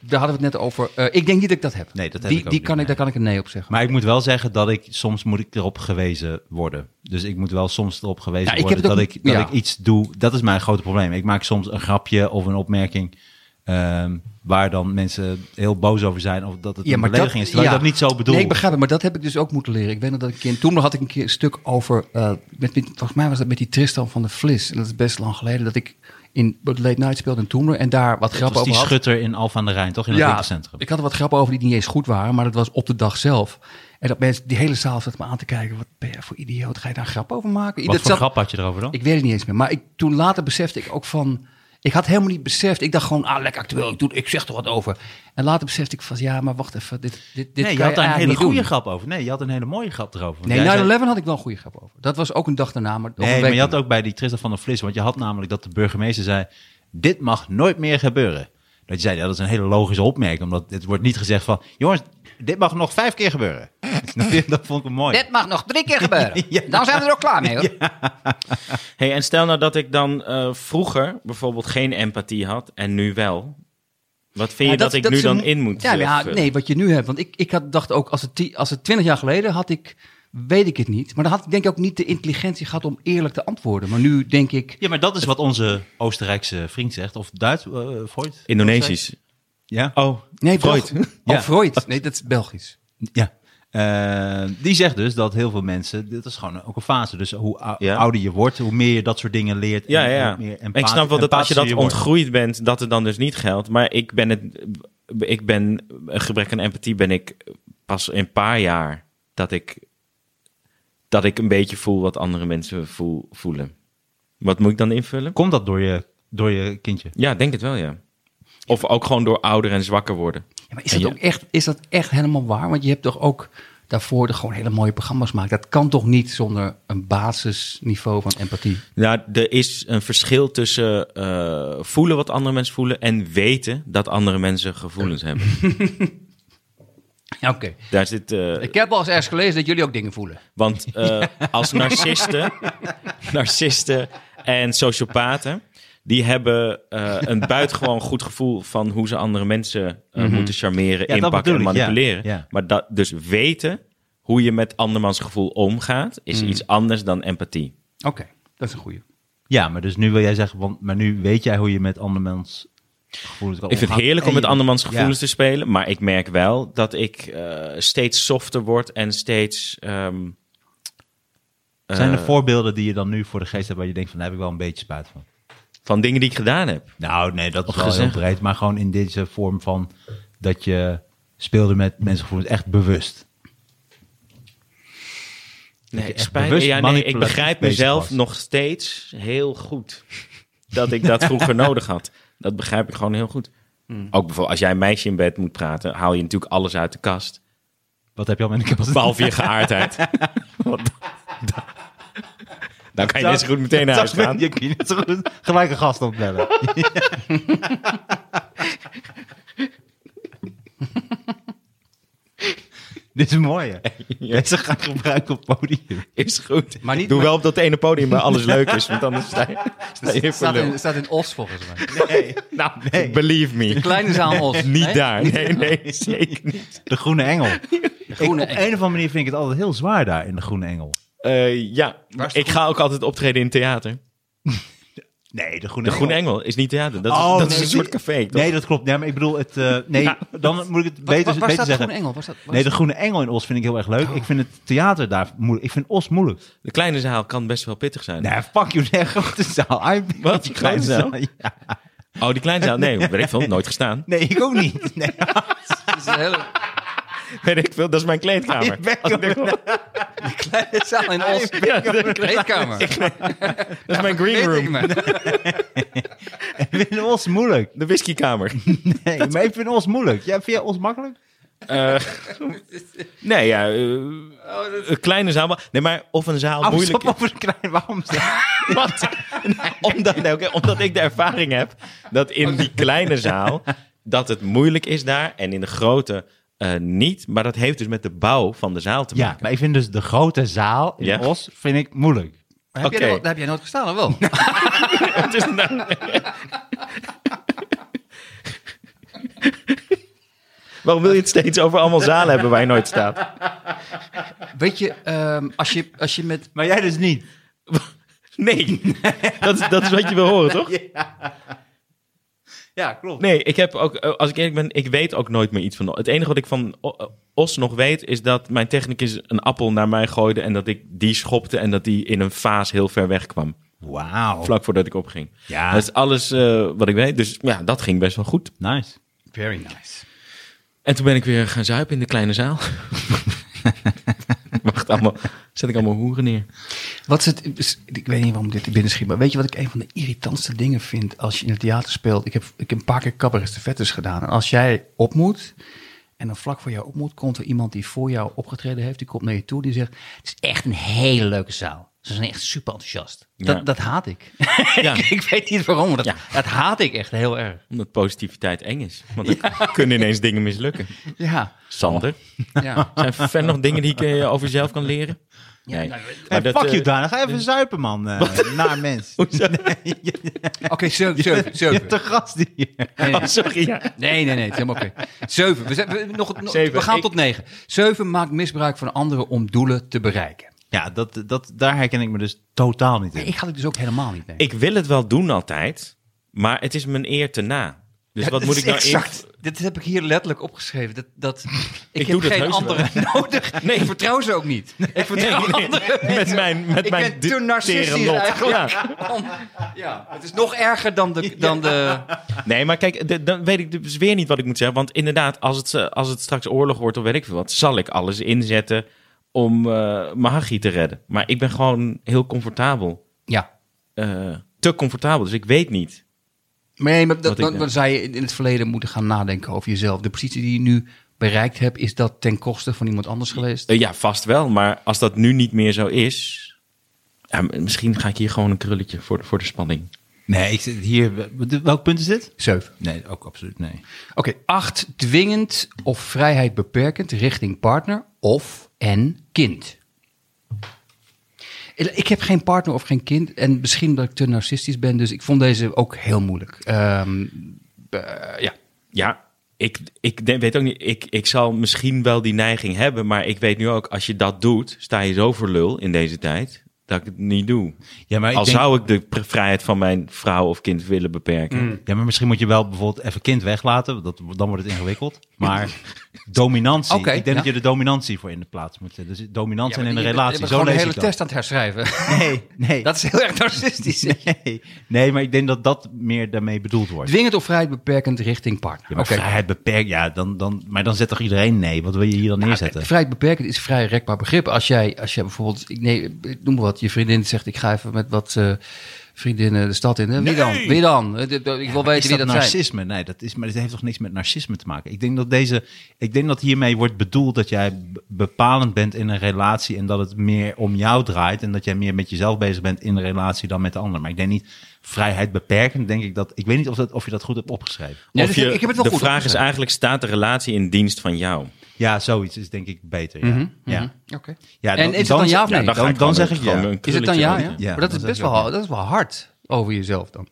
Speaker 3: Daar hadden we het net over. Eh, ik denk niet dat ik dat heb.
Speaker 2: Nee, dat heb
Speaker 3: die,
Speaker 2: ik ook
Speaker 3: die
Speaker 2: niet,
Speaker 3: kan
Speaker 2: nee.
Speaker 3: ik, Daar kan ik een nee op zeggen.
Speaker 2: Maar ik moet wel zeggen dat ik soms moet ik erop gewezen worden. Dus ik moet wel soms erop gewezen
Speaker 3: Ja, ik heb
Speaker 2: worden
Speaker 3: het ook-
Speaker 2: dat, ik, dat
Speaker 3: ja.
Speaker 2: ik iets doe. Dat is mijn grote probleem. Ik maak soms een grapje of een opmerking ehm, waar dan mensen heel boos over zijn. Of dat het een belediging is. Terwijl ik dat niet zo bedoel.
Speaker 3: Nee, ik begrijp het, maar dat heb ik dus ook moeten leren. Ik weet nog dat ik een keer, toen had ik een keer een stuk over, eh, met, met- volgens mij was dat met die Tristan van de Vlis. En dat is best lang geleden dat ik in Late Night speelde in Toemler en daar wat
Speaker 2: Dat
Speaker 3: grappen
Speaker 2: was
Speaker 3: over
Speaker 2: die
Speaker 3: had.
Speaker 2: schutter in Alphen aan de Rijn, toch? In het winkelcentrum.
Speaker 3: ik had er wat grappen over die niet eens goed waren, maar dat was op de dag zelf. En dat mensen, die hele zaal zat me aan te kijken, wat ben je voor idioot, ga je daar een grap over maken?
Speaker 2: Wat
Speaker 3: Dat
Speaker 2: voor
Speaker 3: zat-
Speaker 2: grap had je erover dan?
Speaker 3: Oh. ik weet het niet eens meer. Maar ik, toen later besefte ik ook van... Ik had helemaal niet beseft. Ik dacht gewoon, ah, lekker actueel. Ik, doe, ik zeg er wat over. En later besefte ik van, ja, maar wacht even. Dit, dit, dit
Speaker 2: nee, je
Speaker 3: kan
Speaker 2: had daar een hele
Speaker 3: eigenlijk niet
Speaker 2: goede
Speaker 3: doen.
Speaker 2: grap over. Nee, je had een hele mooie grap erover. Want
Speaker 3: Nee, nou,
Speaker 2: jij
Speaker 3: 9-11
Speaker 2: zei-
Speaker 3: had ik wel een goede grap over. Dat was ook een dag daarna, maar, of een
Speaker 2: Nee, maar
Speaker 3: week
Speaker 2: je had
Speaker 3: daarna.
Speaker 2: ook bij die Tristan van der Vlis, want je had namelijk dat de burgemeester zei, dit mag nooit meer gebeuren. Dat je zei, ja, dat is een hele logische opmerking, omdat het wordt niet gezegd van, jongens, dit mag nog vijf keer gebeuren. Snap je? dat vond ik mooi.
Speaker 3: Dit mag nog drie keer gebeuren. Dan zijn we er ook klaar mee, hoor.
Speaker 4: Hey, en stel nou dat ik dan eh, vroeger bijvoorbeeld geen empathie had en nu wel. Wat vind je
Speaker 3: Ja,
Speaker 4: dat, ik nu
Speaker 3: is een-
Speaker 4: dan in moet?
Speaker 3: ja, maar
Speaker 4: eh,
Speaker 3: ja,
Speaker 4: vullen?
Speaker 3: nee, wat je nu hebt. Want ik, ik had, dacht ook, als het, ti- als het 20 jaar geleden had ik, weet ik het niet. Maar dan had ik denk ik ook niet de intelligentie gehad om eerlijk te antwoorden. Maar nu denk ik,
Speaker 2: Ja, maar dat is wat onze Oostenrijkse vriend zegt, of Duits, eh, Freud?
Speaker 4: Indonesisch.
Speaker 2: Ja.
Speaker 4: Oh,
Speaker 3: Nee,
Speaker 4: Freud.
Speaker 3: Belg- Oh,
Speaker 2: Ja.
Speaker 3: Freud. Nee, dat is Belgisch.
Speaker 2: ja. Eh, die zegt dus dat heel veel mensen, dit is gewoon ook een fase. Dus hoe ou-
Speaker 4: Ja.
Speaker 2: ouder je wordt, hoe meer je dat soort dingen leert. en
Speaker 4: Ja, ja.
Speaker 2: hoe meer
Speaker 4: ik
Speaker 2: empath-
Speaker 4: snap wel dat als
Speaker 2: empathischer
Speaker 4: je dat
Speaker 2: wordt.
Speaker 4: ontgroeid bent, dat het dan dus niet geldt. Maar ik ben het, ik ben, een gebrek aan empathie ben ik pas in een paar jaar dat ik, dat ik een beetje voel wat andere mensen voel, voelen. Wat moet ik dan invullen?
Speaker 2: Komt dat door je, door je kindje?
Speaker 4: Ja, denk het wel, ja. Of ook gewoon door ouder en zwakker worden.
Speaker 3: Ja, maar is
Speaker 4: En
Speaker 3: dat,
Speaker 4: je-
Speaker 3: ook echt, is dat echt helemaal waar? Want je hebt toch ook daarvoor de gewoon hele mooie programma's gemaakt. Dat kan toch niet zonder een basisniveau van empathie?
Speaker 4: Nou, er is een verschil tussen eh, voelen wat andere mensen voelen en weten dat andere mensen gevoelens hebben.
Speaker 3: Ja, oké.
Speaker 4: Daar zit, eh,
Speaker 3: Ik heb al eens ergens gelezen dat jullie ook dingen voelen.
Speaker 4: Want eh, als narcisten, narcisten en sociopaten, die hebben eh, een buitengewoon goed gevoel van hoe ze andere mensen eh, moeten charmeren,
Speaker 2: Mhm. Ja, dat
Speaker 4: inpakken en
Speaker 2: bedoel ik, ja,
Speaker 4: manipuleren.
Speaker 2: ja.
Speaker 4: Maar dat, dus weten hoe je met andermans gevoel omgaat, is
Speaker 2: Mhm.
Speaker 4: iets anders dan empathie.
Speaker 3: Oké, dat is een goeie.
Speaker 2: Ja, maar dus nu wil jij zeggen, want, maar nu weet jij hoe je met andermans gevoelens kan
Speaker 4: Ik vind het
Speaker 2: omgaan.
Speaker 4: heerlijk om
Speaker 2: En
Speaker 4: met
Speaker 2: je-
Speaker 4: andermans gevoelens
Speaker 2: Ja.
Speaker 4: te spelen, maar ik merk wel dat ik eh, steeds softer word en steeds... ehm,
Speaker 2: Zijn er
Speaker 4: eh,
Speaker 2: voorbeelden die je dan nu voor de geest hebt waar je denkt van, daar heb ik wel een beetje spijt van?
Speaker 4: van dingen die ik gedaan heb.
Speaker 2: Nou, nee, dat is wel
Speaker 4: gezegd.
Speaker 2: heel breed. Maar gewoon in deze vorm van dat je speelde met mensengevoelens echt bewust.
Speaker 4: Nee,
Speaker 2: echt
Speaker 4: spijt-
Speaker 2: bewust
Speaker 4: ja, nee, ik
Speaker 2: manipulatief
Speaker 4: begrijp
Speaker 2: bezig
Speaker 4: mezelf
Speaker 2: was.
Speaker 4: nog steeds heel goed. Dat ik dat vroeger nodig had. Dat begrijp ik gewoon heel goed. Ook bijvoorbeeld als jij een meisje in bed moet praten, haal je natuurlijk alles uit de kast.
Speaker 2: Wat heb je al met een kast?
Speaker 4: Behalve je geaardheid. Want da- Dan kan je net zo goed meteen naar huis gaan.
Speaker 2: Je kunt net zo goed gelijk een gast opbellen. Dit is mooi, hè? Deze ga ik gebruiken op podium.
Speaker 4: Is goed.
Speaker 3: Maar niet-
Speaker 4: Doe wel op dat ene podium waar alles leuk is, want anders sta je, sta je
Speaker 3: Het
Speaker 4: voor
Speaker 3: staat
Speaker 4: lul.
Speaker 3: in, staat in Os volgens mij.
Speaker 4: Nou, believe me.
Speaker 3: Kleine zaal Os.
Speaker 4: Niet
Speaker 3: Nee?
Speaker 4: daar. Nee, nee, zeker niet.
Speaker 2: De Groene Engel.
Speaker 3: Groene
Speaker 2: ik, op
Speaker 3: Engel.
Speaker 2: een of andere manier vind ik het altijd heel zwaar daar in de Groene Engel.
Speaker 4: Eh, ja,
Speaker 3: Waar is de
Speaker 4: ik ga ook altijd optreden in theater.
Speaker 2: Nee, de Groene
Speaker 4: De Groene
Speaker 2: Engel.
Speaker 4: Engel is niet theater. Dat is,
Speaker 2: Oh,
Speaker 4: dat
Speaker 2: nee,
Speaker 4: is een
Speaker 2: die-
Speaker 4: soort café. toch?
Speaker 2: Nee, dat klopt. Nee, maar ik bedoel, het, eh, nee, dan moet ik het
Speaker 3: Wat-
Speaker 2: beter,
Speaker 3: waar,
Speaker 2: beter
Speaker 3: waar staat
Speaker 2: zeggen.
Speaker 3: Groene Engel? Waar staat, waar
Speaker 2: Nee, de Groene Engel in Os vind ik heel erg leuk. Ik vind het theater daar moeilijk. Ik vind Os moeilijk.
Speaker 4: De kleine zaal kan best wel pittig zijn.
Speaker 2: Nee, fuck you, nee, grote zaal. I-
Speaker 4: Wat?
Speaker 2: die
Speaker 4: Grote zaal?
Speaker 2: Ja.
Speaker 4: Oh, die kleine zaal? Nee, weet ik veel. Nooit gestaan.
Speaker 2: Nee, ik ook niet. Nee,
Speaker 3: Dat is een hele
Speaker 4: Weet ik veel. Dat is mijn kleedkamer.
Speaker 2: ik ben ook niet.
Speaker 3: kleine zaal in Os.
Speaker 4: Ja, dat
Speaker 3: Kleedkamer.
Speaker 4: is mijn
Speaker 3: Weet
Speaker 4: green
Speaker 3: ik
Speaker 4: room.
Speaker 3: maar.
Speaker 2: Ik vind Os moeilijk.
Speaker 4: De whiskykamer.
Speaker 2: Nee, maar ik vind Os moeilijk. Ja, vind jij Os makkelijk?
Speaker 4: Eh, nee, ja. eh, een kleine zaal. wel. Nee, maar of een zaal
Speaker 2: Oh,
Speaker 4: moeilijk
Speaker 2: stop over een klein waarom
Speaker 4: Wat? Nee, omdat, nee, oké, omdat ik de ervaring heb dat in die kleine zaal dat het moeilijk is daar en in de grote eh, niet. Maar dat heeft dus met de bouw van de zaal te
Speaker 2: Ja,
Speaker 4: maken.
Speaker 2: maar ik vind dus de grote zaal in
Speaker 4: Ja.
Speaker 2: Os vind ik moeilijk.
Speaker 3: Maar Heb jij
Speaker 4: Oké.
Speaker 3: daar wel- daar heb jij nooit gestaan, of wel?
Speaker 4: Het is nou- Waarom wil je het steeds over allemaal zalen hebben waar je nooit staat?
Speaker 3: Weet je, ehm, als je, als je met...
Speaker 2: Maar jij dus niet.
Speaker 4: Nee, dat, is- dat is wat je wil horen, toch?
Speaker 2: Ja, klopt.
Speaker 4: Nee, ik heb ook, eh, als ik eerlijk ben, ik weet ook nooit meer iets van. Het enige wat ik van O- eh, Os nog weet, is dat mijn technicus een appel naar mij gooide en dat ik die schopte en dat die in een vaas heel ver weg kwam.
Speaker 2: Wauw.
Speaker 4: Vlak voordat ik opging.
Speaker 2: Ja.
Speaker 4: Dat is alles eh, wat ik weet. Dus ja, dat ging best wel goed.
Speaker 2: Nice.
Speaker 3: Very nice.
Speaker 4: En toen ben ik weer gaan zuipen in de kleine zaal. Wacht, allemaal, zet ik allemaal hoeren neer.
Speaker 3: Wat is het, is- ik weet niet waarom dit er binnen schiet, maar weet je wat ik een van de irritantste dingen vind als je in het theater speelt? Ik heb, ik heb een paar keer cabarets de vettes gedaan. En als jij op moet, en dan vlak voor jou op moet, komt er iemand die voor jou opgetreden heeft, die komt naar je toe, die zegt, het is echt een hele leuke zaal. Ze zijn echt super enthousiast.
Speaker 4: Ja.
Speaker 3: Dat, dat haat ik.
Speaker 4: Ja.
Speaker 3: ik weet niet waarom, maar dat,
Speaker 4: Ja.
Speaker 3: dat haat ik echt heel erg.
Speaker 4: Omdat positiviteit eng is. Want dan kunnen ineens dingen mislukken.
Speaker 3: Ja,
Speaker 4: Sander,
Speaker 3: ja. nou,
Speaker 4: zijn er verder nog dingen die ik eh, over jezelf kan leren? Nee.
Speaker 2: Hey,
Speaker 4: Maar dat,
Speaker 2: fuck
Speaker 4: eh,
Speaker 2: you, Daan. Ga even zuipen, man. eh, naar mens.
Speaker 3: Oké, zeven, zeven,
Speaker 2: Je
Speaker 3: zeven.
Speaker 2: hebt de gast hier.
Speaker 3: Nee, nee.
Speaker 4: Oh, sorry. Ja.
Speaker 3: Nee, nee, nee, het is helemaal oké. Zeven. We, zijn, we, nog, nog-
Speaker 4: Zeven.
Speaker 3: we gaan
Speaker 4: Ik-
Speaker 3: tot negen. Zeven maakt misbruik van anderen om doelen te bereiken.
Speaker 2: Ja, dat, dat, daar herken ik me dus totaal niet in.
Speaker 3: Ik had het dus ook helemaal niet mee.
Speaker 4: Ik wil het wel doen altijd, maar het is mijn eer te na. Dus
Speaker 3: Ja,
Speaker 4: wat
Speaker 3: dit
Speaker 4: moet
Speaker 3: is
Speaker 4: ik nou
Speaker 3: exact. Dit heb ik hier letterlijk opgeschreven. Dat, dat, ik, heb
Speaker 4: doe dat
Speaker 3: geen
Speaker 4: heus wel.
Speaker 3: andere nodig.
Speaker 4: Nee.
Speaker 3: Ik vertrouw ze ook niet. Ik vertrouw anderen.
Speaker 4: in- met mijn met
Speaker 3: ik
Speaker 4: mijn
Speaker 3: ben te narcistisch
Speaker 4: lot.
Speaker 3: eigenlijk.
Speaker 4: Ja.
Speaker 3: Om- Ja. het is nog erger dan de... Dan de
Speaker 4: Nee, maar kijk, d- dan weet ik dus weer niet wat ik moet zeggen. Want inderdaad, als het, eh, als het straks oorlog wordt of weet ik veel wat, zal ik alles inzetten om eh Mahagi te redden. Maar ik ben gewoon heel comfortabel.
Speaker 3: ja.
Speaker 4: Eh, te comfortabel, dus ik weet niet.
Speaker 3: Maar nee, maar dat,
Speaker 4: Wat ik eh,
Speaker 3: dan, dan
Speaker 4: denk.
Speaker 3: zou je in het verleden moeten gaan nadenken over jezelf. De positie die je nu bereikt hebt, is dat ten koste van iemand anders geweest?
Speaker 4: Eh, ja, vast wel. Maar als dat nu niet meer zo is. Ja, m- misschien ga ik hier gewoon een krulletje voor de, voor de spanning.
Speaker 2: Nee, ik zit hier. Welk punt is dit?
Speaker 3: Zeven.
Speaker 2: Nee, ook absoluut nee.
Speaker 3: Oké, acht, dwingend of vrijheid beperkend richting partner of en kind. Ik heb geen partner of geen kind en misschien dat ik te narcistisch ben, dus ik vond deze ook heel moeilijk. Ehm, eh, ja,
Speaker 4: Ja, ik, ik denk- weet ook niet. Ik, ik zal misschien wel die neiging hebben. Maar ik weet nu ook, als je dat doet, sta je zo voor lul in deze tijd. Dat ik het niet doe.
Speaker 2: Ja, maar ik
Speaker 4: Al
Speaker 2: denk-
Speaker 4: zou ik de pr- vrijheid van mijn vrouw of kind willen beperken.
Speaker 2: Ja, maar misschien moet je wel bijvoorbeeld even kind weglaten. want Dat, dan wordt het ingewikkeld. Maar dominantie.
Speaker 3: Oké,
Speaker 2: ik denk
Speaker 3: ja.
Speaker 2: dat je de dominantie voor in de plaats moet zetten. Dus dominant zijn in de
Speaker 3: Je bent-
Speaker 2: relatie.
Speaker 3: Je bent
Speaker 2: Zo
Speaker 3: gewoon de
Speaker 2: lees
Speaker 3: hele
Speaker 2: ik dat.
Speaker 3: test aan het herschrijven.
Speaker 2: Nee, nee.
Speaker 3: Dat is heel erg narcistisch.
Speaker 2: nee. Nee, maar ik denk dat dat meer daarmee bedoeld wordt.
Speaker 3: Dwingend of vrijheid beperkend richting partner.
Speaker 2: Ja, maar
Speaker 3: Oké.
Speaker 2: vrijheid beperkt. Ja, dan, dan, maar dan zet toch iedereen nee? Wat wil je hier dan
Speaker 3: Nou,
Speaker 2: neerzetten?
Speaker 3: Vrijheid beperkend is vrij rekbaar begrip. Als jij, als jij bijvoorbeeld, ik, nee, ik noem maar wat, je vriendin zegt: ik ga even met wat eh, vriendinnen de stad in. Hè? Wie dan? Wie dan? Eh, dit- Ik wil
Speaker 2: Maar
Speaker 3: weten
Speaker 2: is
Speaker 3: wie
Speaker 2: dat,
Speaker 3: dat zijn.
Speaker 2: narcisme? Nee, dat is, maar dit heeft toch niks met narcisme te maken. Ik denk dat deze, ik denk dat hiermee wordt bedoeld dat jij b- bepalend bent in een relatie en dat het meer om jou draait en dat jij meer met jezelf bezig bent in de relatie dan met de ander. Maar ik denk niet vrijheid beperkend. Denk ik dat, ik weet niet of, dat, of je dat goed hebt opgeschreven.
Speaker 3: Ja,
Speaker 4: Of
Speaker 3: dus
Speaker 4: je-
Speaker 3: ik- ik heb het wel
Speaker 4: de
Speaker 3: goed
Speaker 4: vraag is
Speaker 3: opgeschreven.
Speaker 4: eigenlijk, staat de relatie in dienst van jou?
Speaker 2: Ja, zoiets is denk ik beter. Ja, ja.
Speaker 3: Hm? Oké.
Speaker 2: Ja,
Speaker 3: Mhm, en is het dan ja of nee?
Speaker 4: dan ga
Speaker 2: dan-
Speaker 4: ik gewoon
Speaker 2: dan
Speaker 4: een-
Speaker 2: zeg ik
Speaker 4: gewoon
Speaker 2: ja.
Speaker 4: een
Speaker 3: is het dan
Speaker 4: krulletje
Speaker 3: ja?
Speaker 4: van-
Speaker 3: ja?
Speaker 2: Ja,
Speaker 3: maar dat is
Speaker 2: dan
Speaker 3: best
Speaker 2: zeg ik
Speaker 3: wel, dat is wel hard over jezelf dan.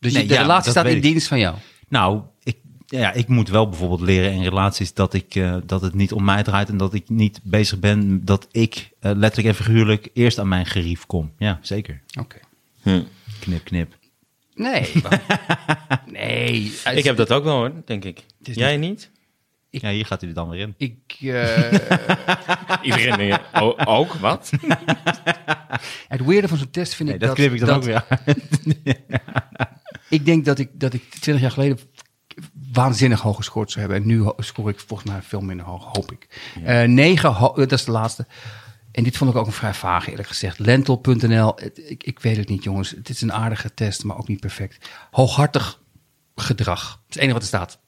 Speaker 3: Dus je-
Speaker 2: Nee,
Speaker 3: de
Speaker 2: ja,
Speaker 3: relatie
Speaker 2: dat
Speaker 3: staat
Speaker 2: weet
Speaker 3: in
Speaker 2: ik.
Speaker 3: dienst van jou.
Speaker 2: Nou, ik, ja, ik moet wel bijvoorbeeld leren in relaties dat, ik, eh, dat het niet om mij draait en dat ik niet bezig ben dat ik eh, letterlijk en figuurlijk eerst aan mijn gerief kom. Ja, zeker.
Speaker 3: Oké.
Speaker 2: Knip, knip.
Speaker 3: Nee. nee.
Speaker 4: Ik heb dat ook wel hoor, denk ik.
Speaker 3: is
Speaker 4: Jij niet?
Speaker 2: Ja, hier gaat hij er dan weer in.
Speaker 3: Ik, eh,
Speaker 4: Iedereen denkt, "O- ook, wat?
Speaker 3: het weirde van zo'n test vind
Speaker 2: Nee,
Speaker 3: ik
Speaker 2: dat,
Speaker 3: dat...
Speaker 2: knip ik dan
Speaker 3: dat-
Speaker 2: ook weer uit.
Speaker 3: Ik denk dat ik, dat ik 20 jaar geleden waanzinnig hoog gescoord zou hebben. En nu ho- scoor ik volgens mij veel minder hoog, hoop ik. Eh 9, dat is de laatste. En dit vond ik ook een vrij vaag, eerlijk gezegd. Lentel.nl, het- ik, ik weet het niet, jongens. Het is een aardige test, maar ook niet perfect. Hooghartig gedrag. Dat is het enige wat er staat.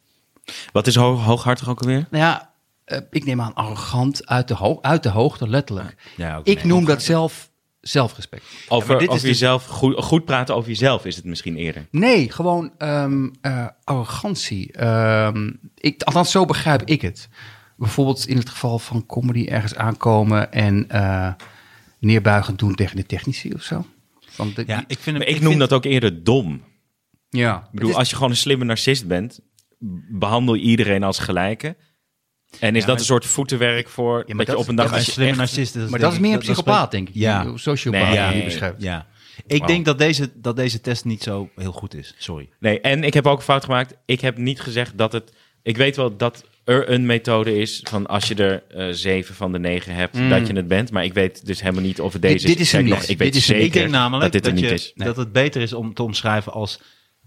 Speaker 4: Wat is hoog, hooghartig ook alweer?
Speaker 3: Nou ja, eh, ik neem aan arrogant uit de, ho- uit de hoogte, letterlijk.
Speaker 2: Ja, ook
Speaker 3: ik
Speaker 2: nee,
Speaker 3: noem dat zelf zelfrespect.
Speaker 4: Over,
Speaker 2: maar dit is
Speaker 4: over
Speaker 2: dus-
Speaker 4: jezelf, goed, goed praten over jezelf is het misschien eerder.
Speaker 3: Nee, gewoon ehm, eh, arrogantie. Ehm, ik, althans, zo begrijp ik het. Bijvoorbeeld in het geval van comedy ergens aankomen en eh, neerbuigend doen tegen de technici of zo. Van de,
Speaker 2: Ja, ik vind
Speaker 4: Maar
Speaker 2: hem,
Speaker 4: ik, noem dat ook eerder dom. Ik
Speaker 3: ja.
Speaker 4: bedoel, als je gewoon een slimme narcist bent, behandel iedereen als gelijke. En is dat een soort voetenwerk voor dat, je
Speaker 3: dat-
Speaker 4: op een dag...
Speaker 2: een
Speaker 4: als je
Speaker 2: slimme
Speaker 4: echt-
Speaker 2: narcist.
Speaker 3: Maar dat is meer een psychopaat, denk ik.
Speaker 2: Ja.
Speaker 3: Die Sociopaat
Speaker 4: Nee,
Speaker 3: die je
Speaker 4: nee,
Speaker 3: beschrijft.
Speaker 2: Ja. Ik
Speaker 4: Wauw.
Speaker 2: denk dat deze, dat deze test niet zo heel goed is. Sorry.
Speaker 4: Nee, en ik heb ook een fout gemaakt. Ik heb niet gezegd dat het. Ik weet wel dat er een methode is van als je er eh, zeven van de negen hebt, dat je het bent. Maar ik weet dus helemaal niet of het deze
Speaker 3: Dit- dit is
Speaker 4: Sterker
Speaker 3: hem
Speaker 4: nog,
Speaker 3: niet.
Speaker 4: Ik weet
Speaker 3: Dit is hem
Speaker 4: zeker
Speaker 3: niet.
Speaker 2: Ik denk namelijk
Speaker 4: dat dit er niet
Speaker 2: je,
Speaker 4: is. Nee.
Speaker 2: dat het beter is om te omschrijven als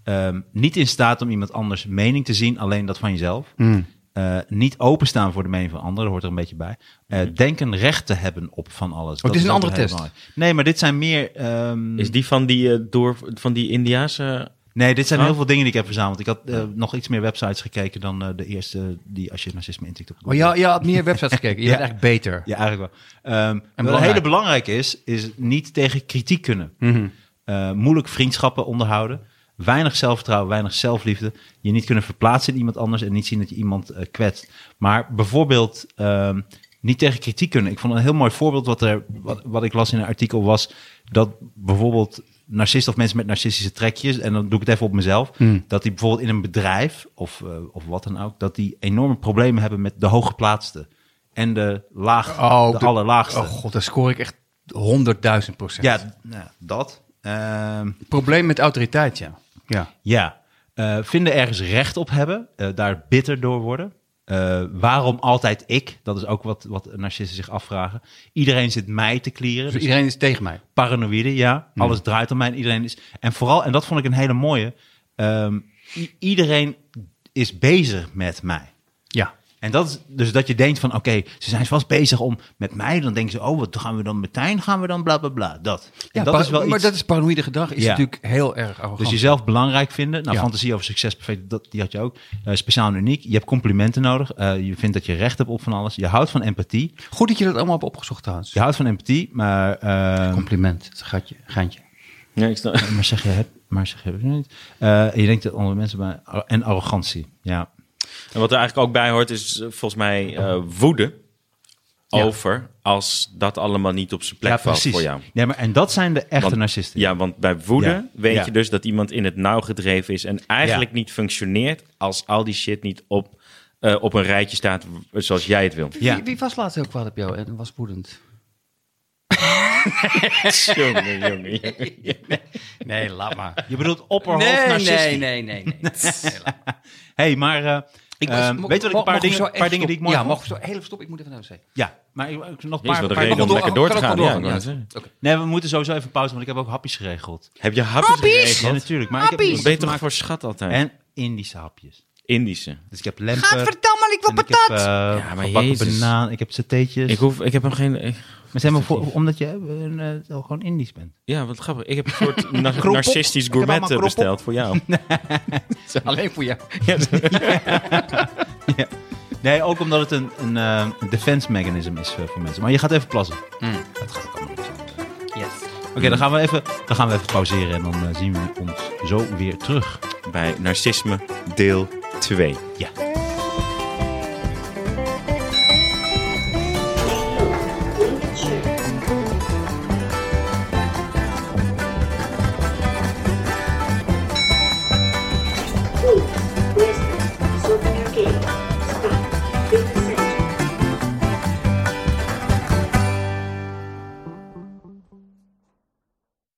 Speaker 2: ehm, niet in staat om iemand anders mening te zien, alleen dat van jezelf.
Speaker 3: Hmm.
Speaker 2: Eh, niet openstaan voor de mening van anderen, hoort er een beetje bij. Eh,
Speaker 4: Hmm.
Speaker 2: Denken recht te hebben op van alles. Dat
Speaker 3: Oh, dit is een
Speaker 2: ook
Speaker 3: andere
Speaker 2: heel
Speaker 3: test.
Speaker 2: belangrijk. Nee, maar dit zijn meer. ehm,
Speaker 4: Is die van die, eh, door, van die Indiaanse.
Speaker 2: Nee, dit zijn
Speaker 4: Ah.
Speaker 2: heel veel dingen die ik heb verzameld. Ik had eh, nog iets meer websites gekeken dan eh, de eerste die als je narcisme intikt op
Speaker 3: Oh, ja, je had meer websites gekeken. Je
Speaker 2: Ja.
Speaker 3: bent echt beter.
Speaker 2: Ja, eigenlijk wel. Ehm wat
Speaker 3: belangrijk.
Speaker 2: hele belangrijk is, is niet tegen kritiek kunnen.
Speaker 3: Hmm.
Speaker 2: Eh, moeilijk vriendschappen onderhouden. Weinig zelfvertrouwen, weinig zelfliefde. Je niet kunnen verplaatsen in iemand anders en niet zien dat je iemand eh, kwetst. Maar bijvoorbeeld ehm, niet tegen kritiek kunnen. Ik vond een heel mooi voorbeeld wat, er, wat, wat ik las in een artikel was... dat bijvoorbeeld narcisten of mensen met narcistische trekjes... en dan doe ik het even op mezelf...
Speaker 3: Hmm.
Speaker 2: dat die bijvoorbeeld in een bedrijf of, eh, of wat dan ook... dat die enorme problemen hebben met de hooggeplaatsten... en de laag,
Speaker 3: Oh,
Speaker 2: de,
Speaker 3: de-
Speaker 2: allerlaagste.
Speaker 3: Oh god, daar scoor ik echt 100.000 procent.
Speaker 2: Ja, d- nou, dat. Ehm,
Speaker 3: Probleem met autoriteit, ja. Ja.
Speaker 2: ja. Eh, vinden ergens recht op hebben, eh, daar bitter door worden. Eh, waarom altijd ik? Dat is ook wat, wat narcisten zich afvragen. Iedereen zit mij te klieren.
Speaker 3: Dus
Speaker 2: Dus
Speaker 3: iedereen is tegen mij.
Speaker 2: paranoïde, ja.
Speaker 3: Hmm.
Speaker 2: Alles draait om mij en iedereen is... En vooral, en dat vond ik een hele mooie... ehm, i- iedereen is bezig met mij.
Speaker 3: Ja.
Speaker 2: En dat is dus dat je denkt van, oké, ze zijn vast bezig om met mij. Dan denken ze, oh, wat gaan we dan meteen? Gaan we dan bla, bla, bla. Dat. En
Speaker 3: Ja,
Speaker 2: dat
Speaker 3: par-
Speaker 2: is wel
Speaker 3: maar
Speaker 2: iets...
Speaker 3: dat is paranoïde gedrag. Is
Speaker 2: Ja.
Speaker 3: natuurlijk heel erg arrogant.
Speaker 4: Oh.
Speaker 2: Dus jezelf belangrijk vinden. Nou,
Speaker 3: Ja.
Speaker 2: fantasie over succes, perfect, dat, die had je ook. Eh, speciaal en uniek. Je hebt complimenten nodig. Eh, je vindt dat je recht hebt op van alles. Je houdt van empathie.
Speaker 3: Goed dat je dat allemaal hebt opgezocht trouwens.
Speaker 2: Je houdt van empathie, maar... eh,
Speaker 3: Compliment. Het is een gatje, geintje.
Speaker 4: Ja, ik snap.
Speaker 2: maar zeg je het, maar zeg je het niet. Eh, en je denkt dat andere mensen... Bij, en arrogantie, ja.
Speaker 4: En wat er eigenlijk ook bij hoort is eh, volgens mij eh, woede
Speaker 2: Ja.
Speaker 4: over als dat allemaal niet op zijn plek
Speaker 2: ja,
Speaker 4: valt voor jou.
Speaker 2: Nee, maar, en dat zijn de echte
Speaker 4: Want-
Speaker 2: narcisten.
Speaker 4: Ja, want bij woede
Speaker 2: Ja.
Speaker 4: weet
Speaker 2: Ja.
Speaker 4: je dus dat iemand in het nauw gedreven is en eigenlijk niet functioneert als al die shit niet op, eh, op een rijtje staat w- zoals jij het wil.
Speaker 2: Ja.
Speaker 3: Wie, wie was laatst heel kwaad op jou en was woedend?
Speaker 4: jongen, jongen, jongen.
Speaker 3: Nee, laat maar.
Speaker 2: Je bedoelt opperhoofd
Speaker 3: Nee, nee,
Speaker 2: narcistie.
Speaker 3: nee, nee, nee. nee.
Speaker 2: hey, maar... eh, ehm, weet je wat ik een paar dingen, paar dingen die ik mooi
Speaker 3: Ja,
Speaker 2: vond?
Speaker 3: mag ik zo heel stop? Ik moet even naar de wc.
Speaker 2: Ja, maar ik- ik- nog een paar...
Speaker 4: Jezus, wat een
Speaker 2: paar
Speaker 4: reden om
Speaker 2: dingen.
Speaker 4: lekker door te
Speaker 3: kan
Speaker 4: gaan.
Speaker 3: ook wel
Speaker 4: Ja,
Speaker 3: doorgaan,
Speaker 4: ik wou
Speaker 3: ja.
Speaker 4: het zeggen.
Speaker 2: Nee, we moeten sowieso even pauze, want ik heb ook hapjes geregeld.
Speaker 4: Heb je hapjes geregeld?
Speaker 2: Ja, natuurlijk. Maar ik heb
Speaker 4: Wat Ben je toch voor schat altijd?
Speaker 2: En Indische hapjes.
Speaker 4: Indische.
Speaker 2: Dus ik heb lemper.
Speaker 5: Gadverdamme, ik wil
Speaker 2: en ik
Speaker 5: patat.
Speaker 2: heb, eh,
Speaker 4: maar
Speaker 2: gebakken
Speaker 4: Jezus.
Speaker 2: banaan. Ik heb satéetjes.
Speaker 4: Ik, hoef, ik heb hem geen... ik-
Speaker 2: maar zijn maar voor, omdat je eh, een, eh, gewoon Indisch bent.
Speaker 4: ja, wat grappig. Ik heb een soort na-
Speaker 2: Kropop.
Speaker 4: narcistisch
Speaker 2: Ik heb allemaal
Speaker 4: gourmet eh,
Speaker 2: kropop.
Speaker 4: besteld voor jou.
Speaker 3: Alleen voor jou.
Speaker 2: Nee, ook omdat het een, een eh, defense mechanism is eh, voor mensen. Maar je gaat even plassen.
Speaker 4: Hmm.
Speaker 2: Dat gaat ook allemaal niet zijn.
Speaker 3: Yes.
Speaker 2: Oké, dan gaan we even, dan gaan we even pauzeren en dan eh, zien we ons zo weer terug.
Speaker 4: Bij narcisme deel 2.
Speaker 2: Ja.